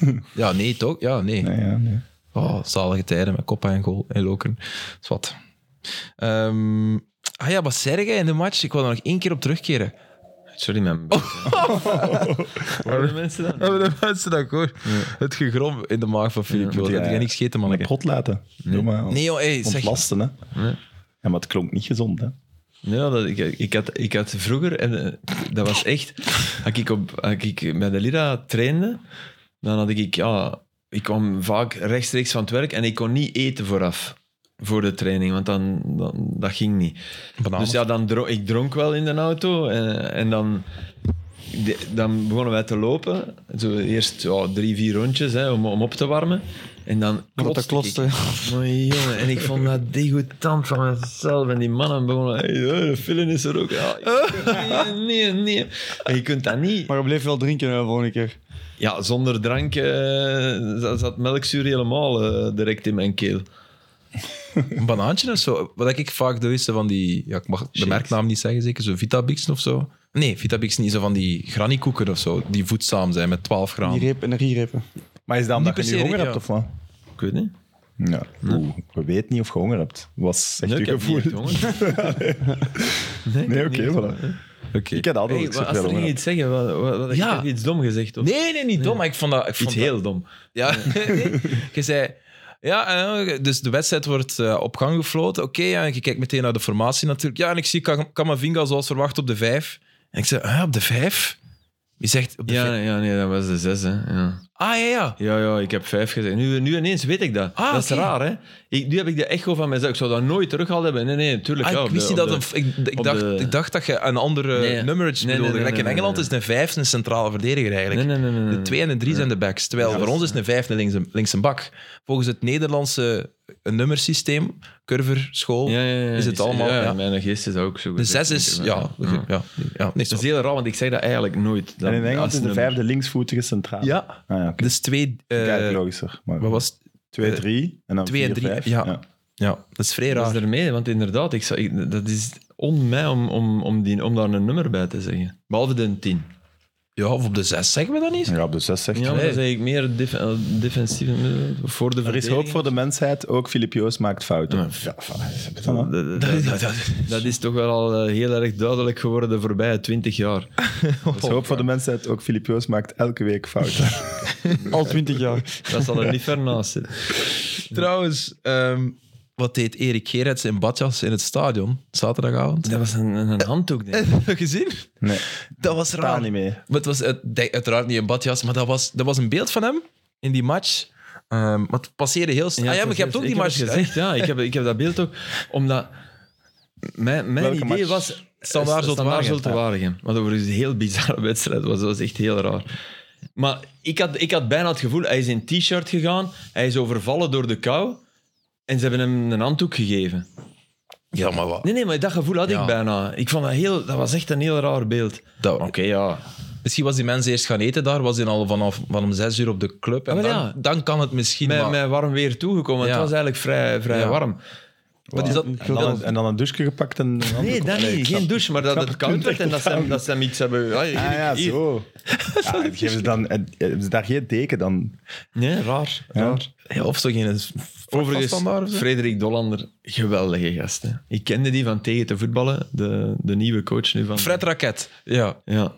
hè? ja, nee, toch? Ja, nee.
man. Ja, nee.
Oh, zalige tijden met Koppa en goal en Lokeren. Dat is wat. Ehm, ah ja, wat zei jij in de match? Ik wil er nog één keer op terugkeren. Oh,
Sorry, man. Horen de mensen dan?
Hebben de mensen dat hoor? Het gegrom in de maag van Filip.
Moet
Dat
jij-
heb jij niks gegeten,
Van de
manneke.
pot laten. Doe maar.
Nee, joh, hey, zeg.
Ontlasten, hè.
Nee.
Ja, maar het klonk niet gezond, hè.
Nee, dat, ik, ik, had, ik had vroeger, en eh, dat was echt, als ik, op, als ik bij de Lira trainde, dan had ik, ja, ik kwam vaak rechtstreeks van het werk en ik kon niet eten vooraf, voor de training, want dan, dan, dat ging niet.
Bananen.
Dus ja, dan dro ik dronk wel in de auto en, en dan, de- dan begonnen wij te lopen. Zo eerst ja, drie, vier rondjes hè, om, om op te warmen. En dan
Omdat
klotste
dat
ik.
klotste.
Maar jongen, en ik vond dat degoutant van mezelf. En die mannen begonnen... Hey, eh, de film is er ook. Ja, nee, nee, nee. En je kunt dat niet...
Maar je bleef wel drinken de volgende keer.
Ja, zonder drank eh, zat- zat melkzuur helemaal eh, direct in mijn keel.
Een banaantje of zo. Wat ik vaak doe, is zo van die... Ja, ik mag de merknaam niet zeggen, zeker. Zo Vitabix of zo. Nee, Vitabix niet. Zo van die grannykoeken of zo. Die voedzaam zijn met 12
Die
gram.
reep, energierepen.
Maar is dat omdat
per
je nu
se,
honger
ja.
hebt, of wat?
Ik weet niet.
Ja. Oeh, we weten niet of je honger hebt. Was echt
Nee,
je
ik heb niet
gevoel.
echt [laughs] honger.
Nee, oké, voilà.
Oké.
Ik had altijd
Hey,
ook
maar
zoveel
Astrid
honger.
ging iets zeggen. Wat, wat, wat- ik
Ja.
heb iets dom gezegd, of
Nee, nee, niet dom. Maar ik vond dat... Ik vond
Iets
dat-
heel dom.
Ja, [laughs] je zei... Ja, eh, dus de wedstrijd wordt eh, op gang gefloten. Oké, ja, en je kijkt meteen naar de formatie natuurlijk. Ja, en ik zie Kam- Kamavinga zoals verwacht op de vijf. En ik zei, ah, op de vijf? Wie zegt op de
Ja,
vijf?
ja, nee, dat was de zes, hè. Ja.
Ah, ja, ja.
Ja, ja, ik heb vijf gezegd. Nu, nu ineens weet ik dat.
Ah,
dat is
oké.
raar, hè? Ik, nu heb ik de echo van mezelf. Ik zou dat nooit teruggehaald hebben. Nee, nee, natuurlijk.
Ah,
ja,
ik
op
wist
de-
niet
op
dat...
de-
Een, ik, ik,
op
dacht,
de-
ik dacht dat je een andere
Nee.
nummerage
Nee, nee,
bedoelde.
nee,
Gelijk
nee,
in
nee,
Engeland
nee.
is een vijf een centrale verdediger eigenlijk.
Nee, nee, nee, nee, nee,
De
nee.
twee en de drie zijn de backs. Terwijl voor ons is een vijf een links, links een bak. Volgens het Nederlandse eh, nummersysteem, Curver, school,
Ja, ja, ja.
is het allemaal...
Ja,
ja.
Mijn geest is dat ook zo.
De
gezegd,
zes is...
denk ik,
Ja, ja, ja, ja. nee,
Het is
sorry.
heel raar, want ik zeg dat eigenlijk nooit. Dat-
En in Engeland
als
is de
nummer.
vijfde linksvoetige centraal.
Ja,
Ah, ja, oké.
dus twee... eh,
Kijk, logischer. Maar
wat was het?
2, 3 en dan
twee en
4,
drie,
5.
ja. Ja, dat is vrij
Dat
raar.
is ermee, want inderdaad, ik zou, ik- dat is on mij om, om, om, die, om daar een nummer bij te zeggen. Behalve de 10.
Ja, of op de zes zeggen we dat niet?
Ja, op de 6 zegt
Ja,
hij.
maar dan zeg ik meer def- eh, defensief eh, voor de
Er is hoop voor de mensheid, ook Filip Joos maakt fouten. Ja, van, heb je dat nou?
Dat,
[laughs]
dat- dat is toch wel al eh, heel erg duidelijk geworden de voorbije 20 jaar.
Er is hoop voor de mensheid, ook Filip Joos maakt elke week fouten.
Al twintig jaar.
[laughs]
Dat zal er niet ver naast zitten.
Trouwens, ehm, wat deed Erik Gerets in badjas in het stadion zaterdagavond?
Dat was een, een, een handdoek, denk ik.
Heb je dat [laughs] gezien?
Nee,
Dat was
daar
raar.
niet mee.
Maar het was uit- de- uiteraard niet een badjas, maar dat was, dat was een beeld van hem in die match. Ehm maar het passeerde heel snel. ah ja, maar je hebt ook
ik
die
heb
match
het
gezien.
gezegd. Ja, ik heb, ik heb dat beeld ook. Omdat mijn, mijn
Welke
idee
match?
was.
Standaard Zulte Waregem.
Zulte Waregem. Wat overigens dus een heel bizarre [laughs] wedstrijd was. Dat was echt heel raar. Maar ik had, ik had bijna het gevoel, hij is in een t-shirt gegaan, hij is overvallen door de kou en ze hebben hem een handdoek gegeven.
Ja, maar wat?
Nee, nee, maar dat gevoel had
Ja.
ik bijna. Ik vond dat heel, dat was echt een heel raar beeld.
Dat-
Oké, ja.
Misschien was die mens eerst gaan eten daar, was hij al vanaf van om zes uur op de club. En
Ah, wel
dan,
ja.
dan kan het misschien.
Met,
maar-
met warm weer toegekomen.
Ja.
Het was eigenlijk vrij, vrij
Ja.
warm.
wat is dat?
En dan, en dan een douche gepakt en...
Nee, dat
Nee, ik
niet.
snap
Geen douche, maar dat het koud werd en dat ze, hem- dat ze hem iets hebben... Ah, hier,
Ah ja,
hier.
zo. Ja, geven ze dan, en- hebben ze daar geen deken dan?
Nee, raar.
Ja.
raar.
Ja, of zo geen
Overigens,
standaard of zo?
Frederik Dollander, geweldige gast. Hè. Ik kende die van tegen te voetballen, de, de nieuwe coach nu van...
Fred Raket. Ja.
Ja.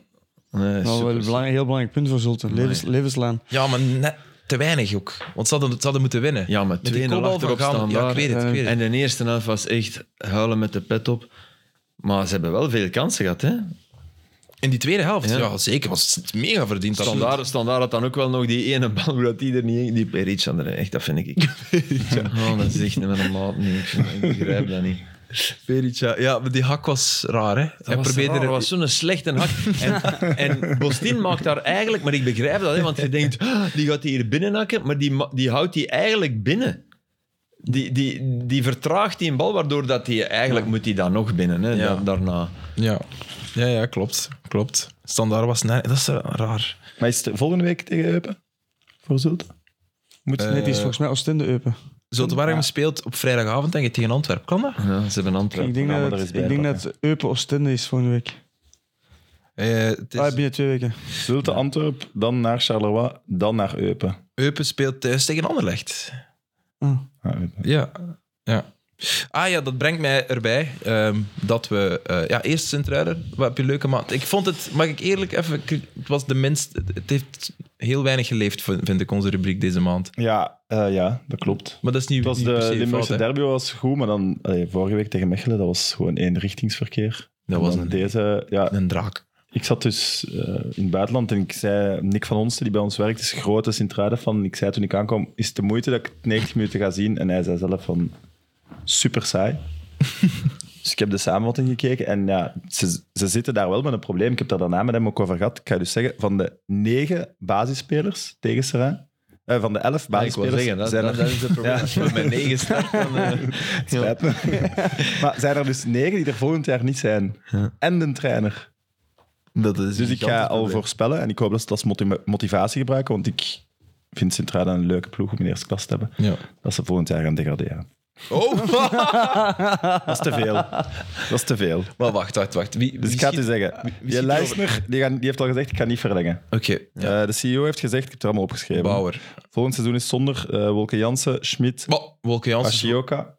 Nee,
Nou, wel
super.
een belangrijk, heel belangrijk punt voor Zulte. Levens, levenslaan.
ja, maar net te weinig ook. Want ze hadden, ze hadden moeten winnen.
Ja, maar
Met die
2-0
kopbal
achterop
van Gaan-
staan
Ja,
daar.
ik weet het. Ik weet het.
En de eerste helft was echt huilen met de pet op. Maar ze hebben wel veel kansen gehad, hè.
In die tweede helft, ja,
Ja.
zeker. Was het mega verdiend. absoluut.
Standaard, standaard had dan ook wel nog die ene bal, hoe dat die er niet in... Die Peric aan de echt, dat vind ik... [laughs] Oh, dat is echt niet met een maat, nee. Ik, vind, ik begrijp dat niet.
Peric, ja. Ja, maar die hak was raar, hè? Hij
Dat was,
probeerde
raar, dat was zo'n slechte [laughs] hak. En, en Bostin maakt daar eigenlijk, maar ik begrijp dat, hè, want je denkt, "Ah, die gaat die hier binnenhakken, maar die, ma- die houdt die eigenlijk binnen. Die, die, die vertraagt die een bal, waardoor dat die, eigenlijk moet hij dan nog binnen, hè,
Ja.
da- daarna.
Ja. ja, ja, klopt. klopt. klopt. Standaard was net. Dat is eh, raar.
Maar is het volgende week tegen Eupen? Voor Zulte?
Moet, nee, die is volgens mij Oostende Eupen.
Zultwaardigem speelt op vrijdagavond denk ik tegen Antwerpen. Kan dat?
Ja, ze hebben Antwerpen.
Ik denk
maar
dat,
er is
het-
bij
ik denk dat
pakken.
het Eupen Oostende is volgende week.
Eh, het is-
Ah, binnen twee weken.
Zulte, Antwerp, dan naar Charleroi, dan naar Eupen.
Eupen speelt thuis tegen Anderlecht.
Ah.
Ah, Eupen.
Ja. ja. Ah ja, dat brengt mij erbij ehm, dat we... eh, ja, eerst Sint-Ruider. Wat heb je leuke maand. Ik vond het, mag ik eerlijk even... Het was de minst... Het heeft heel weinig geleefd, vind vind ik, onze rubriek deze maand.
Ja, eh, ja, dat klopt.
Maar dat is niet,
Het was
niet
de
per se
Limburgse
fout, hè.
derby was goed, maar dan allee, vorige week tegen Mechelen, dat was gewoon eenrichtingsverkeer.
Dat
En
was
dan
een,
deze. Ja,
een draak.
ik zat dus eh, in het buitenland en ik zei Nick van Onsten, die bij ons werkt, is grote Sint-Ruiden van. Ik zei toen ik aankwam, is het de moeite dat ik het 90 minuten ga zien? En hij zei zelf van super
[laughs]
saai. dus ik heb de samenvatting gekeken en ja, ze, ze zitten daar wel met een probleem. Ik heb daar daarna met hem ook over gehad. Ik ga dus zeggen, van de negen basisspelers tegen Serrain, eh, van de elf
Maar ik wil
basisspelers
zeggen, dat,
zijn
dat,
er
dat is het probleem.
Ja.
Als je met mijn negen start, dan... eh,
Spijt me.
[laughs]
maar zijn er dus negen die er volgend jaar niet zijn. En de trainer.
Dat is
Dus ik ga al voorspellen en ik hoop dat ze dat als moti- motivatie gebruiken, want ik vind sint een leuke ploeg om in de eerste klas te hebben.
Ja.
Dat ze volgend jaar gaan degraderen.
Oh,
[laughs] Dat is te veel. Dat is te veel.
maar wacht, wacht, wacht. Wie,
Dus
wie
ik ga het u
schiet-
zeggen.
schiet
Die
er
Leisner, die, gaan- die heeft al gezegd, ik ga niet verlengen.
Oké, ja.
Eh, de CEO heeft gezegd, ik heb het er allemaal opgeschreven.
Bauer.
Volgend seizoen is zonder eh Wolke Jansen, Schmid,
Maar, Wolke Jansen...
Ashioka.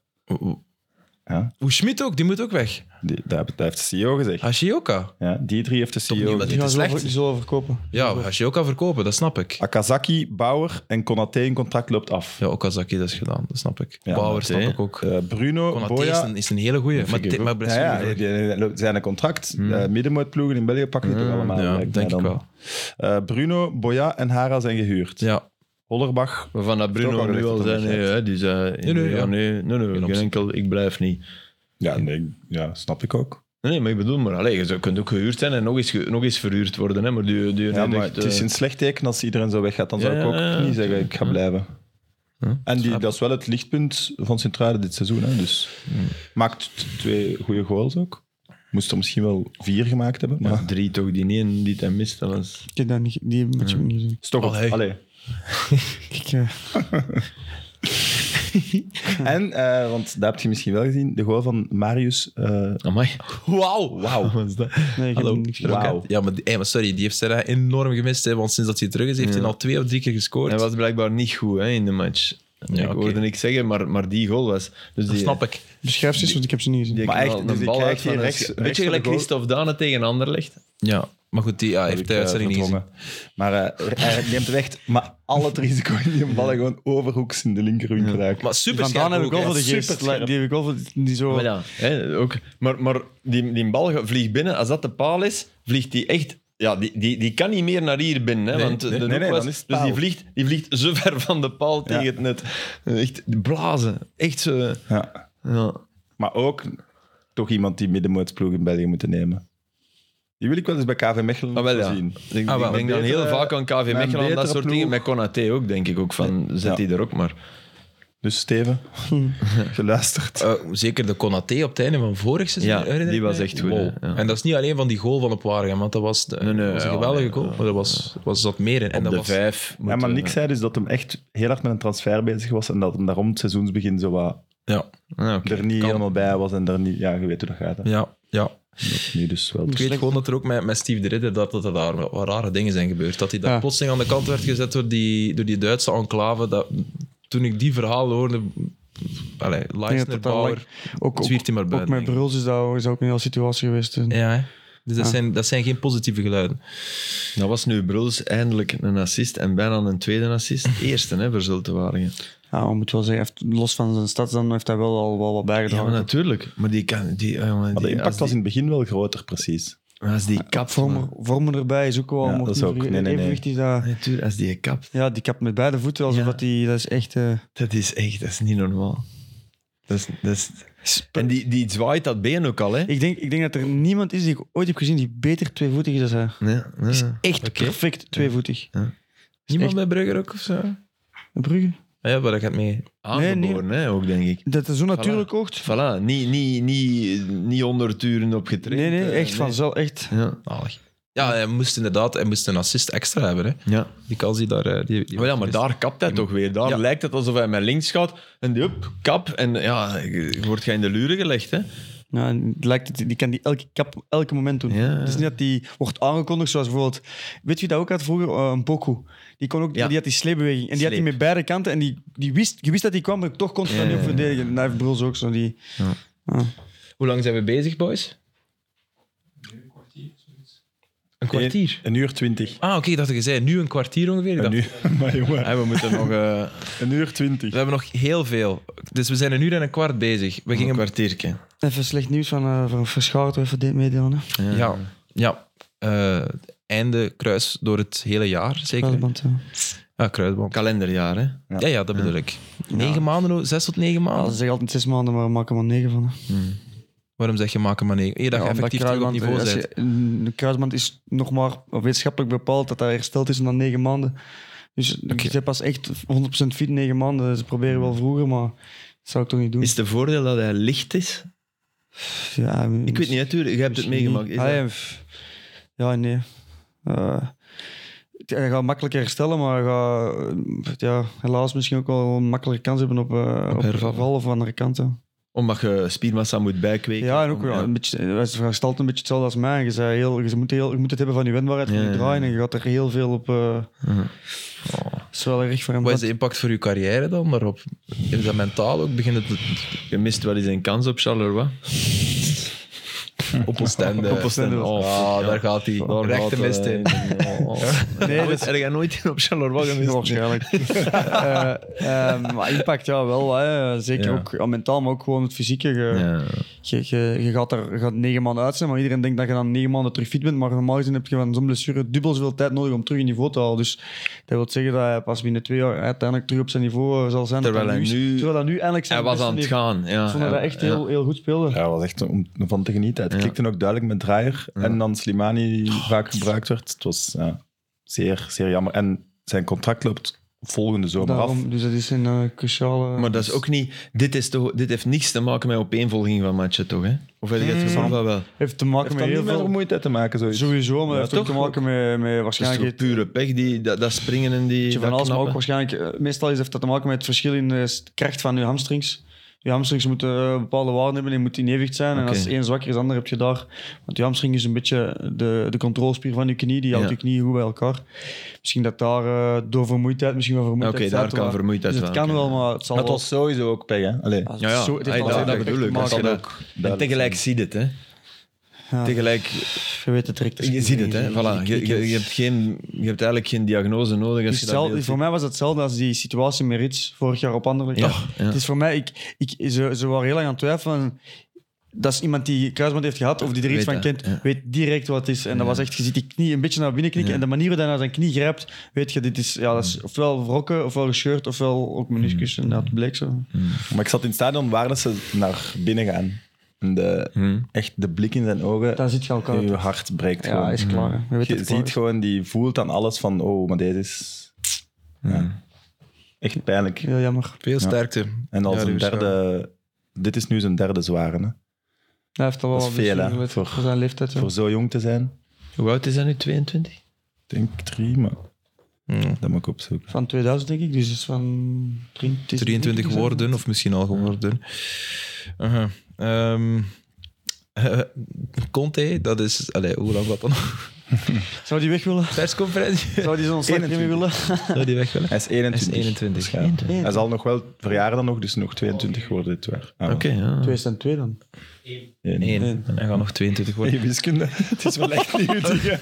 Ja.
Hoe Schmid ook, die moet ook weg.
Die, daar dat heeft de CEO gezegd.
Hashioka.
Ja, die drie heeft de E CEO
niet met
gezegd.
die
Die gaan
is
ze wel,
slecht.
die zullen wel verkopen.
Ja, Hashioka verkopen, dat snap ik.
Akazaki, Bauer en Konaté in contract loopt af.
Ja, Okazaki, dat is gedaan, dat snap ik.
Ja,
Bauer
Konaté.
snap ik ook.
Eh, Bruno,
Konaté is
Boya...
een, is een hele goeie. Maar, dit- maar
Ja,
blessure.
ja, die- die- die loopt- zijn een contract. Eh, Middenmootploegen in België pakken die toch allemaal.
Mm. Ja,
lijkt mij
denk ik
dan.
wel.
Eh, Bruno, Boya en Hara zijn gehuurd.
Ja.
Hollerbach,
Waarvan dat
Toch
Bruno
al
nu
gezegd
al
dat
zei,
dat
nee,
gaat.
hè, die zei...
Nee, nee, ja.
ja, nee, nee, nee, geen
optie.
enkel, ik blijf niet.
ja, nee, ja, snap ik ook.
Nee, nee, maar ik bedoel, maar allez, je zou- kunt ook gehuurd zijn en nog eens, ge- nog eens verhuurd worden. Hè, maar die, die
Ja,
niet
maar
echt,
het is
eh,
een slecht teken als iedereen zo weggaat. Dan
Ja,
zou ik ook
ja, ja,
niet
ja.
zeggen, ik ga blijven. En die, dat is wel het lichtpunt van sint dit seizoen. Hè. Dus maakt t- twee goede goals ook. Moest er misschien wel vier gemaakt hebben. Maar
ja, drie toch, die één die hij mist, dat was...
Ik heb dat niet, die match heb ik niet gezien.
is toch op-
Allee.
Allee.
Ik, eh,
En, eh, want dat heb je misschien wel gezien, de goal van Marius. eh,
Amai.
Wauw. Wauw.
Wat is dat?
nee, ik heb
Hallo.
niks gezien.
Wauw.
Ja, maar, die- hey, maar sorry, die heeft Serra enorm gemist. Hè, want sinds dat hij terug is, heeft hij al twee of drie keer gescoord.
Hij was blijkbaar niet goed hè, in de match.
Ja,
ik
oké.
hoorde niks zeggen, maar, maar die goal was... Dus
dat
die,
snap ik.
Beschrijf ze eens, want ik heb ze niet gezien.
Die
Maar
knalt
echt,
een
dus die
bal
krijgt
uit van
hier
een-
rechts-
Een
rechts
beetje
van de
gelijk
goal.
Christophe Dane tegen Anderlecht.
Ja, maar goed, die ja, hij
heb
heeft
ik,
de
eh,
uitzending niet gezien.
verdrongen. Maar eh, hij neemt echt maar al het risico in die ballen gewoon overhoeks in de linkerhoek geraakt.
Maar super
Vandaan heb ik wel voor de geest.
Super
Die heb ik wel voor die zo...
Maar, ja, hè, ook, maar, maar die, die bal ge- vliegt binnen. Als dat de paal is, vliegt die echt... Ja, die, die, die kan niet meer naar hier binnen. Hè,
Nee,
want de
nee,
hoek
nee, nee,
was-
dan is het
dus die
paal.
vliegt, die vliegt zo [laughs] ver van de paal tegen het net. Echt blazen. Echt zo...
Ja.
Ja.
Maar ook toch iemand die middenmootsploeg in België moeten nemen. Die wil ik wel eens bij KV Mechelen
Ah, wel, ja.
zien.
Ik,
Ah, wel.
ik denk dan heel
Betere-
vaak aan KV
een
Mechelen, aan dat
betere
soort
ploeg.
dingen. Met Konaté ook, denk ik ook. Van, Zet
Ja.
die er ook maar.
Dus Steven, [laughs] geluisterd.
Eh, zeker de Konaté op het einde van vorig seizoen.
Ja,
herinner ik
die was
mij.
echt goed,
Wow.
hè, ja.
En dat is niet alleen van die goal van op Waregem, want dat was, de-
Nee, nee,
dat was een
ja,
geweldige
nee,
goal.
ja.
Maar dat was, was dat meer. En, en dat
op de
was,
vijf.
Ja,
moeten-
maar Nick zei dus dat hem echt heel hard met een transfer bezig was en dat hem daarom het seizoensbegin zo wat
Ja,
Ah, oké.
er niet
kan.
helemaal bij was en daar niet... Ja, je weet hoe dat gaat. Hè.
ja, ja.
Nu dus wel.
Ik weet gewoon dat er ook met, met Steve de Ridder dat, dat er daar wel rare dingen zijn gebeurd. Dat hij daar
Ja.
plotseling aan de kant werd gezet door die, door die Duitse enclave. Dat, toen ik die verhalen hoorde... Allee,
dat
Leisner,
dat
Bauer,
lang- Ook, ook,
zwiert hij maar
ook
buiten.
met
denk ik.
Bruls is dat is dat ook een hele situatie geweest. Dus-
Ja, hè. Dus dat,
Ja.
zijn, dat zijn geen positieve geluiden.
Dat Nou, was nu Bruls eindelijk een assist en bijna een tweede
[laughs]
assist. Eerste, hè, voor Zultewaringen.
Ja, ik moet wel zeggen, hij heeft- los van zijn stadsdan heeft hij wel al wel wat
Ja, maar
bijgedragen.
natuurlijk. Maar die kan... Die, ah, jongen,
Maar de
die-
impact
als
was Ah, in
die,
het begin wel groter, precies.
Als die kapt,
vormen,
man.
vormen erbij is ook wel...
Ja,
mocht
dat is
niet
ook-
verge-
nee, nee, nee.
evenwicht is dat...
Natuurlijk, als die kapt.
Ja, die kapt met beide voeten, alsof
Ja.
dat die... Dat is echt... eh,
Dat is echt... Dat is niet normaal. Dat is... Dat is en die, die zwaait dat been ook al, hè.
ik, denk, ik denk dat er niemand is die ik ooit heb gezien die beter tweevoetig is dan hij.
Nee, nee.
is echt
Oké.
perfect tweevoetig.
Niemand
echt-
bij Brugger ook of zo?
Brugge?
Ah Ja, maar dat gaat mee.
Aangeboren, hè, ook, denk ik.
Dat is zo natuurlijk oogt.
Voilà, niet, niet, niet, niet honderd uren op getraind.
Nee, nee,
eh,
echt vanzelf. Echt.
Ja.
Zalig. Ja, hij moest inderdaad hij moest een assist extra hebben. Hè.
Ja.
Die kans die daar... eh, Die,
Oh
die
Maar ja, maar daar kapt hij toch weer. Daar
Ja.
lijkt het alsof hij met links gaat en die up, kap. En ja, je- wordt jij in de luren gelegd, hè?
Ja, en het lijkt het, die kan die elke kap, elke moment doen.
Ja.
Het is niet dat die wordt aangekondigd zoals bijvoorbeeld... Weet je dat ook had vroeger? Eh, een Poku. Die, kon ook,
Ja.
die had die sleepbeweging. En die had die
Sleep.
met beide kanten. En die, die wist, je wist dat die kwam, maar toch kon ze
Ja,
dat niet
ja, ja.
verdedigen. Nou, heeft Bruls ook zo. Die, Ah.
Hoe lang zijn we bezig, boys? Een kwartier.
Een uur
[laughs]
twintig.
Ah, oké, ik dacht dat je zei nu een kwartier ongeveer. Ik
Een
dacht,
uur, maar jongen,
Hé, we moeten nog eh,
een uur twintig.
We hebben nog heel veel. Dus we zijn een uur en een kwart bezig. We
een
gingen...
kwartiertje.
even slecht nieuws van, eh van Verschouten even dit meedelen. hè.
Ja, ja. Eh, einde kruis door het hele jaar, zeker. hè?
Kruisband, ja.
Ja, kruisband.
Kalenderjaar, hè?
Ja, ja, dat bedoel ik. Negen maanden, oh, zes tot negen
Ja,
maanden.
ze zeggen altijd zes maanden, maar we maken er maar negen van. hè.
Waarom zeg je maken maar negen? Eer dat je
Ja, omdat eh,
effectief terug op niveau
als
bent.
je- De kruisband is nog maar wetenschappelijk bepaald dat hij hersteld is na negen maanden. Dus je bent pas echt 100% fit in negen maanden. Ze proberen wel vroeger, maar dat zou ik toch niet doen.
Is het een voordeel dat hij licht is?
ja,
Ik weet niet, hè, Tuur, je hebt het meegemaakt. Is
Hm. Ah,
dat-
ja, pff. ja, nee. Eh, hij gaat makkelijker herstellen, maar hij gaat eh, ja, helaas misschien ook wel een makkelijke kans hebben op, eh op
hervallen.
herval of andere kanten.
Omdat je spiermassa moet bijkweken.
Ja, en ook
Om-
ja, een beetje, hij is gesteld een beetje hetzelfde als mij. Je, zei heel, je, moet, heel, je moet het hebben van je wendbaarheid, van
Ja,
je
ja, Uh-huh. ja.
draaien. En je gaat er heel veel op... eh is wel erg voor hem.
Wat is de impact voor je carrière dan daarop? Is dat mentaal ook? Begint het
Je mist wel eens een kans op Charleroi.
op Oostende?
Op Oostende.
Oh,
Ja.
daar gaat hij. Rechte mist in.
Nee, dat is
Er gaat nooit in op Charleroi gemist. [laughs]
waarschijnlijk. Eh, eh, maar impact, ja, wel. Hè. Zeker
Ja.
ook ja, mentaal, maar ook gewoon het fysieke. Je,
Ja.
je, je, je gaat er je gaat negen maanden uit zijn, maar iedereen denkt dat je dan negen maanden terug fit bent. Maar normaal gezien heb je van zo'n blessure dubbel zoveel tijd nodig om terug in niveau te halen. Dus dat wil zeggen dat hij pas binnen twee jaar uiteindelijk terug op zijn niveau eh, zal zijn.
Terwijl
Dat
hij nu-
terwijl dat nu eindelijk zijn
Hij was
beste
aan het
niveau-
gaan. Ja.
Ik vond dat
Ah,
Hij-
hij echt
ja.
heel, heel goed speelde.
Ja, was echt om om van te genieten. Het
Ja.
klikte ook duidelijk met draaier. En dan Slimani, die
Oh,
vaak gebruikt werd. Het was ja, zeer, zeer jammer. En zijn contract loopt volgende zomer af.
Daarom, dus dat is een eh, cruciale...
Maar dat is ook niet... Dit, is toch, dit heeft niks te maken met opeenvolging van matchen, toch? Hè? Of heb je het gevoel van wel?
heeft te maken
Heeft
met
dat
heel
niet met
veel...
vermoeidheid te maken, zoiets?
Sowieso, maar heeft ook te
toch?
maken met, met
Dat is
waarschijnlijk...
toch
het-
pure pech, die, dat, dat springen en die...
eh, van
dat
alles, maar ook
knappen?
waarschijnlijk... eh, Meestal heeft dat te maken met het verschil in de s- kracht van je hamstrings. Je hamstrings moeten eh, bepaalde waarden hebben, die moeten in evenwicht zijn. En
Oké.
als één zwakker is, dan heb je daar... Want je hamstring is een beetje de, de controlespier van je knie. Die houdt
Ja.
je knie goed bij elkaar. Misschien dat daar eh, door vermoeidheid, misschien wel
Oké,
vermoeidheid...
daar
staat,
kan
maar-
vermoeidheid
Dus het
wel,
kan
oké.
wel, maar het zal
Maar het
wel-
was sowieso ook pech, hè? Allee,
Ah,
Ja, ja.
zo- het heeft
Hey,
wel
dat,
zeker
dat
met
bedoel
te
ik.
maken.
Als je
Dat
dat- En tegelijk ziet het, hè.
Ja.
Tegelijk
Je weet het direct.
Je ziet het, hè? Voilà. Je, je, je hebt geen, je hebt eigenlijk geen diagnose nodig. Als
Dus
je
hetzelfde-
dat
voor mij was het hetzelfde als die situatie met Rits vorig jaar op Anderlecht.
Ja,
Ja,
ja.
Het is voor mij, ik, ik, ze, ze waren heel lang aan het twijfelen. Dat is iemand die kruisband heeft gehad of die er iets
Weet dat,
van kent,
ja.
weet direct wat het is. En dat was echt, je ziet die knie een beetje naar binnen knikken. En de manier waarop hij naar zijn knie grijpt, weet je, dit is, ja, dat is ofwel wrokken, ofwel gescheurd, ofwel ook meniscus. En dat bleek zo.
Maar ik zat in het stadion waar dat ze naar binnen gaan. En de, echt de blik in zijn ogen.
Daar zit je elkaar.
je hart breekt
Ja,
gewoon.
is klaar. hè. Je weet
Je
dat het klaar
ziet
is.
gewoon, die voelt aan alles van, oh, maar deze is... Ja. Echt pijnlijk.
Heel jammer.
Veel sterkte.
En als
Ja,
een
die was
derde... Dit is nu zijn derde zware, hè?
Hij heeft al wel
Dat is
wat
veel,
blessure
hè,
geleden
voor-
voor zijn leeftijd. hè.
Voor zo jong te zijn.
Hoe oud is hij nu? 22?
Ik denk drie, maar dat moet ik opzoeken.
Van 2000 denk ik, dus is van 23,
23
zijn.
worden, of misschien al geworden. Aha. Ehm, eh, Conte, dat is... Allee, hoe lang was dat nog?
Zou die weg willen?
Persconferentie?
Zou die zo'n slagpremie willen?
[laughs] Zou die weg willen?
Hij is 21.
Hij is 21.
Dus ja, Hij zal nog wel verjaren dan nog, dus nog 22 worden dit jaar. Ah,
Oh, Oké, ja.
2002 dan.
één.
Eén. Hij gaat nog 22 worden.
[laughs] Je wiskunde,
[laughs]
het is wel echt nieuw. hè.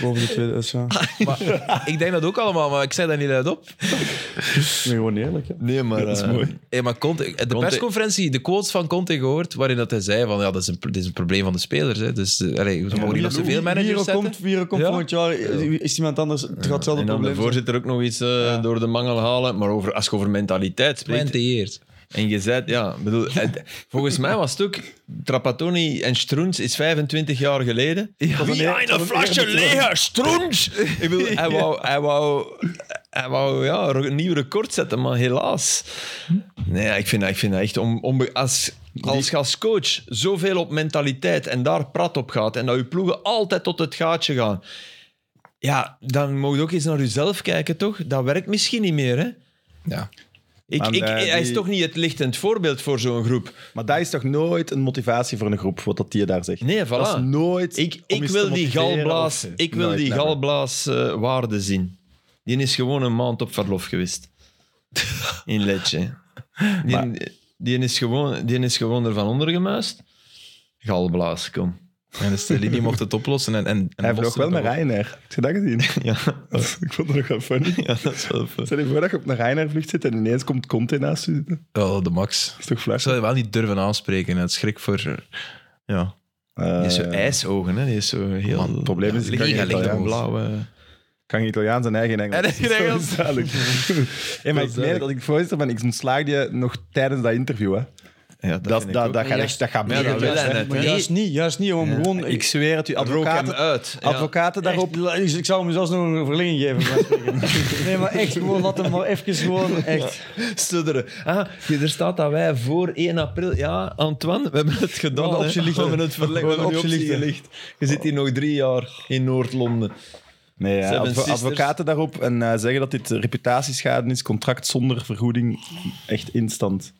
Boven de tweede, dat is ja. Ik
Maar, ik denk dat ook allemaal, maar ik zei dat niet uit op.
ben gewoon eerlijk. hè.
Nee, maar...
Dat is
eh,
mooi.
Hey, maar Conte, de
Conte-
persconferentie, de quotes van Conte gehoord, waarin dat hij zei van ja, dat is een, pro- dit is een probleem van de spelers. Hè. Dus eh, allee, we mogen niet nog zoveel managers
Vierer
zetten.
komt, Vierer komt
Ja.
volgend jaar, is iemand anders, het gaat hetzelfde
En dan de
probleem zijn.
voorzitter ook nog iets eh, door de mangel halen. Maar over, als je over mentaliteit spreekt...
Geënteerd.
En je zei... Ja, bedoel, het- volgens mij was het ook... Trapattoni en Stroens is 25 jaar geleden. Ja, een flasje leeg, Stroens! Ik bedoel, [laughs] hij wou... Hij wou hij wou ja, een nieuw record zetten, maar helaas. Nee, ik vind dat, ik vind dat echt... On, onbe- als, Als je als coach zoveel op mentaliteit en daar prat op gaat en dat je ploegen altijd tot het gaatje gaan, ja, dan moet je ook eens naar jezelf kijken, toch? Dat werkt misschien niet meer, hè?
Ja.
Ik,
Maar,
ik,
eh,
Hij is
die-
toch niet het lichtend voorbeeld voor zo'n groep?
Maar dat is toch nooit een motivatie voor een groep, wat dat die daar zegt?
Nee, voilà.
Dat is nooit...
Ik,
om
ik
eens
wil
te
die
motiveren
galblaas,
of- Nou,
ik wil
Nooit,
die
never.
galblaas eh, waarde zien. Die is gewoon een maand op verlof geweest. In
[laughs]
Letje. Die, die, is gewoon, die is gewoon ervan ondergemuist. Galblaas, kom. [laughs]
En de Stellini mocht het oplossen. En, en, en
Hij
Boston
vloog wel naar
ook.
Ryanair. Heb je dat gezien?
[laughs] Ja,
[laughs] ik vond het nog wel funny.
ja dat is wel fijn.
Stel je voor dat je op een Ryanair vlucht zit en ineens komt Conte naast je zitten. Dat
Oh, de max.
is toch
Ik
flauw?
zou je wel niet durven aanspreken. Het schrik voor... eh, Ja.
Eh,
Die is zo ijsogen, hè. Die is zo heel...
Man, het
probleem is,
Ja,
ik kan
liga
geen
ligt
Italiaans.
blauwe...
kan geen Italiaans en eigen Engels. [laughs]
En geen Engels.
Dat is
[laughs]
duidelijk. Hey, maar ik meen dat ik voorzitter ben, ik ontslaag je nog tijdens dat interview. Hè.
Ja, dat
Dat,
vind
dat,
ik
dat,
ook.
gaat echt, dat gaat
Ja, dat
mega
wil
leuk
hij
zijn.
net, hè.
Maar juist niet, juist niet. Om gewoon,
Ik zweer het u,
Rook hem
advocaten,
uit. Ja.
advocaten
Echt,
daarop...
ik- ik zou hem zelfs nog een verlenging geven. bij wijze van spreken. nee, maar echt, gewoon laat hem maar even gewoon, echt.
Studderen. Ah, hier, er staat dat wij voor 1 april... Ja, Antoine, we hebben het gedaan.
We hadden optie
hè.
lichten.
We hebben het verlengd.
We
We
hadden
hebben die
optie
optie gelicht. Je zit hier nog drie jaar in Noord-Londen.
Nee, ja,
Seven
advo-
Sisters.
advocaten daarop en eh, zeggen dat dit reputatieschade is, contract zonder vergoeding, echt instant.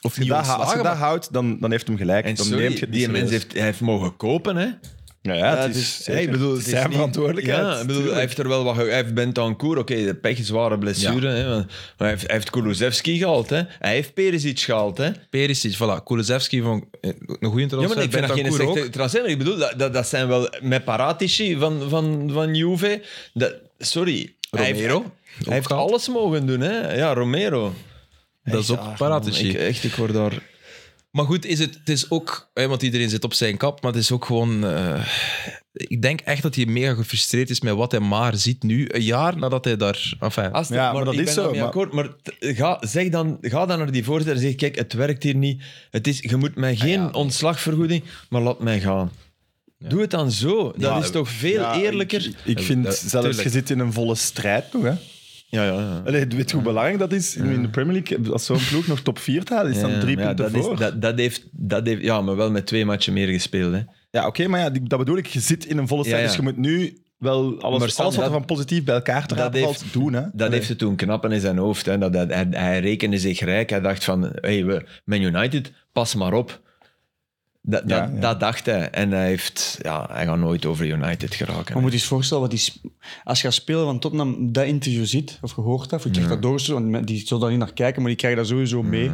Of
Als je
niet
dat, ha- als je
ontslagen,
dat houdt, dan, dan heeft hem gelijk.
En
dan
sorry,
neemt je het niet
die mens
serieus.
heeft, hij heeft mogen kopen, hè?
Ja, ja,
Ja,
het is,
ja,
zeker.
ik bedoel,
Het is zijn
niet-
verantwoordelijkheid.
Ja, ik bedoel, hij
tuurlijk.
heeft er wel wat... ge- Hij heeft Bentancur, oké, de pech is zware blessure. Hè, maar hij heeft, hij heeft Kulusevski gehaald, hè. Hij heeft Perisic gehaald, hè.
maar- Perisic, voilà. Kulusevski van een goede transfer.
Ja, maar ik vind dat geen
Bentancur
slechte transfer. maar Ik bedoel, dat, dat, dat zijn wel... Met Paratici van, van, van Juve... Dat, sorry. Hij heeft-
Romero,
Hij heeft,
ook gehaald.
alles mogen doen, hè. Ja, Romero.
ook. Dat is ook Paratici.
Ik, echt, ik word daar...
Maar goed, is het, het is ook, hè, want iedereen zit op zijn kap, maar het is ook gewoon. eh, ik denk echt dat hij mega gefrustreerd is met wat hij maar ziet nu, een jaar nadat hij daar. Enfin,
Als het-
Ja, maar dat
ik
is
ben
zo,
daarmee
maar-
akkoord, maar t- ga, zeg dan, ga dan naar die voorzitter en zeg: Kijk, het werkt hier niet. Het is, je moet mij geen ontslagvergoeding, maar laat mij gaan. Doe het dan zo. Dat
Ja,
is toch veel
Ja,
eerlijker?
Ik, ik
Ja,
vind
dat-
zelfs,
tuurlijk.
je zit in een volle strijd nog. Hè?
Ja, ja, ja.
Allee, weet je hoe belangrijk dat is? In de Premier League, als zo'n ploeg nog top 4 te halen, is dan
Ja,
drie
maar ja,
punten
dat is-
voor.
dat, dat heeft, dat heeft, ja, maar wel met twee matchen meer gespeeld. Hè.
Ja, oké, maar ja, die- dat bedoel ik. Je zit in een volle strijd,
Ja, ja.
dus je moet nu wel
Maar
alles,
Sam,
alles wat er
dat-
van positief bij elkaar te
dat
rapen
heeft-
valt, doen. Hè?
Dat heeft het toen knappen in zijn hoofd. Hè. Dat, dat, hij, hij rekende zich rijk. Hij dacht van, hey, we, Man United, pas maar op. Dat, dat,
Ja, ja.
dat dacht hij. En hij, heeft, ja, hij gaat nooit over United geraken.
Maar moet je eens voorstellen, wat die, sp- als je als speler van Tottenham dat interview ziet, of gehoord hebt, of je krijgt dat doorgestuurd, want men- die zullen daar niet naar kijken, maar die krijgen dat sowieso mee.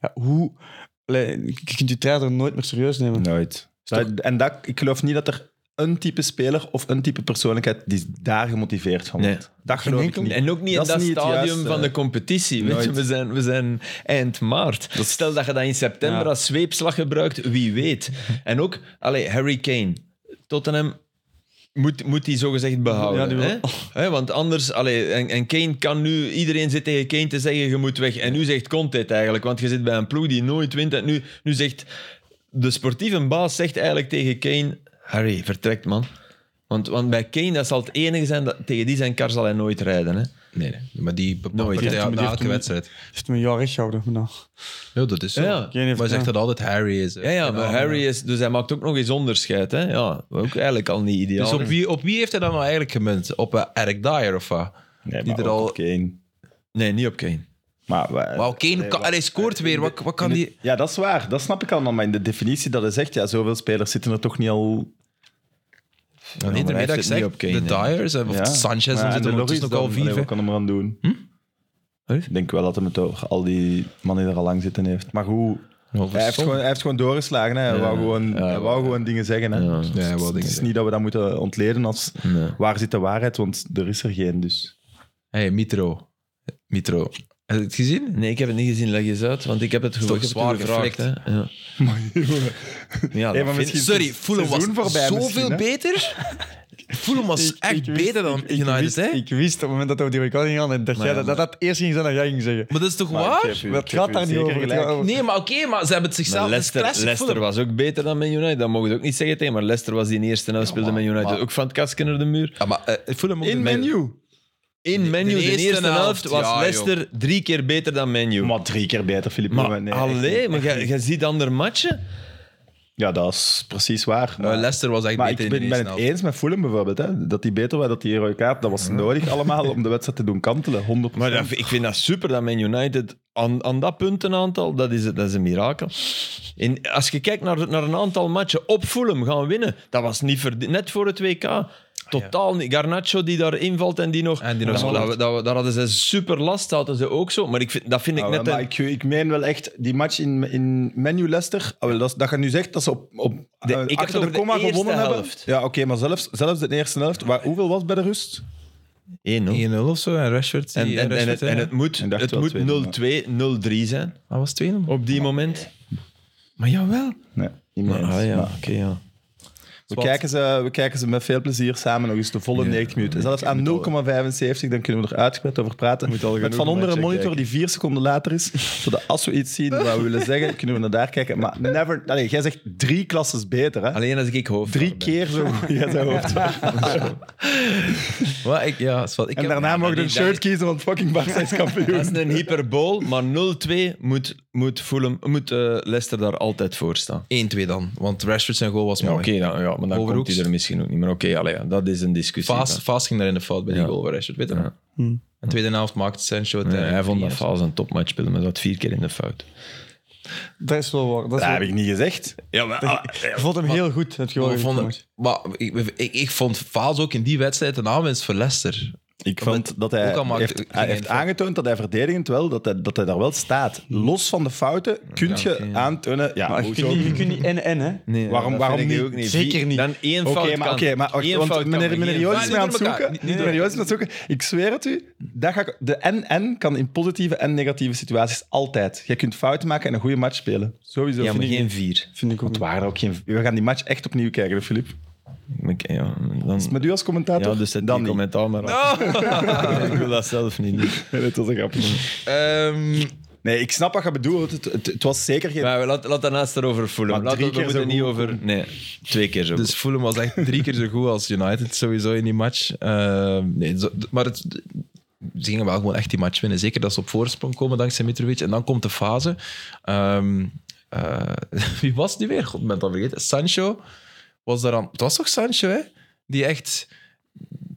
Ja, hoe... Allee, Je kunt die trainer nooit meer serieus nemen.
Nooit. Dat- en dat, ik geloof niet dat er een type speler of een type persoonlijkheid die daar gemotiveerd van
Nee.
wordt. Dat geloof ik
enkel-
niet.
En ook niet
Dat
in
is
dat
niet het
stadium
juiste.
van de competitie. Weet je,
Nooit.
we, zijn, we zijn eind maart. Stel dat je dat in september
Ja.
als zweepslag gebruikt, wie
[laughs]
weet. en ook allee, Harry Kane, Tottenham. Moet, moet die zogezegd
Ja, die
behouden.
wil-
hè? [laughs] Hè, want anders, allee, en, en Kane kan nu, iedereen zit tegen Kane te zeggen: je moet weg. En nu zegt Conte het eigenlijk, want je zit bij een ploeg die nooit wint. En nu, nu zegt de sportieve baas zegt eigenlijk tegen Kane: Harry, vertrekt man. Want, want bij Kane dat zal het enige zijn, dat, tegen die zijn kar zal hij nooit rijden. Hè?
nee, nee, maar die bepaalt
Nooit.
hij
Die heeft
na
hem- die
elke
heeft hem-
wedstrijd.
heeft hem een jaar recht gehouden. Nou.
Ja, dat is zo.
Ja, ja.
Maar
Geen heeft
hij zegt
gedaan.
dat altijd Harry is.
Ja, ja, maar Harry is... Dus hij maakt ook nog eens onderscheid, hè. Ja, ook eigenlijk al niet ideaal.
Dus op wie, op wie heeft hij dan nou eigenlijk gemunt? Op eh, Eric Dyer of wat?
Nee,
die
maar
er
ook
al-
op Kane.
Nee, niet op Kane.
Maar, wij-
Wauw, Kane
Nee,
kan-
wat-
hij scoort weer. Wat, wat kan
in
die...
het- Ja, dat is waar. Dat snap ik allemaal. Maar in de definitie dat hij zegt, ja, zoveel spelers zitten er toch niet al...
Aan de
maar hij heeft
intermiddag
het
zegt
niet op Kane,
de
hè.
Dyers, eh, of
ja.
Sanchez,
Maar
dan
aan
zitten
de
er ondertussen
Loris
nog al
dan,
vier.
allee,
hè.
Wat kan hem eraan doen?
Hm?
Allee?
Ik denk wel dat hij het over al die mannen die er al lang zitten heeft. Maar goed,
Wat
hij heeft,
verstopt.
gewoon, hij heeft gewoon doorgeslagen. Hè. Hij wou gewoon, hij wou gewoon dingen zeggen. Hè. Dus
Ja.
Ja,
Het
hij wou dingen
is
zeggen.
niet dat we dat moeten ontleden als
Nee.
waar zit de waarheid, want er is er geen. Dus.
Hey, Mitro. Mitro. Heb je het gezien?
Nee, ik heb het niet gezien. Leg eens uit, want ik heb het gewoon
toch zwaar geflikt.
hè. Ja.
[laughs]
Ja,
Hey,
dat
maar
vind-
misschien is
Sorry,
het
Fulham was
seizoen voorbij misschien,
zoveel
hè.
beter. Fulham was
[laughs] Ik- ik
echt
wist-
beter dan
ik- ik
United,
wist-
hè?
Ik wist op het moment dat we die recording gingen, dat, jij dat, dat dat eerst ging zijn dat jij ging zeggen.
Maar dat is toch
Maar ik
waar?
geef u-
Maar
ik
het
geef
gaat
u
daar niet
zeker
over. het
gelijk.
gaat over-
Nee, maar oké, maar ze hebben het
Maar
zichzelf... het is
Leicester,
classic
Leicester
Fulham.
was ook beter dan Man United. Dat mogen we ook niet zeggen tegen, maar Leicester was die in eerste helft speelde Man United ook van het kastje naar de muur.
Ja, maar eh, Fulham ook
In
de-
Man U. In menu, de,
eerste
eerste, helft,
helft,
was
ja,
Leicester drie keer beter dan menu.
Maar drie keer beter, Filip.
Maar,
Nieuwen. Nee, echt
allee,
niet.
maar jij- jij ziet andere matchen.
Ja, dat is precies waar.
Maar Nou, Leicester was echt
Maar
beter
ik
in
ben,
de
ben
eerste
het
helft.
eens met Fulham bijvoorbeeld. Hè? Dat die beter waren, dat die rode kaart, dat was nodig allemaal om de wedstrijd te doen kantelen. 100%.
Maar dat- ik vind dat super dat Man United aan, aan dat puntenaantal, dat is, het- dat is een mirakel. En als je kijkt naar, naar een aantal matchen op Fulham gaan winnen, dat was niet verdi- net voor het WK. Totaal niet. Garnacho die daar invalt en die nog...
En die nog
dat,
scoort.
dat, dat- daar hadden ze super last, dat hadden ze ook zo. Maar ik vind, dat vind ik
Ah, wel,
net...
maar
een-
ik, ik meen wel echt, die match in, in Menu Leicester, ah, wel, dat, is- dat je nu zegt dat ze op, op
ik
eh,
heb het
achter
over
de
de
comma
eerste
gewonnen
helft.
hebben. Ja, oké, maar zelfs, zelfs de eerste helft, waar, hoeveel was het bij de rust?
1-0.
1-0 of zo, en Rashford. die-
En, en, en,
Rashford,
het,
hè.
en het moet,
En dacht
het
wel
moet
2-0,
0-2, 0-3 zijn
Ah, was het 2-0?
op die moment. Maar jawel.
Nee, niet meer
Maar,
eens.
ah, ja,
Maar
oké, ja.
we, kijken ze, we kijken ze met veel plezier samen nog eens de volle 90 minuten. Zelfs aan 0,75, dan kunnen we er uitgebreid over praten.
Moet al
Met
genoeg
van onder een
matchen
monitor
kijken.
die vier seconden later is, [laughs] zodat als we iets zien wat we willen zeggen, kunnen we naar daar kijken. Maar never... Allee, jij zegt drie klasses beter, hè?
Alleen als ik hoofd
Drie keer zo [laughs] goed. Jij zei hoofd.
Maar ik, ja, is wel- ik
En
heb-
daarna mogen we
dat
een
is-
shirt kiezen, want fucking Barca is [laughs] kampioen.
Dat is een hyperbool, maar 0-2 moet, moet, Fulham, moet eh, Leicester daar altijd voor staan.
1-2 dan, want Rashford zijn goal was
Ja,
mooi.
oké, dan, ja, maar dan
Overhoeks.
komt hij er misschien ook niet. Maar oké, allee, ja, dat is een discussie.
Faas, Faas ging daar in de fout bij die
Ja.
goal van Rashford, weet je
Ja.
nog? En tweede helft maakt Sancho het.
Ja,
eh,
hij vond dat
3-1.
Faas een topmatch speelde, maar dat vier keer in de fout.
Dat is wel waar. Dat is
Dat
wel-
heb ik niet gezegd.
Ja, maar...
Ik vond hem heel goed. Heb je wel
Maar, we
gezien,
vonden-
Thomas.
maar ik, ik, ik vond Faas ook in die wedstrijd een aanwinst voor Leicester.
Ik vond dat
ook
hij
al maakt-
heeft, hij
ging
heeft
in het-
aangetoond dat hij verdedigend wel, dat hij, dat hij daar wel staat. Los van de fouten kun je aantonen. [laughs] Ja,
Maar je
hoezo?
kunt niet- je kunt niet en en, hè?
Nee,
Waarom-
dat
waarom
vind ik
niet?
ook
Zeker niet.
Dan één
Oké,
fout
maar,
kan.
oké, maar wacht,
Één
want
fout kan,
meneer,
maar
meneer
geen
Joos
fout.
is mij aan het
Niet door elkaar,
zoeken.
niet- niet
meneer Joos is aan het zoeken. Ik zweer het u, daar ga ik, de en-en kan in positieve en negatieve situaties altijd. Je kunt fouten maken en een goede match spelen. Sowieso.
fout. Ja, maar
Vind ik-
geen vier.
Vind ik ook
Het
niet.
waren er ook geen... We gaan die match echt opnieuw kijken, hè, Filip.
Oké, Ja, dan,
Met u als commentator?
ja, dus zet die
dan niet.
commentaar maar af. [laughs] ik wil dat zelf niet doen.
[laughs] Nee, dat was een grapje.
Ehm,
Nee, ik snap wat je bedoelt. Het, het, het was zeker geen...
Maar laat, laat daarnaast erover voelen.
Maar
Laat
drie
we
keer zo
moeten niet
goed.
over... Nee, twee keer zo
dus Fulham was echt drie keer zo goed als United sowieso in die match. Ehm, nee, zo- maar het, ze gingen wel gewoon echt die match winnen. Zeker dat ze op voorsprong komen dankzij Mitrovic. En dan komt de fase. Ehm, eh, [laughs] wie was het nu weer? God, ik ben het al vergeten. Sancho was daar aan... Het was toch Sancho, hè? Die echt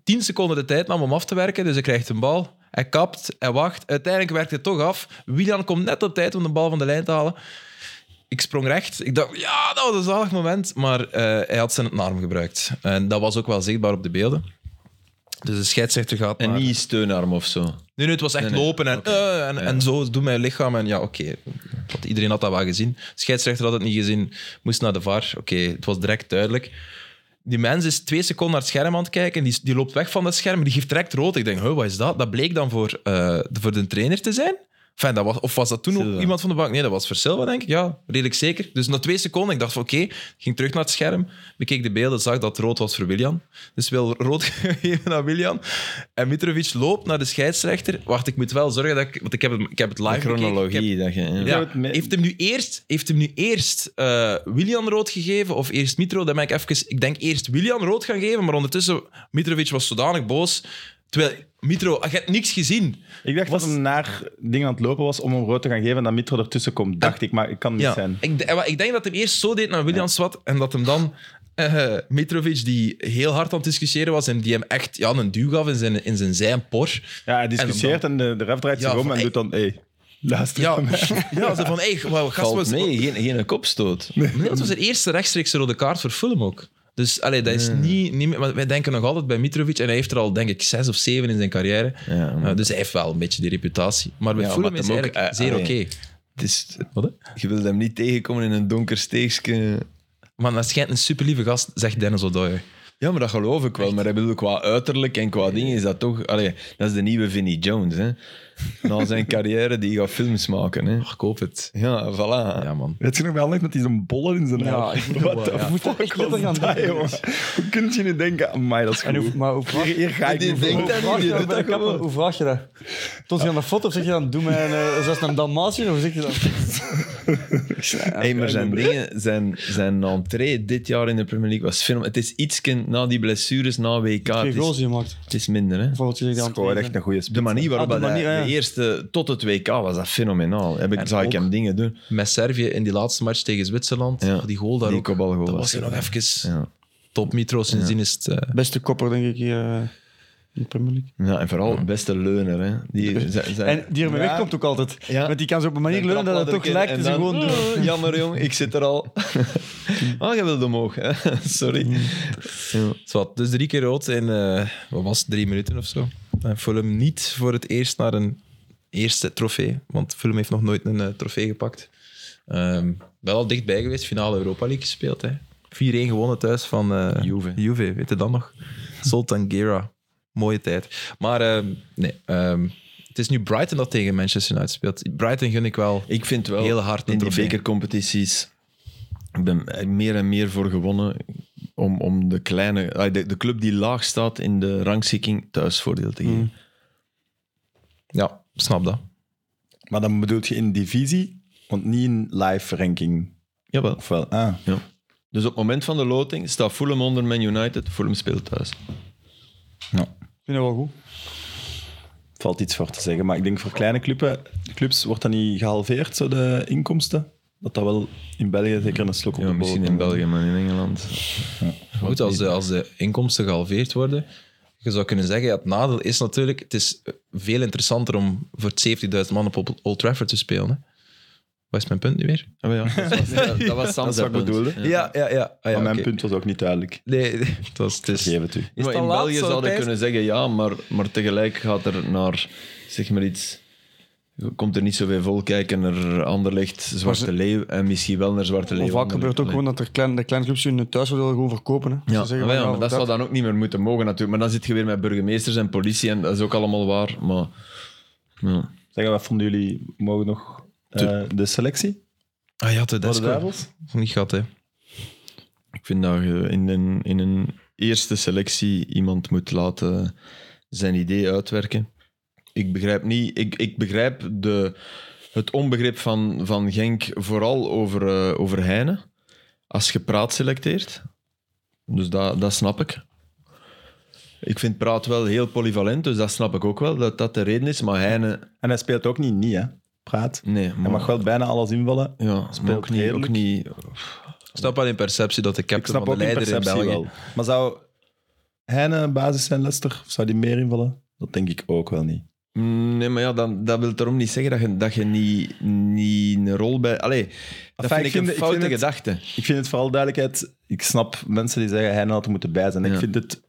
tien seconden de tijd nam om af te werken. Dus hij krijgt een bal. Hij kapt, hij wacht. Uiteindelijk werkt het toch af. Willian komt net op tijd om de bal van de lijn te halen. Ik sprong recht. Ik dacht, ja, dat was een zalig moment. Maar eh, hij had zijn arm gebruikt. En dat was ook wel zichtbaar op de beelden. Dus de scheidsrechter gaat
En
maar-
niet steunarm of zo.
Nee, nee, het was echt
nee.
lopen en, eh, en, en zo doet mijn lichaam. En ja, oké. Want Iedereen had dat wel gezien. Scheidsrechter had het niet gezien. Moest naar de VAR. Oké, het was direct duidelijk. Die mens is twee seconden naar het scherm aan het kijken. Die, die loopt weg van dat scherm. Die geeft direct rood. Ik denk, huh, wat is dat? Dat bleek dan voor, eh, de, voor de trainer te zijn. Enfin, dat was, of was dat toen ook
Silva.
iemand van de bank? Nee, dat was voor Silva, denk ik. Ja, redelijk zeker. Dus na twee seconden, ik dacht van oké, ging terug naar het scherm, bekeek de beelden, zag dat het rood was voor William. Dus wil rood [laughs] geven aan William. En Mitrovic loopt naar de scheidsrechter. Wacht, ik moet wel zorgen dat ik... Want ik heb het, ik heb het live
De
bekeken. Ik
chronologie. Dat je,
heb-
ja.
ja,
het me-
heeft hem nu eerst, heeft hem nu eerst eh, William rood gegeven of eerst Mitro? Dan ben ik even... Ik denk eerst William rood gaan geven, maar ondertussen... Mitrovic was zodanig boos. Terwijl... Mitro, je hebt niks gezien.
Ik dacht dat hem naar dingen aan het lopen was om hem rood te gaan geven en dat Mitro ertussen komt, dacht ik. Maar ik kan niet zijn.
Ik, d- maar ik denk dat hem eerst zo deed naar William Swat en dat hem dan eh, Mitrovic, die heel hard aan het discussiëren was en die hem echt ja, een duw gaf in zijn, in zijn zij en Porsche.
Ja, hij discussieert en, de, de ref draait
Ja,
zich om
van,
en
hey.
doet dan... Hey, luister
Ja, [laughs]
naar mij.
ja, zo van, hey, wauw, gast,
Valt
was,
mee, geen, geen kopstoot.
Nee, dat was de eerste rechtstreekse rode kaart voor Fulham ook. Dus allee, dat is niet, niet meer, want wij denken nog altijd bij Mitrovic en hij heeft er al denk ik zes of zeven in zijn carrière.
Ja, maar-
Eh, dus hij heeft wel een beetje die reputatie. Maar bij
Ja,
Fulham
wat
is
hem ook,
eigenlijk
eh,
zeer oké.
allee. Het is, je wilt hem niet tegenkomen in een donker steegje.
Maar dat schijnt een superlieve gast, zegt Dennis O'Doyer.
Ja, maar dat geloof ik wel. Maar ik bedoel, qua uiterlijk en qua dingen is dat toch... Allee, dat is de nieuwe Vinnie Jones. Hè.
[laughs]
Na zijn carrière, die gaat films maken. Hè.
Oh, ik hoop het.
Ja, voilà.
Ja, man.
Weet je nog wel net met die zo'n bollen in zijn
Ja,
haar?
ik moet
[laughs] Wat
wel,
de
ja.
fuck
Dat is
was
echt
dat,
aan het
jongen? Hoe kun je nu denken, amai, dat is
En
goed.
hoe, maar hoe vraag,
Hier, hier ga ik
Die
me
denkt
voor.
dat
hoe vraag
die
je dat bij
doet
de kapper? Hoe vraag je dat? Toont hij aan de foto of zeg je dan, doe mij een, eh, is dat een Dalmatier of zeg je dat?
Hey, maar zijn dingen, zijn, zijn entree dit jaar in de Premier League was film. Het is iets na die blessures, na WK.
Twee
Het
goals
is,
die je maakt.
het is minder, hè?
Bijvoorbeeld, je zegt aan
Gewoon echt een goede spits.
De manier waarop
Ah, de
hij
manier, ja.
de eerste tot het WK was dat fenomenaal. Heb ik,
En
zag ik
ook-
hem dingen doen.
Met Servië in die laatste match tegen Zwitserland.
Ja.
Die goal daar
Die
ook.
kopbalgoal
Dat
was
was er nog
geweldig.
even.
Ja.
Top Mitro, sindsdien is het... eh,
Beste kopper, denk ik, hier eh, in de Premier League.
ja, en vooral beste leuner. Hè.
[laughs]
Die, zijn, zijn-
En die ermee
Ja.
wegkomt ook altijd.
Ja.
Want die kan zo op een manier
Een
leunen dat het toch
trapladder
lijkt
in
dat
en
ze
dan,
gewoon doen.
"Oh, [laughs] jammer jong, ik zit er
[laughs]
al. ah, je wilde omhoog. hè. [laughs]
Mm.
Sorry.
Zwat, dus drie keer rood in, eh, wat was het, drie minuten of zo. En Fulham niet voor het eerst naar een eerste trofee, want Fulham heeft nog nooit een eh, trofee gepakt. Ehm, wel al dichtbij geweest, finale Europa League gespeeld. hè. 4-1 gewonnen thuis van eh,
Juve.
weet je dat nog? Sultan Gera. Mooie tijd. Maar ehm, nee, ehm, het is nu Brighton dat tegen Manchester United speelt. Brighton gun ik wel.
Ik vind wel
Heel hard een
in die
trofee.
bekercompetities. Ik ben er meer en meer voor gewonnen om, om de, kleine, ah, de, de club die laag staat in de rangschikking thuisvoordeel te
Mm.
geven.
Ja, snap dat.
Maar dan bedoelt je in divisie, want niet in live ranking.
Jawel.
Of wel? Ah,
Dus op het moment van de loting staat Fulham onder Man United. Fulham speelt thuis.
Ik vind dat wel goed.
valt iets voor te zeggen. Maar ik denk voor kleine clubs, clubs wordt dat niet gehalveerd, zo de inkomsten. Dat dat wel in België zeker een slok op
Ja,
de bol
misschien
kan
in
worden.
België, maar in Engeland.
Maar Goed, als de, als de inkomsten gehalveerd worden, je zou kunnen zeggen, ja, het nadeel is natuurlijk, het is eh, veel interessanter om voor 70.000 man op Old Trafford te spelen. Hè. Wat is mijn punt nu weer?
Ah, maar ja, dat was, dat, [laughs] dat was Sam's
Dat is wat ik
punt.
bedoelde.
Ja, ja, ja. Ah, ja
Maar mijn
oké.
punt was ook niet duidelijk.
Nee, [laughs] het was... Het is,
Geef het u.
is
Maar
het
in
al laat,
België
zo'n
zouden
tijd?
kunnen zeggen ja, maar, maar tegelijk gaat er naar, zeg maar iets, komt er niet zoveel vol kijken naar Anderlecht, Zwarte Leeuw en misschien wel naar Zwarte Leeuw.
Maar vaak
Anderlecht.
gebeurt het ook gewoon dat er kleine, de kleine clubs hun thuisvoordeel gewoon verkopen. Hè.
Ja,
Ze zeggen
maar, ja,
van,
maar dat zou dan ook niet meer moeten mogen natuurlijk. Maar dan zit je weer met burgemeesters en politie en dat is ook allemaal waar. Maar ja.
Zeg, wat vonden jullie? Mogen nog eh, de selectie
Ah ja, de
voor de
Desco.
duivels?
Niet gehad, hè.
ik vind dat je in een, in een eerste selectie iemand moet laten zijn idee uitwerken. Ik begrijp niet, ik, ik begrijp de, het onbegrip van, van Genk vooral over, eh, over Heine. Als je Praat selecteert. Dus dat, dat snap ik. Ik vind Praat wel heel polyvalent, dus dat snap ik ook wel, dat dat de reden is. Maar Heine,
En hij speelt ook niet niet, hè? Praat.
nee.
Hij mag wel bijna alles invallen.
ja,
speelt
maar ook niet, ook
redelijk.
niet.
Ik snap wel in perceptie dat de
Ik
captain
snap
van de
ook in
leider in
perceptie
België...
wel. Maar zou hij een basis zijn, Lester? Of zou die meer invallen? Dat denk ik ook wel niet.
Nee, maar ja, dan, dat wil daarom niet zeggen dat je, dat je niet, niet een rol bij... Allee, dat
Enfin,
vind
ik
ik
vind-
een
ik
foute
vind het-
gedachte.
Ik vind het vooral duidelijkheid. Ik snap mensen die zeggen hij had er moeten bij zijn.
Ja.
Ik vind het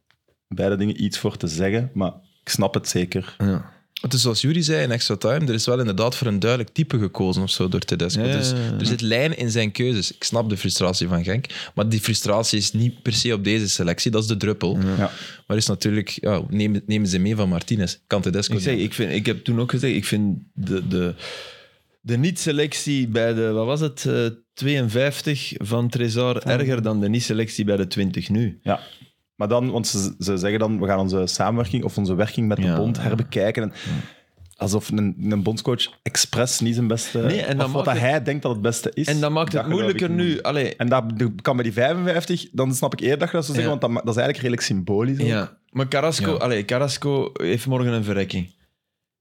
beide dingen iets voor te zeggen, maar ik snap het zeker.
Ja.
Het is zoals Jury zei in Extra Time, er is wel inderdaad voor een duidelijk type gekozen of zo door Tedesco.
Ja, ja, ja.
Dus er zit lijn in zijn keuzes. Ik snap de frustratie van Genk, maar die frustratie is niet per se op deze selectie, dat is de druppel.
Ja.
Maar is natuurlijk, ja, neem- nemen ze mee van Martinez, kan Tedesco
Ik, zeg,
niet.
ik, vind, ik heb toen ook gezegd, ik vind de, de, de niet-selectie bij de... Wat was het? eh, 52 van Trezor erger dan de niet-selectie bij de 20 nu.
Ja. Maar dan, want ze, ze zeggen dan, we gaan onze samenwerking of onze werking met de
Ja.
bond herbekijken. En alsof een, een bondscoach expres niet zijn beste...
Nee, en dan
of wat
maakt het-
hij denkt dat het beste is.
En dat maakt het
geloof
moeilijker
ik niet.
nu. Allee,
En dat dat kan bij die 55, dan snap ik eerder dat je dat zou zeggen,
Ja.
want dat, ma- dat is eigenlijk redelijk symbolisch. ook.
Ja, maar Carrasco,
Ja.
Allee, Carrasco heeft morgen een verrekking.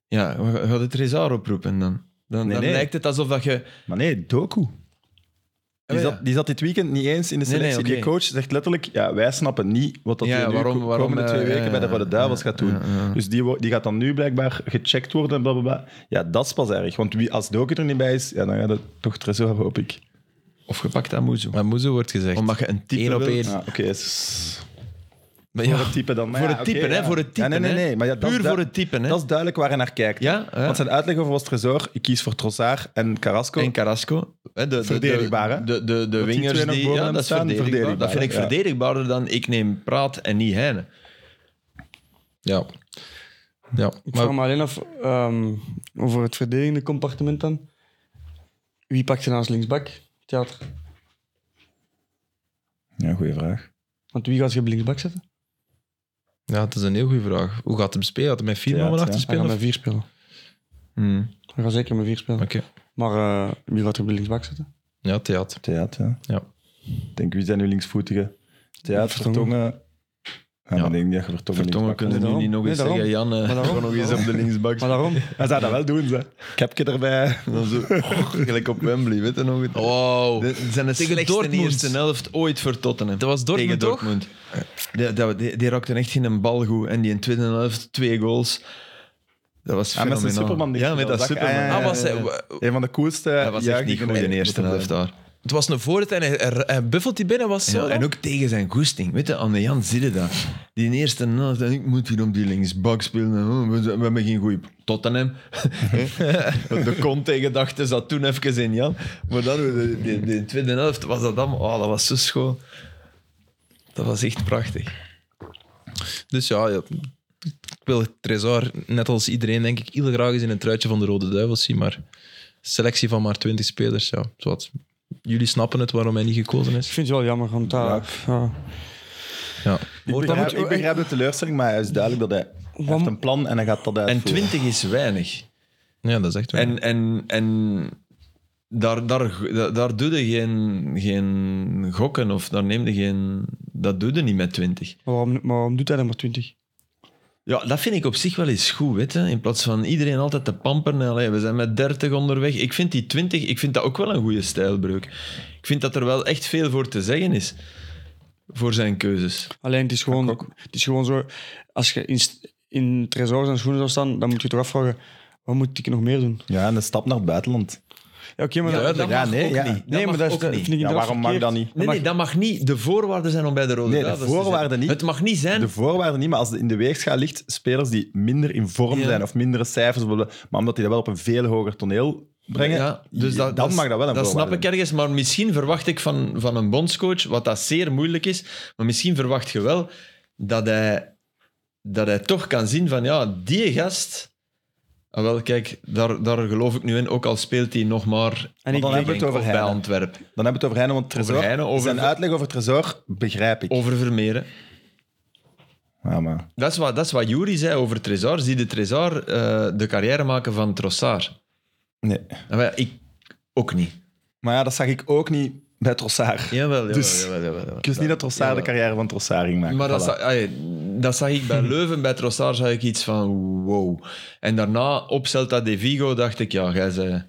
Ja, we gaan het Trezor oproepen dan. Dan,
Nee,
dan
nee.
lijkt het alsof dat je... Ah,
Maar nee, Doku. Die,
Oh, Ja, ja.
zat, die zat dit weekend niet eens in de
Nee, nee,
selectie. Die
oké.
coach zegt letterlijk, ja, wij snappen niet wat dat
Ja,
hij nu
waarom-
de
waarom,
komende twee
eh,
weken bij de
ja,
Rode Duivels gaat doen. Dus die, wo- die gaat dan nu blijkbaar gecheckt worden en blablabla. Ja, dat is pas erg. Want wie, als Doku er niet bij is, ja, dan gaat het toch Tresor, hoop ik.
Of gepakt aan Moezo.
Maar Moezo wordt gezegd.
Omdat je een type
Eén op
wilt.
één.
Ja, oké. dus-
Maar
Voor
ja,
het type dan. Maar
Voor
ja,
het type,
oké,
hè,
ja.
voor het type,
Ja, nee, nee,
hè.
nee. Maar ja, dat is
Puur
du-
voor het type, hè.
Dat is duidelijk waar hij naar kijkt.
Ja, ja.
Want zijn uitleg over was Tresor, ik kies voor Trossard en Carrasco.
En Carrasco. hè, De, de,
Verdedigbaar, hè?
De, de, de, de
die
wingers
twee nog
die...
boven
Ja,
hem
dat is
staan,
verdedigbaar. Dat vind ik
verdedigbaar, ja.
verdedigbaarder dan ik neem Praat en niet Heine.
ja. ja.
Ik
Maar
vraag me alleen af ehm, over het verdedigende compartiment dan. Wie pakt ze naast linksbak? Theater.
Ja, goede vraag.
Want wie gaat ze op linksbak zetten?
ja, het is een heel goede vraag. Hoe gaat hem spelen? Gaat hij met vier
Ja,
mannen
het,
achter
ja.
Hij
spelen?
gaat
of-
met vier spelen.
Hmm.
Hij gaat zeker met vier spelen.
Oké.
Maar eh, wie gaat er op de linksbak zitten?
Ja, theater.
Theater, ja.
Ja.
Ik denk, wie zijn nu linksvoetige? Theater,
Vertongen.
Vertongen. Ja, maar ik denk niet Ah, dat je Vertongen
Vertongen
linksbak
kunnen we nu
daarom.
niet nog eens
Nee, daarom.
zeggen, Jan. eh,
Maar
[laughs]
daarom,
kan. Nog eens op [laughs] de linksbak.
maar daarom
Hij zou dat wel doen, ze. Kepje erbij. Ah,
dan zo, [laughs] oh, gelijk op Wembley, weet je nog het?
Oh. Wow.
Dit zijn de slechtste
Dortmund.
eerste helft ooit voor Tottenham.
Dat was Dortmund,
Tegen
toch?
Dortmund. Die, die, die, die raakten echt geen bal goed. En die in de tweede helft twee goals. Dat was
Ah, met zijn
fenomenaal.
Superman die
Ja, met dat
zag.
Superman.
Ah, ja, ja,
Ah, was hij,
Een van de coolste.
Dat was echt niet goed in de eerste helft daar.
het was een voorzet en hij, hij- hij buffelt die binnen. Was zo
Ja, en ook tegen zijn goesting. Weet je, aan de Jan zit dat. Die in eerste helft, en ik moet weer op die linksbak spelen. Oh, We, zijn- we hebben geen goeie Tottenham. [laughs] de Conte-gedachte zat toen even in Jan. Maar dan, de, de, de tweede helft, was dat allemaal... Oh, dat was zo schoon. Dat was echt prachtig.
Dus ja, ja, ik wil Trezor, net als iedereen, denk ik, heel graag eens in een truitje van de Rode Duivels zien. Maar selectie van maar 20 spelers, ja. Zowat. Jullie snappen het waarom hij niet gekozen
ik
is.
vind het wel jammer, want daar... ja.
Ja.
Ik begrijp, ik begrijp de teleurstelling, maar het is duidelijk dat hij, hij
Wat-
heeft een plan en hij gaat dat
En
uitvoeren.
20 is weinig.
ja, dat is echt waar.
En, en, en daar, daar, daar- daar doe je geen, geen gokken of daar neem je geen... Dat doe je niet met 20.
Maar waarom, maar waarom doet hij dan maar 20?
Ja, dat vind ik op zich wel eens goed, weet je. In plaats van iedereen altijd te pamperen. Allee, we zijn met 30 onderweg. Ik vind die 20, ik vind dat ook wel een goede stijlbreuk. Ik vind dat er wel echt veel voor te zeggen is. Voor zijn keuzes.
Alleen het is gewoon, het is gewoon zo, als je in, st- in Tresor zijn schoenen zou staan, dan moet je toch afvragen, wat moet ik nog meer doen?
Ja, en een stap naar het buitenland.
Ja, oké, maar dat-
Duidelijk.
ja, nee, ja.
nee, maar dat, is-
ook
dat
niet.
vind ik
Ja,
inderdaad
waarom mag
verkeerd.
dat niet?
Nee, nee, dat mag niet de voorwaarde zijn om bij de Rode
Nee, de
Duivels te zijn.
voorwaarden niet.
Het mag niet zijn...
De voorwaarden niet, maar als in de weegschaal ligt spelers die minder in vorm
Ja.
zijn of mindere cijfers, blablabla, maar omdat die dat wel op een veel hoger toneel brengen,
Ja, dus
dan
dat, dat,
mag dat wel een
Dat snap
voorwaarde
ik ergens, maar misschien verwacht ik van, van een bondscoach, wat dat zeer moeilijk is, maar misschien verwacht je wel dat hij, dat hij toch kan zien van, ja, die gast... Ah, wel, kijk, daar, daar geloof ik nu in, ook al speelt hij nog maar
En
Want
ik,
dan
denk-
hebben we het over
of bij
Heine.
Antwerpen.
Dan hebben we het over Heine, want Tresor,
Heine, over- Oh.
zijn uitleg over Tresor begrijp ik.
Over Vermeeren.
Ja, maar
Dat is, wat, dat is wat Jury zei over Trezor. Zie de Trezor eh, de carrière maken van Trossard?
nee.
Nou, ja, ik ook niet.
Maar ja, dat zag ik ook niet bij Trossard.
Jawel, jawel,
Dus-
jawel, jawel, jawel.
Ik wist niet dat Trossard de
Jawel.
carrière van Trossard ging maken.
Maar dat,
Voilà.
zag, ai, dat zag ik bij Leuven, bij Trossard zag ik iets van wow. En daarna op Celta de Vigo dacht ik, ja, jij zij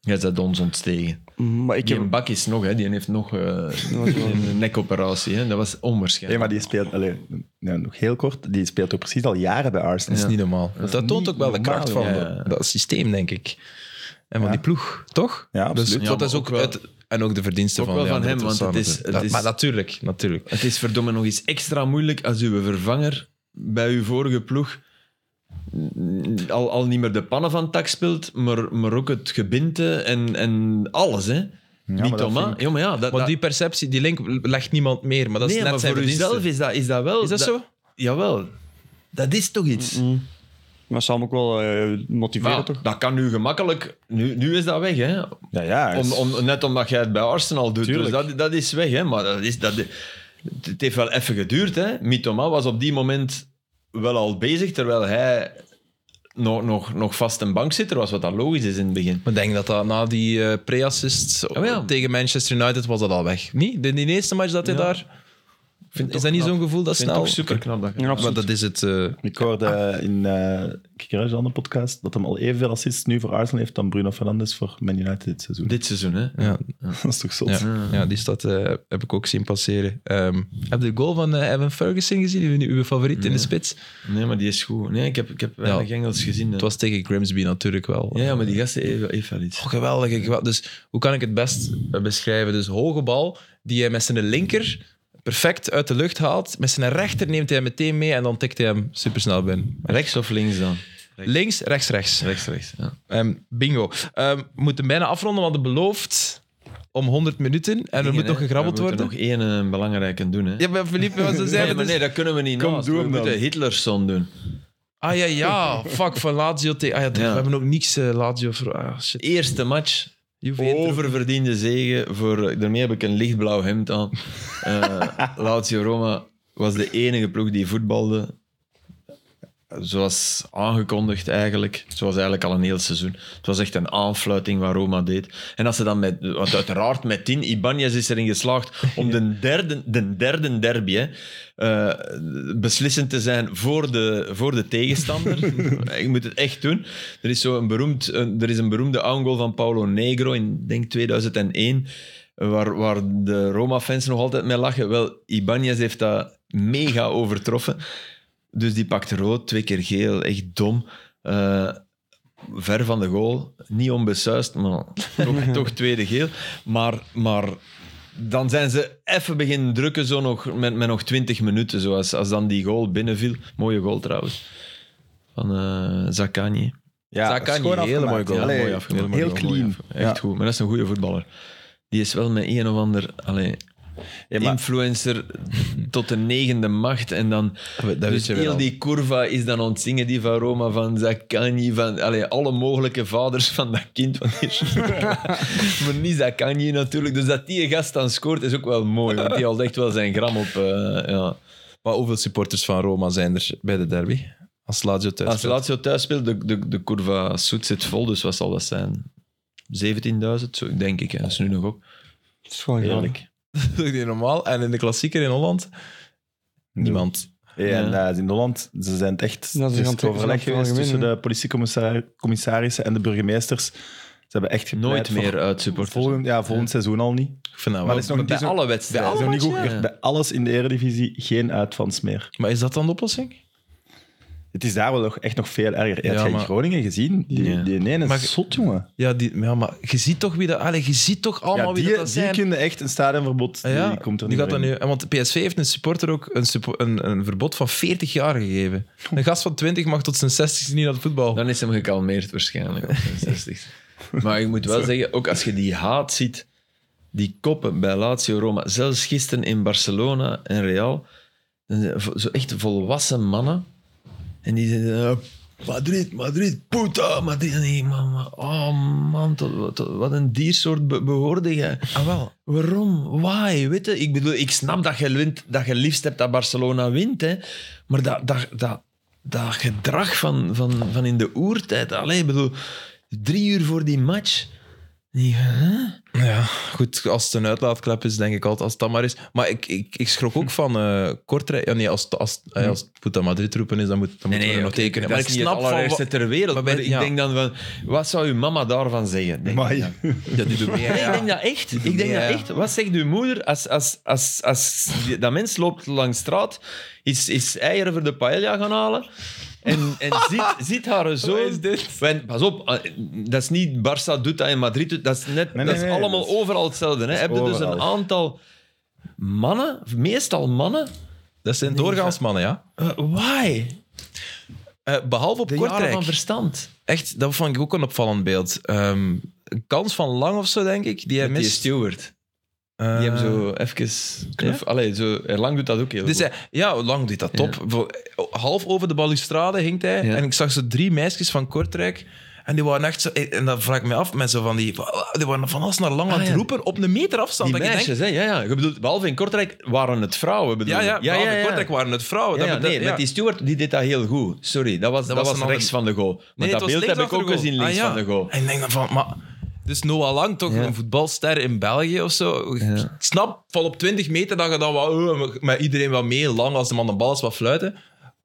jij zij ons ontstegen.
Mm, maar ik
Die
heb...
een bak is nog, hè, die heeft nog eh, een nekoperatie. Hè. Dat was
Nee,
onwaarschijnlijk.
maar die speelt, allee, ja, nog heel kort, die speelt ook precies al jaren bij Arsenal.
Dat is niet normaal. Want dat toont
niet
ook wel de kracht van
normaal,
ja.
dat- dat systeem, denk ik. En van
Ja.
die ploeg, toch?
Ja, absoluut.
Dus,
Ja,
dat
maar
is ook,
ook wel-
uit- en ook de verdiensten
ook
van,
wel van
Leandro
hem, want
Trossard
het is-
natuurlijk.
het
Dat-
is-
Maar natuurlijk, natuurlijk.
Het is verdomme nog eens extra moeilijk als uw vervanger bij uw vorige ploeg mm, al, al niet meer de pannen van tak speelt, maar, maar ook het gebinte en, en alles. Hè.
maar
Niet
dat
Thomas.
vind
Ja, maar ja, dat,
Want
dat-
die perceptie, die link legt niemand meer. Maar dat is
nee,
net
maar
zijn
voor
verdienste.
uzelf is dat, is dat wel...
Is dat zo?
Jawel. Dat is toch iets?
Maar Sam ook wel eh, motiveren,
Maar
toch?
dat kan nu gemakkelijk... Nu, nu is dat weg, hè.
Ja, ja.
Om, om, net omdat jij het bij Arsenal doet.
Tuurlijk.
Dus dat, dat is weg, hè. Maar dat is, dat, het heeft wel even geduurd, hè. Mitoma was op die moment wel al bezig, terwijl hij nog, nog, nog vast een bankzitter was, wat dat logisch is in het begin.
Maar ik denk dat dat na die eh, pre-assist
Oh ja.
tegen Manchester United was dat al weg. Niet? De, die eerste match dat hij
Ja.
daar...
Vind
Is
toch
dat niet
knap.
zo'n gevoel dat
Ik vind
snel...
het super knap dat je-
Ja,
Maar
absoluut.
dat is het... eh,
Ik hoorde eh, in uh, Kikerage, een andere podcast, dat hem al evenveel assists nu voor Arsenal heeft dan Bruno Fernandes voor Man United dit seizoen.
Dit seizoen, hè.
ja,
[laughs] Dat is toch zot?
Hmm.
ja, ja, die stad eh, heb ik ook zien passeren. Ehm, heb je de goal van eh, Evan Ferguson gezien? Uw, uw favoriet in de spits?
Nee, maar die is goed. Nee, ik heb, ik heb weinig Engels gezien. hè.
Het was tegen Grimsby natuurlijk wel.
Ja, ja, maar die gasten heeft, wel- heeft wel iets.
Oh, geweldig. geweldig. Dus hoe kan ik het best eh, beschrijven? Dus hoge bal die hij met zijn linker perfect uit de lucht haalt. Met zijn rechter neemt hij hem meteen mee en dan tikt hij hem supersnel binnen.
Rechts of links dan?
Links, rechts, rechts.
Rechts, rechts. Ja.
Ehm, bingo. Ehm, we moeten bijna afronden, want het belooft om 100 minuten. En er moet nog gegrabbeld worden.
nog één eh, belangrijke doen. Hè?
Ja, maar Philippe, wat zou
nee,
zeggen? Dus-
maar nee, dat kunnen we niet
Kom,
naast.
doe
We
hem dan.
moeten Hitlerson doen.
Ah ja, ja. Fuck, van Lazio tegen... Ah ja,
Ja.
we hebben ook niks eh, Lazio voor... Ah, shit.
Eerste match.
Juve Inter.
Oververdiende zegen. Voor, eh, daarmee heb ik een lichtblauw hemd aan. Eh Lazio Roma was de enige ploeg die voetbalde. zoals aangekondigd eigenlijk, het was eigenlijk al een heel seizoen. Het was echt een aanfluiting wat Roma deed. En als ze dan met, want uiteraard met 10, Ibanez is erin geslaagd om de derde, de derde derby hè, eh, beslissend te zijn voor de, voor de tegenstander. Je moet het echt doen. Er is, zo een, beroemd, een- er is een beroemde goal van Paulo Negro in denk 2001, waar, waar de Roma-fans nog altijd mee lachen. Wel, Ibanez heeft dat mega overtroffen. Dus die pakt rood, twee keer geel, echt dom. Eh, ver van de goal, niet onbesuist, maar toch, toch tweede geel. Maar, maar dan zijn ze even beginnen drukken, zo nog, met, met nog twintig minuten. Zoals als dan die goal binnenviel. Mooie goal trouwens. Van eh Zakani.
Ja,
Zakani,
schoon
hele
afgemaakt.
mooie goal.
Allee,
Mooi afgemaakt.
Heel
Mooi
clean.
afgemaakt. Echt
Ja.
goed, maar dat is een goede voetballer. Die is wel met een of ander allee,
Ja, maar-
influencer tot de negende macht. En dan
Ah, dat
dus
weet je wel.
heel die curva is dan ontzingen, die van Roma, van Zakani, van allee, alle mogelijke vaders van dat kind. Want die [laughs] is- maar niet Zakani natuurlijk. Dus dat die gast dan scoort is ook wel mooi, want die haalt echt wel zijn gram op. eh, ja.
Maar hoeveel supporters van Roma zijn er bij de derby? Als Lazio thuis
Als
speelt?
Lazio thuis speelt, de, de, de curva Soet zit vol, dus wat zal dat zijn? 17.000, zo, denk ik. Hè. Dat is nu nog op.
Het is gewoon grappig. [laughs]
Heerlijk.
Dat is niet normaal. En in de klassieker in Holland? Niemand.
Ja, en eh, in Holland, ze zijn het echt
Ja, ze
het is
gaan
het
te- ze
overleg
gaan
geweest
algemeen,
tussen
hè.
de politiecommissarissen en de burgemeesters. Ze hebben echt gepleit
Nooit
voor
meer uitsupporters.
Volgend, ja, volgend seizoen al niet.
Ik vind dat wel.
Maar dat is nog niet
Bij
zo,
alle
bij,
wedstrijden.
is nog niet goed
ja.
geregeld. bij alles in de eredivisie geen uitvans meer.
Maar is dat dan de oplossing?
Het is daar wel nog, echt nog veel erger.
Ja,
Heb jij
maar-
Groningen gezien? Die,
Ja.
die ene is
Maar-
zot, jongen.
Ja, die, ja, maar je ziet toch wie dat... Allee, je ziet toch allemaal
Ja,
wie dat,
die
dat
die
zijn?
kunnen echt een stadionverbod.
Ah ja,
die komt er
die
niet
gaat dan
meer
nu.
in.
en Want PSV heeft een supporter ook een, suppo- een, een verbod van 40 jaar gegeven. Een gast van 20 mag tot zijn 60 niet naar het voetbal.
Dan is hem gekalmeerd waarschijnlijk. op zijn 60. maar ik moet wel zeggen, ook als je die haat ziet, die koppen bij Lazio Roma, zelfs gisteren in Barcelona en Real, dan zijn vo- zo echt volwassen mannen. En die zeggen, eh, Madrid, Madrid, puta, Madrid. En ik, man, man, oh man, tot, tot- wat een diersoort be- behoorde jij.
Ah, wel.
Waarom? Why? Weet je, ik bedoel, ik snap dat je, wint, dat je liefst hebt dat Barcelona wint, hè. maar dat, dat, dat, dat gedrag van, van, van in de oertijd, allee, ik bedoel, drie uur voor die match. Ja, hè?
Ja, goed, als het een uitlaatklep is, denk ik altijd, als het dat maar is. Maar ik, ik, ik schrok ook van eh Kortrijk. Ja, nee, als, het- als, eh, als het Puta Madrid roepen is, dan moet, dan moeten we er nog
Hm. oké,
tekenen.
Dat
Maar
is
ik
niet
snap
het
van...
allerergste
wa-
ter wereld,
Maar
maar,
bij-
ik
ja.
denk dan van, wat zou uw mama daarvan zeggen? Denk ik dan.
Ja, die [laughs] doet mee,
Nee,
ja.
ik denk dat echt. Ik denk
Ja.
dat echt. Wat zegt uw moeder als, als, als, als die- dat mens loopt langs straat, is, is eieren voor de paella gaan halen en,
[laughs]
en ziet, ziet haar zoon...
Wat is dit?
Want, pas op, eh, dat is niet Barça doet dat en Madrid doet dat. is net,
Nee,
dat
nee,
is
nee,
allemaal
dat is-
overal hetzelfde. Hè. Heb je dus een
overal.
aantal mannen, meestal mannen...
Dat zijn doorgaans mannen, ja.
eh, why?
Eh, behalve op
De jaren
Kortrijk.
van verstand.
Echt, dat vond ik ook een opvallend beeld. Ehm, een kans van Lang of zo, denk ik, die hij
Met die
mist. Eh,
steward. Die hebben zo
Eh.
even knuff. Allee, zo, eh, Lang doet dat ook heel
Dus
goed.
hij, ja, lang deed dat top. Voor- Half over de balustrade hing hij.
Ja.
En ik zag zo drie meisjes van Kortrijk. En die waren echt zo... eh, En dat vraag ik me af, met zo van die... Die waren van alles naar lang aan
Ah,
het
ja.
roepen op een meter afstand.
Die
Dat ik denk,
meisjes, hè? Ja, ja. Je bedoelt, behalve in Kortrijk waren het vrouwen. Bedoel.
ja,
je?
ja, ja, in Kortrijk waren het vrouwen.
Ja,
dat
ja,
bedoel-
nee,
ja.
met die steward die deed dat heel goed. Sorry, dat was, dat
was
was,
een ander-
rechts van de goal. Maar
Nee, het
dat
was
beeld heb ik
links
ook
achter de
gezien
goal.
links
Ah, ja.
van de goal.
En ik denk dan van... Maar, dus Noah Lang, toch
Ja.
een voetbalster in België of zo. Ik
Ja.
snap, van op 20 meter dat je dan wel, oh, met iedereen wel mee, lang als de man de bal is, wat fluiten.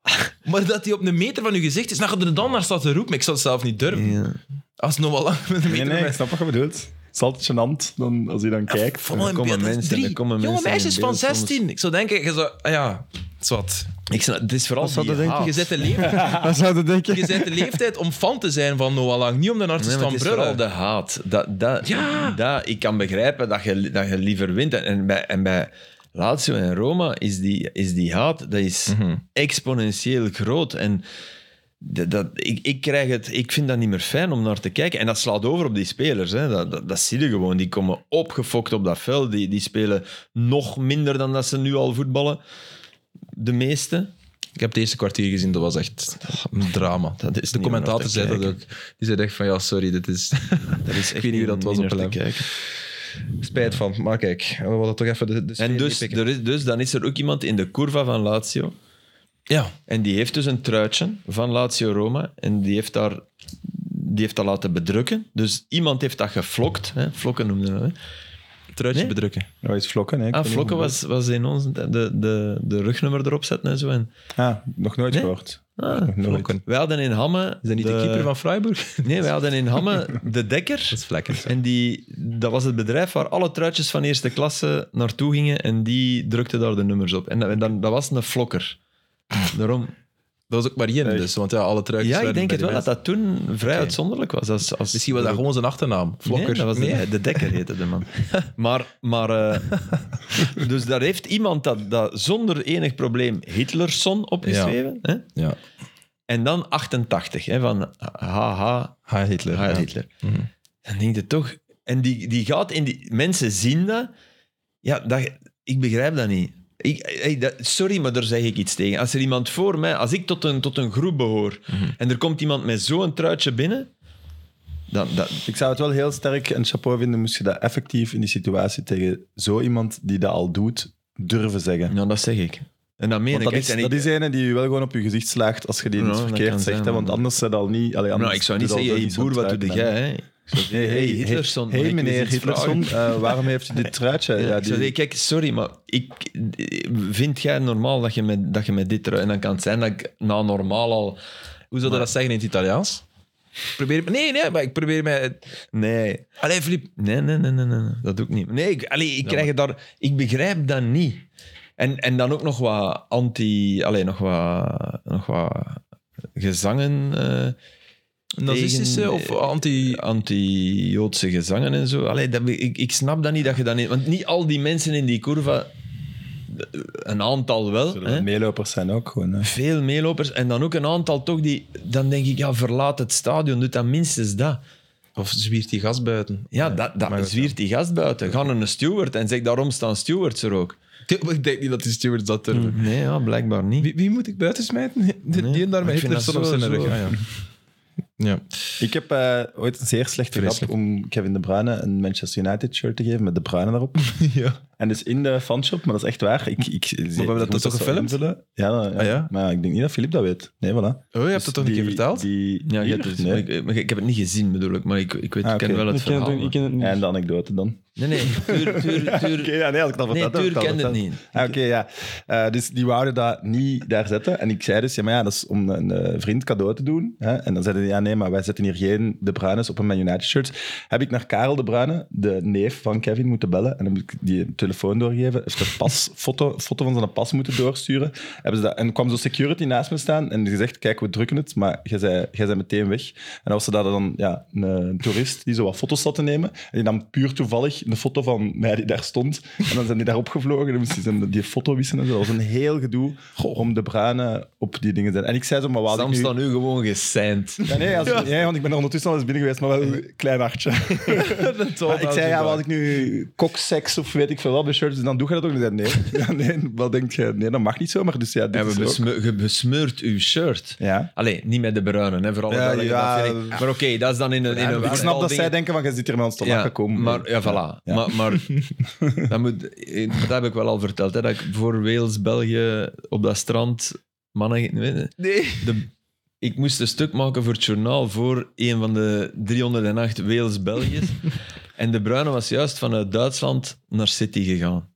[laughs] Maar dat hij op een meter van je gezicht is, dan gaat er dan naar staat te roepen. Ik zou het zelf niet durven.
Ja.
Als Noah Lang met een
Nee,
meter
nee, ik
bij-
snap wat je bedoelt. Het is altijd gênant dan, als je dan
Ah,
kijkt.
Van wel in
komen
beeld, dat is
mensen,
drie
er komen
jonge
mensen in
meisjes van
beeld soms.
16. Ik zou denken, je zou, ah ja, het is wat.
Ik snap, het is vooral
Wat zou
die
dat denken?
haat.
Je zet de [laughs] leeftijd,
Dat zou je denken.
je zet de leeftijd om fan te zijn van Noah Lang, niet om de artiest
Nee, maar
van
het is
brullen.
vooral de haat. Dat, dat,
Ja.
dat, ik kan begrijpen dat je, dat je liever wint. En- En bij, en bij Lazio en Roma is die, is die haat dat is
Mhm.
exponentieel groot. En dat, dat- ik, ik, krijg het, ik vind dat niet meer fijn om naar te kijken. En dat slaat over op die spelers. Hè. Dat, dat, dat zie je gewoon. Die komen opgefokt op dat veld. Die, die spelen nog minder dan dat ze nu al voetballen. De meeste.
Ik heb het eerste kwartier gezien, dat was echt een drama.
Dat is
de
niet om naar
commentator
te
zei dat ook.
kijken.
Die zei echt van, ja, sorry, dit is...
[laughs] Dat is
ik weet niet hoe dat was op
te
Lem.
kijken.
Spijt van, maar kijk, we hadden toch even de, de sfeer
En dus,
meepikken.
er is, dus dan is er ook iemand in de curva van Lazio
Ja.
En die heeft dus een truitje van Lazio Roma. En die heeft, daar, die heeft dat laten bedrukken. Dus iemand heeft dat geflokt. Hè? Flokken noemden we dat. hè.
Truitje
Nee?
bedrukken.
Dat Eh, is vlokken, hè? Ik
Ah,
weet
Flokken
niet
was, was in ons de, de, de rugnummer erop zetten en zo. En,
hoe- Ah, nog nooit
Nee?
gehoord.
ah,
Nog nooit.
Vlokken.
wij hadden in Hamme...
Is dat niet de, keeper van [laughs] Freiburg? Dat
Nee, wij hadden in Hamme
[laughs]
de dekker.
is vlekkend.
En die, dat was het bedrijf waar alle truitjes van eerste klasse naartoe gingen. En die drukte daar de nummers op. En dat, en dan, dat was een flokker. Daarom,
Dat was ook maar één, dus, want ja, alle truitjes
ja, ik
werden
denk
Ah, bij
het
de
wel dat
mensen.
dat toen vrij uitzonderlijk was. Als, als
Misschien was dat gewoon zijn achternaam. Vlokker.
Nee, dat was [laughs] de, de dekker heette de man. Maar, maar eh, dus daar heeft iemand dat, dat zonder enig probleem Hitlerson opgeschreven. Hè?
Ja.
En dan 88, hè, van haha,
Ha, Hitler.
Heil
ja.
Hitler.
Mhm.
Dan denk je toch... En die, die gaat in die... Mensen zien dat. Ja, dat, ik begrijp dat niet. Ik, hey, dat- sorry, maar daar zeg ik iets tegen. Als er iemand voor mij... Als ik tot een, tot een groep behoor en er komt iemand met zo'n truitje binnen... Dan, dat,
Ik zou het wel heel sterk een chapeau vinden, moest je dat effectief in die situatie tegen zo iemand die dat al doet, durven zeggen.
nou, dat zeg ik. En dat meen
Want
ik
dat
echt.
is,
En
dat
ik,
is ene die je wel gewoon op je gezicht slaagt als je die
Ja,
iets
dat
verkeerd
kan
zegt.
zijn,
hè, want
maar-
anders zijn al niet... Allee, anders
nou, ik zou niet
doet al
zeggen,
zo
hey, boer,
niet zo'n
wat doe
truitje
jij?
aan.
Hè? Ik zou zeggen,
Hey, hey,
hey,
hey,
Hitlerson.
hey,
maar ik wil
meneer
iets vragen.
Hitlerson, eh, waarom heeft u
[laughs]
dit truitje?
Ja, ik
Ja, die-
zou zeggen, kijk, sorry, maar ik, vind jij normaal dat je met, dat je met dit... En dan kan het zijn dat ik na normaal al...
Hoe zou je dat zeggen in het Italiaans? Probeer, nee, nee, maar ik probeer mij...
Nee.
Allee, Filip.
Nee, nee, nee, nee, nee, nee. dat doe ik niet. Nee, ik, allee, ik, krijg het daar, ik begrijp dat niet. En, en dan ook nog wat anti... Allee, nog wat, nog wat gezangen... eh,
Nazistische
tegen-
of
Eh,
anti...
anti-Joodse gezangen en zo. Allee, dat, be- ik, ik snap dat niet, dat je dat niet... Want niet al die mensen in die curva... Een aantal wel.
Zullen
hè?
dat Meelopers zijn ook gewoon. hè.
Veel meelopers. En dan ook een aantal toch die... Dan denk ik, ja, verlaat het stadion. Doe dan minstens dat.
Of zwiert die gas buiten.
Ja, dat, dat zwiert die gast buiten. Ga naar een steward en zeg, daarom staan stewards er ook.
Ik denk niet dat die stewards dat durven.
Mhm.
Nee, ja, blijkbaar niet.
Wie, wie moet ik buiten smijten? De, [laughs]
Nee,
die en daar
ik
met Hitler
vind dat
stond op zijn
zo-
rug.
zo.
Ah, ja. Oh, ja.
Ik heb eh, ooit een zeer slechte grap
Vreselijk.
om Kevin De Bruyne een Manchester United shirt te geven met De Bruyne daarop.
[laughs] ja.
En dus in de fanshop, maar dat is echt waar. Ik, ik, we
hebben dat toch gefilmd?
Ja, ja.
Ah, ja?
maar ik denk niet dat Filip dat weet. Nee, voilà. Dus
Oh, je hebt het toch
die-
een keer verteld?
Die,
Ja,
hier?
je hebt het-
Nee.
ik, maar ik heb het niet gezien, bedoel ik, maar ik, ik, weet,
Ah,
ik ken
oké.
wel het
Ik ken, het,
verhaal.
ook- ik ken het niet.
En de anekdote dan.
maar- Nee, nee, Tuur, Tuur, Tuur...
[laughs] Oké, ja, nee, als ik dat
nee,
verteld
Tuur
heb, vertel
kent het
dat.
niet.
Ah, Oké, ja. Eh, dus die wouden dat niet daar zetten. En ik zei dus, ja, maar ja, dat is om een eh, vriend cadeau te doen. Hè? En dan zeiden die, ja, nee, maar wij zetten hier geen De Bruines op een Man United shirt. Heb ik naar Karel De Bruyne, de neef van Kevin, moeten bellen. En dan heb ik die telefoon doorgegeven. Heeft de pas, foto, foto van zijn pas moeten doorsturen. Hebben ze Dus dat, en kwam zo security naast me staan en die zegt, kijk, we drukken het, maar jij zei, jij zei meteen weg. En dan was er daar dan ja, een, eh, een toerist die zo wat foto's zat te nemen. En die nam puur toevallig een foto van mij die daar stond. En dan zijn die daar opgevlogen. Dan moesten ze die foto wissen en zo. Dat was een heel gedoe om de bruine op die dingen te zijn. En ik zei zo, maar wat had ik
Sam
nu...
staat nu gewoon geseind.
[laughs] Ja, nee, als- nee, want ik ben er ondertussen al eens binnen geweest, maar wel een klein hartje.
[laughs]
Maar ik zei, ja, wat had ik nu kokseks of weet ik veel wat bij shirts, dus dan doe je dat ook. niet. nee, [laughs] ja, nee, wat denk je? Nee, dat mag niet zo, maar dus ja, dit
En
is
we
er ook.
besme- je besmeurt uw shirt.
Ja.
Allee, niet met de bruinen, hè, vooral.
Ja, ja.
Maar oké, dat is dan in een... In een
Ik snap dat zij
voetbalding-
denken van, je zit hier met ons te
ja,
lachen komen.
Maar, ja, voilà.
Ja.
Maar,
[laughs]
maar dat, moet, eh, dat heb ik wel al verteld, hè, dat ik voor Wales, België, op dat strand... Mannen... Nee. De, ik moest een stuk maken voor het journaal voor een van de 308
[laughs]
Wales-Belgiërs. en De Bruyne was juist vanuit Duitsland naar City gegaan.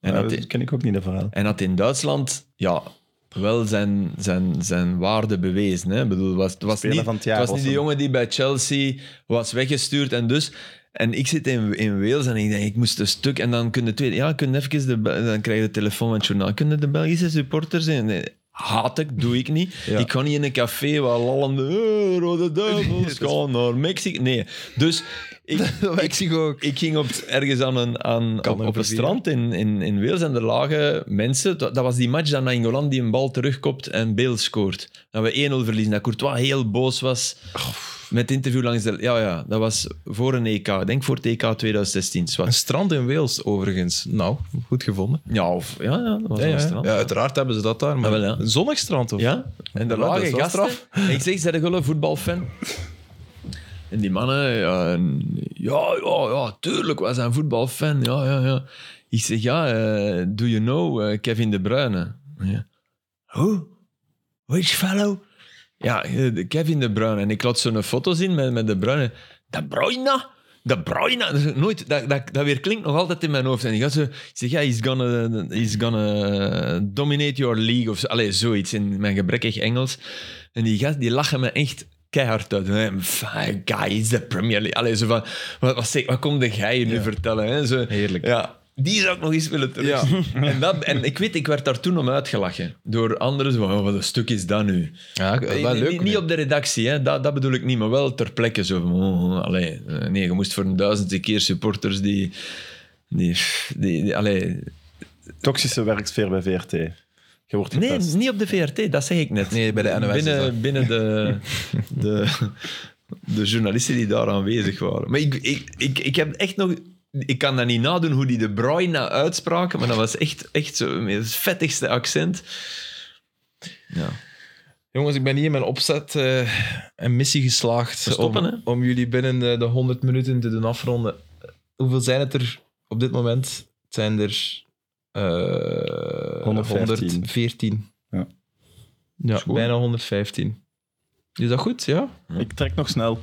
En
Ja,
had,
Ah, dat ken ik ook niet, dat verhaal.
en had in Duitsland, ja... Wel zijn, zijn, zijn waarde bewezen. Hè? Ik bedoel, was, het was
Speler
niet,
van het jaar
het was
was
niet die
hem.
jongen die bij Chelsea was weggestuurd en dus. En ik zit in, in Wales en ik denk, ik moest een stuk. En dan kunnen twee, ja, kunnen even de, Bel- dan krijg je de telefoon van het journaal. Kunnen de Belgische supporters in? Nee, haat ik, doe ik niet. Ik ga niet in een café waar lallende eh, rode duivels gaan naar Mexico. Nee, dus ik,
Mexico ook.
ik ging op, ergens aan een, aan, op, op een strand in, in, in Wales en er lagen mensen. Dat, dat was die match dat Nangolan die een bal terugkopt en Bale scoort. Dat we 1-0 verliezen. Dat Courtois heel boos was met het interview langs de... Ja, ja, dat was voor een EK. Ik denk voor het E EK 2016.
Een
Zwart.
strand in Wales, overigens. Nou, goed gevonden.
Ja, of, ja, ja, dat was
Ja,
een
ja.
strand.
Ja, uiteraard hebben ze dat daar. Maar
Ah, wel, ja.
Een zonnig strand, of?
Ja, en daar
Ja, dat
lagen
is wel
gasten. En ik zeg, zijn jullie een voetbalfan? En die mannen, ja, en- ja, ja, ja, tuurlijk, wij zijn voetbalfan. Ja, ja, ja. Ik zeg, ja, eh, do you know eh, Kevin De Bruyne? Ja. Who? Which fellow? Ja, eh, de Kevin De Bruyne. En ik laat zo'n foto zien met, met De Bruyne. De Bruyne? De Bruyne? Dat, is nooit, dat, dat, dat weer klinkt nog altijd in mijn hoofd. En die gaat zo... Ik zeg, ja, he's gonna, he's gonna dominate your league. Of zo. Allee, zoiets in mijn gebrekkig Engels. En die gast, die lachen me echt keihard uit. Hè. Fijn, Guy, is de Premier League. Allee, zo van... Wat, wat, zeg- wat komt de jij hier nu vertellen? Hè? Zo,
Heerlijk.
Ja. Die zou ik nog eens willen terugzien. En, dat, en ik weet, ik werd daar toen om uitgelachen. Door anderen. Zo, van, "Oh, wat een stuk is dat nu?
Ja,
Eh,
wel
nee,
leuk.
Niet,
nee.
niet op de redactie, hè. Dat, dat bedoel ik niet, maar wel ter plekke. Zo van, oh, oh, allee, eh, nee, je moest voor een duizendste keer supporters die... die, die, die- allee.
Toxische werksfeer bij VRT. Je wordt
Nee,
gepest.
niet op de VRT, dat zeg ik net.
Nee, bij de NOS is
Binnen,
dat.
binnen de, [laughs] de, de journalisten die daar aanwezig waren. Maar ik, ik, ik, ik heb echt nog... Ik kan dat niet nadoen hoe die de Bruyne uitspraken, maar dat was echt, echt zo, met het vettigste accent. Ja.
Jongens, ik ben hier in mijn opzet eh, een missie geslaagd
We stoppen,
om, om jullie binnen de, de 100 minuten te doen afronden. Hoeveel zijn het er op dit moment? Het zijn er eh
114.
114.
Ja.
Ja,
goed.
bijna 115. Is dat goed? Ja?
Ik trek nog snel.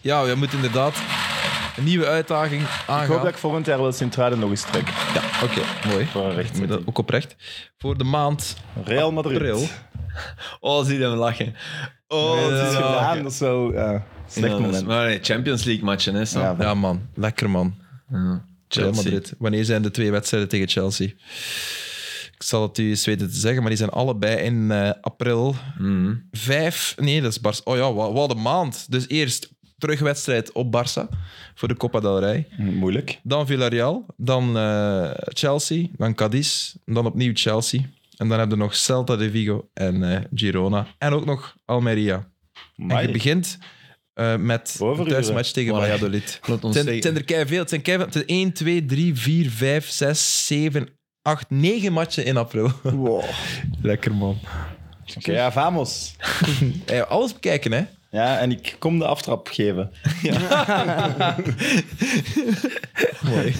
Ja, we moeten inderdaad een nieuwe uitdaging aangaan.
Ik hoop dat ik volgend jaar wel Sint-Truiden nog eens trek.
Ja, oké, mooi.
Voor een
Ik moet
recht.
dat ook oprecht. Voor de maand
Ah,
Real Madrid.
april.
Oh, zie hem lachen. Oh,
Oh, dat
zie
is
hem lachen.
gedaan. Dat is wel ja, slecht
Ja, dat is-
moment.
Maar nee, Champions League matchen, hè, Sam?
Ja,
Ja, man. Lekker, man.
Ja.
Real
Chelsea.
Madrid. Wanneer zijn de twee wedstrijden tegen Chelsea? Ik zal het u eens weten te zeggen, maar die zijn allebei in eh, april.
Mhm.
Vijf, nee, dat is Barça. Oh ja, wa- wat een maand. Dus eerst terugwedstrijd op Barça voor de Copa del Rey.
Moeilijk.
Dan Villarreal, dan eh, Chelsea, dan Cadiz, dan opnieuw Chelsea. En dan hebben we nog Celta de Vigo en eh, Girona. En ook nog Almeria. En je
Amai.
begint eh, met een
Overuren.
thuismatch tegen
Amai.
Valladolid.
Laat
Het zijn,
ons zeggen.
het zijn er keiveel. Het zijn keiveel. Het zijn 1, 2, 3, 4, 5, 6, 7, 8, 9 matchen in april.
Wow.
[laughs] Lekker, man.
Oké, ja, vamos.
Hey, Eh, alles bekijken, hè.
Ja, en ik kom de aftrap geven.
Mooi.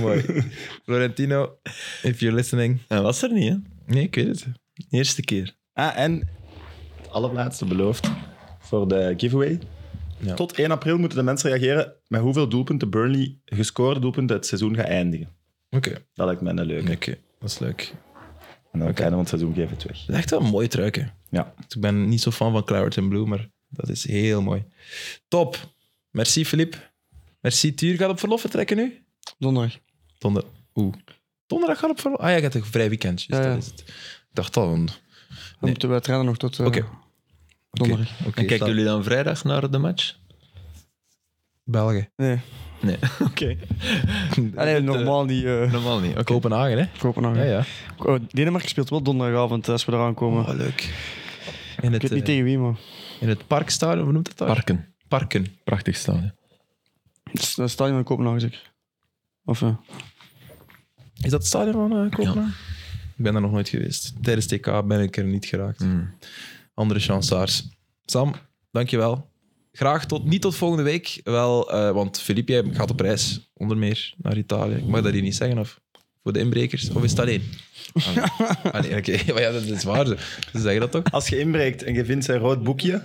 Mooi. Florentino, if you're listening.
Dat was er niet, hè?
Nee, ik weet het.
Eerste keer.
Ah, en het allerlaatste beloofd voor de giveaway.
Ja.
Tot 1 april moeten de mensen reageren met hoeveel doelpunten Burnley gescoorde doelpunten het seizoen gaat eindigen.
Oké.
Dat lijkt mij een leuke.
Oké, dat is leuk.
En dan einde van het seizoen geven we het weg.
Het is echt wel een mooi truiken.
Ja.
Dus Ik ben niet zo fan van Claret en Blue, maar dat is heel mooi. Top. Merci, Filip. Merci, Tuur. Gaat op verlof vertrekken nu?
Donderdag.
Donder... Oeh. Donderdag gaat op verlof? Ah ja, je hebt een vrij weekendje. Dus
Ja, ja.
dat is het. Ik dacht al, een-
Dan moeten we trainen nog tot eh,
Oké.
donderdag.
Oké,
En kijken
staat-
jullie dan vrijdag naar de match?
België.
Nee.
Nee. Oké.
Allee, Ah, normaal niet. eh
Normaal niet. Oké.
Kopenhagen, hè?
Kopenhagen.
Ja, ja.
Oh, Denemarken speelt wel donderdagavond eh, als we eraan komen.
Ah,
Oh, leuk. In het,
ik weet niet
eh,
tegen wie, maar
in het parkstadion, hoe noemt het daar?
Parken.
Parken.
Prachtig stadion.
het is een stadion in Kopenhagen zeker. Of eh,
Is dat het stadion van eh, Kopenhagen? Ik ben daar nog nooit geweest. Tijdens TK ben ik er niet geraakt.
Mm.
Andere chansaars. Sam, dankjewel. Graag tot, niet tot volgende week. Wel, eh, want Filip, jij gaat op reis, onder meer, naar Italië. Ik mag dat hier niet zeggen, [laughs] of? Voor de inbrekers? Of is het alleen? Ah, nee. Ah, nee, oké. [laughs] Maar ja, dat is waar. Ze ze zeggen dat toch?
Als je inbreekt en je vindt zijn rood boekje,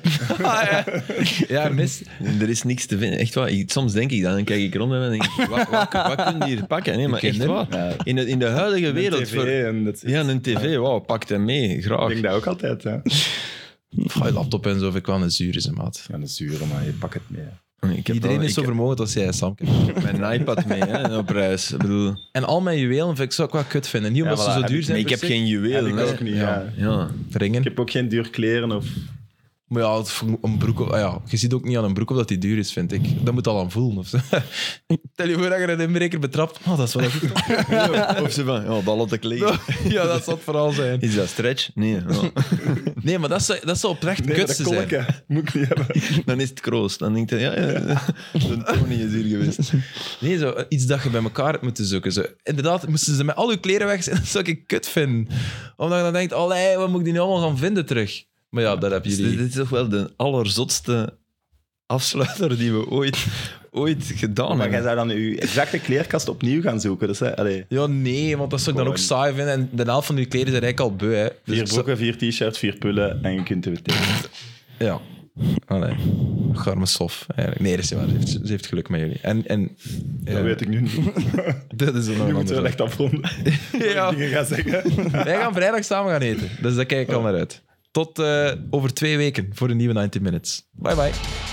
Ja, mis.
Er is niks te vinden. Echt waar. Ik- Soms denk ik dat. Dan kijk ik rond en denk ik, wat, wat, wat kun je hier pakken? Nee, maar echt
kinderen?
waar. In de, in de huidige wereld.
TV
voor,
en dat,
ja, een tv. Wauw, pak hem mee. Graag.
ik denk dat ook altijd. Hè.
Pff, je laptop en zo, vind ik wel een zure ze, maat.
Ja, dat is zuur, maar je pakt het mee. hè.
Ik heb
Iedereen
al-
is
ik
zo vermogend als jij, Sam.
heb mijn iPad mee hè, op reis. Ik bedoel...
En al mijn juwelen vind ik, zou ik wel kut vinden. Niet omdat
Ja,
ze
voilà,
zo
heb
duur
ik-
zijn.
Nee, ik heb
per se.
geen
Heb
juwelen.
ik
hè.
ook niet, ja.
Ja.
ringen.
Ik heb ook geen duur kleren of...
Maar ja, het- een broek, op- ah ja, je ziet ook niet aan een broek of dat die duur is, vind ik. Dat moet al aan voelen. Of zo. [laughs] Stel je voor dat je een inbreker betrapt. Oh, dat is wel echt...
Of ze van, oh, ballen te kleden.
[laughs] ja, dat zal het vooral zijn.
Is dat stretch? Nee. ja.
Nee, maar dat zou, dat zou oprecht
Nee,
kut
dat
zijn.
kolken moet ik niet hebben.
[laughs] Dan is het kroos. Dan denkt hij, ja, ja, de Tony is hier geweest.
Nee, zo, eh, iets dat je bij elkaar hebt moeten zoeken. Zo. Inderdaad, moesten ze met al je kleren weg zijn, [laughs] dat zou ik kut vinden. Omdat je dan denkt, allee, wat moet ik die nu allemaal gaan vinden terug? Maar ja, dat hebben
Dus dit
jullie...
dit is toch wel de allerzotste afsluiter die we ooit ooit gedaan
Maar jij
hebben.
zou dan je exacte kleerkast opnieuw gaan zoeken. Dus, hè, allee,
Ja, nee, want dat zou ik dan ook
Gewoon.
saai vinden. En de helft van die kleden zijn eigenlijk al beu, hè. Dus
vier
ik zou-
broeken, vier t-shirts, vier pullen en je kunt het meteen.
Ja. Allee. Garme sof, eigenlijk. Nee, dat is niet waar. Ze heeft, ze heeft geluk met jullie. En, en Äh, eh,
Dat weet ik nu niet.
dat is een
Nu
ander
moeten we wel
verhaal.
echt afronden. Ja. Dingen gaan zeggen.
Wij gaan vrijdag samen gaan Dus
Oh.
eten. Dus daar kijk ik al naar uit. Tot eh, over twee weken voor een nieuwe 90 Minutes. Bye bye.